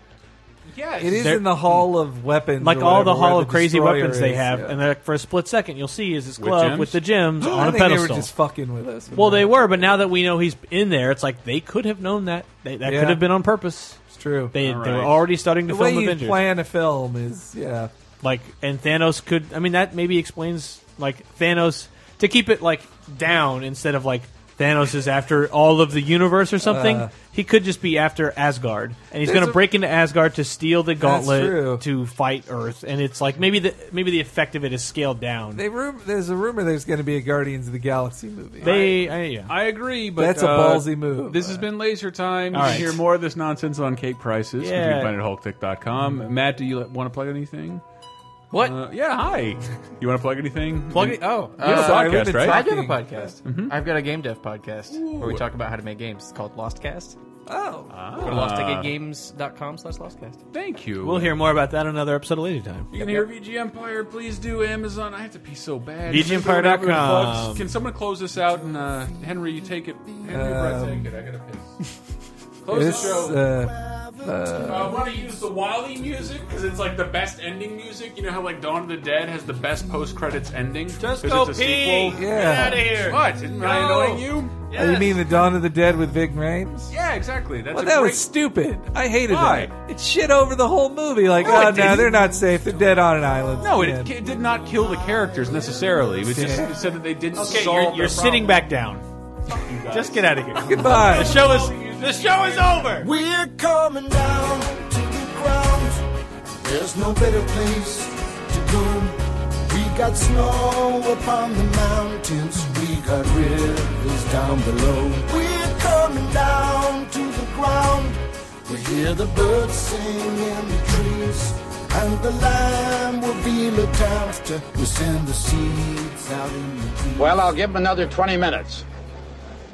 S4: Yes.
S5: it is
S6: There-
S5: in the Hall of Weapons,
S6: like
S5: or
S6: all the
S5: whatever, where
S6: Hall of Crazy
S5: Destroyer
S6: Weapons they
S5: is,
S6: have.
S5: yeah.
S6: And like, for a split second, you'll see is this
S5: With
S6: glove
S5: gems?
S6: with the gems
S5: I
S6: on a
S5: think
S6: pedestal.
S5: They were just fucking with us.
S6: well, they were, but now that we know he's in there, it's like they could have known that. They, that
S5: Yeah.
S6: could have been on purpose.
S5: It's true.
S6: They,
S5: All
S6: they were
S5: right.
S6: already starting to
S5: the
S6: film
S5: way
S6: Avengers.
S5: you plan a film is yeah.
S6: Like, and Thanos could. I mean, that maybe explains like Thanos to keep it like down instead of like Thanos is after all of the universe or something.
S5: Uh.
S6: he could just be after Asgard, and he's
S5: There's
S6: going
S5: a-
S6: to break into Asgard to steal the
S5: true.
S6: gauntlet to fight Earth. And it's like maybe the maybe the effect of it is scaled down.
S5: They rum- there's a rumor there's going to be a Guardians of the Galaxy movie.
S6: They, I, yeah.
S4: I agree, but
S5: That's a
S4: uh,
S5: ballsy move.
S4: This has been Laser Time.
S5: All
S4: You
S5: right.
S4: can hear more of this nonsense on Cake Prices, which you
S5: Yeah. Mm-hmm.
S4: can find at hulktick.com. Matt, do you want to plug anything?
S7: What?
S4: Uh, yeah, hi. You want to plug anything?
S7: Plug it. Oh,
S4: you have a
S7: uh,
S4: podcast, right?
S7: I do have a podcast.
S4: Mhm.
S7: I've got a game dev podcast where we
S4: Ooh.
S7: talk about how to make games. It's called Lostcast.
S5: Oh.
S7: Go to lostgategames.com slash lostcast.
S4: Thank you.
S6: We'll hear more about that on another episode of Lazy Time.
S4: You can hear VG Empire. Please do Amazon. I have to pee so bad.
S6: VGEmpire.com.
S4: Plugs. Can someone close this out? And uh, Henry, you take it. Henry, Brett, take it. I gotta piss. Close
S5: It's,
S4: the show.
S5: uh,
S4: Uh, I
S5: uh,
S4: want to use the Wally music because it's like the best ending music. You know how like Dawn of the Dead has the best post credits ending. Just
S6: go
S4: it's a
S6: pee.
S4: Sequel.
S5: Get Yeah. outta
S6: here.
S4: What? Isn't I
S6: Go.
S4: annoying you?
S5: uh, oh, You mean the Dawn of the Dead with Vic Rames?
S4: Yeah, exactly. That's
S5: well,
S4: a
S5: that
S4: great.
S5: was stupid. I hated
S4: Why?
S5: that. It shit over the whole movie. Like,
S4: No, it
S5: oh no,
S4: didn't.
S5: they're not safe. They're dead on an island.
S4: No,
S5: Yeah.
S4: it, it did not kill the characters necessarily. It was just it said that they didn't
S6: Okay,
S4: solve.
S6: you're,
S4: their
S6: you're sitting
S4: problem.
S6: back down. Just get out of here.
S5: Goodbye.
S6: The show is the show is over.
S3: We're coming down to the ground. There's no better place to go. We got snow upon the mountains. We got rivers down below. We're coming down to the ground. We hear the birds sing in the trees. And the lamb will be looked after. We send the seeds out in the
S21: Well, I'll give him another 20 minutes.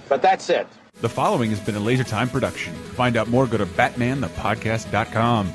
S21: But that's it.
S4: The following has been a Laser Time production. Find out more, go to BatmanThePodcast.com.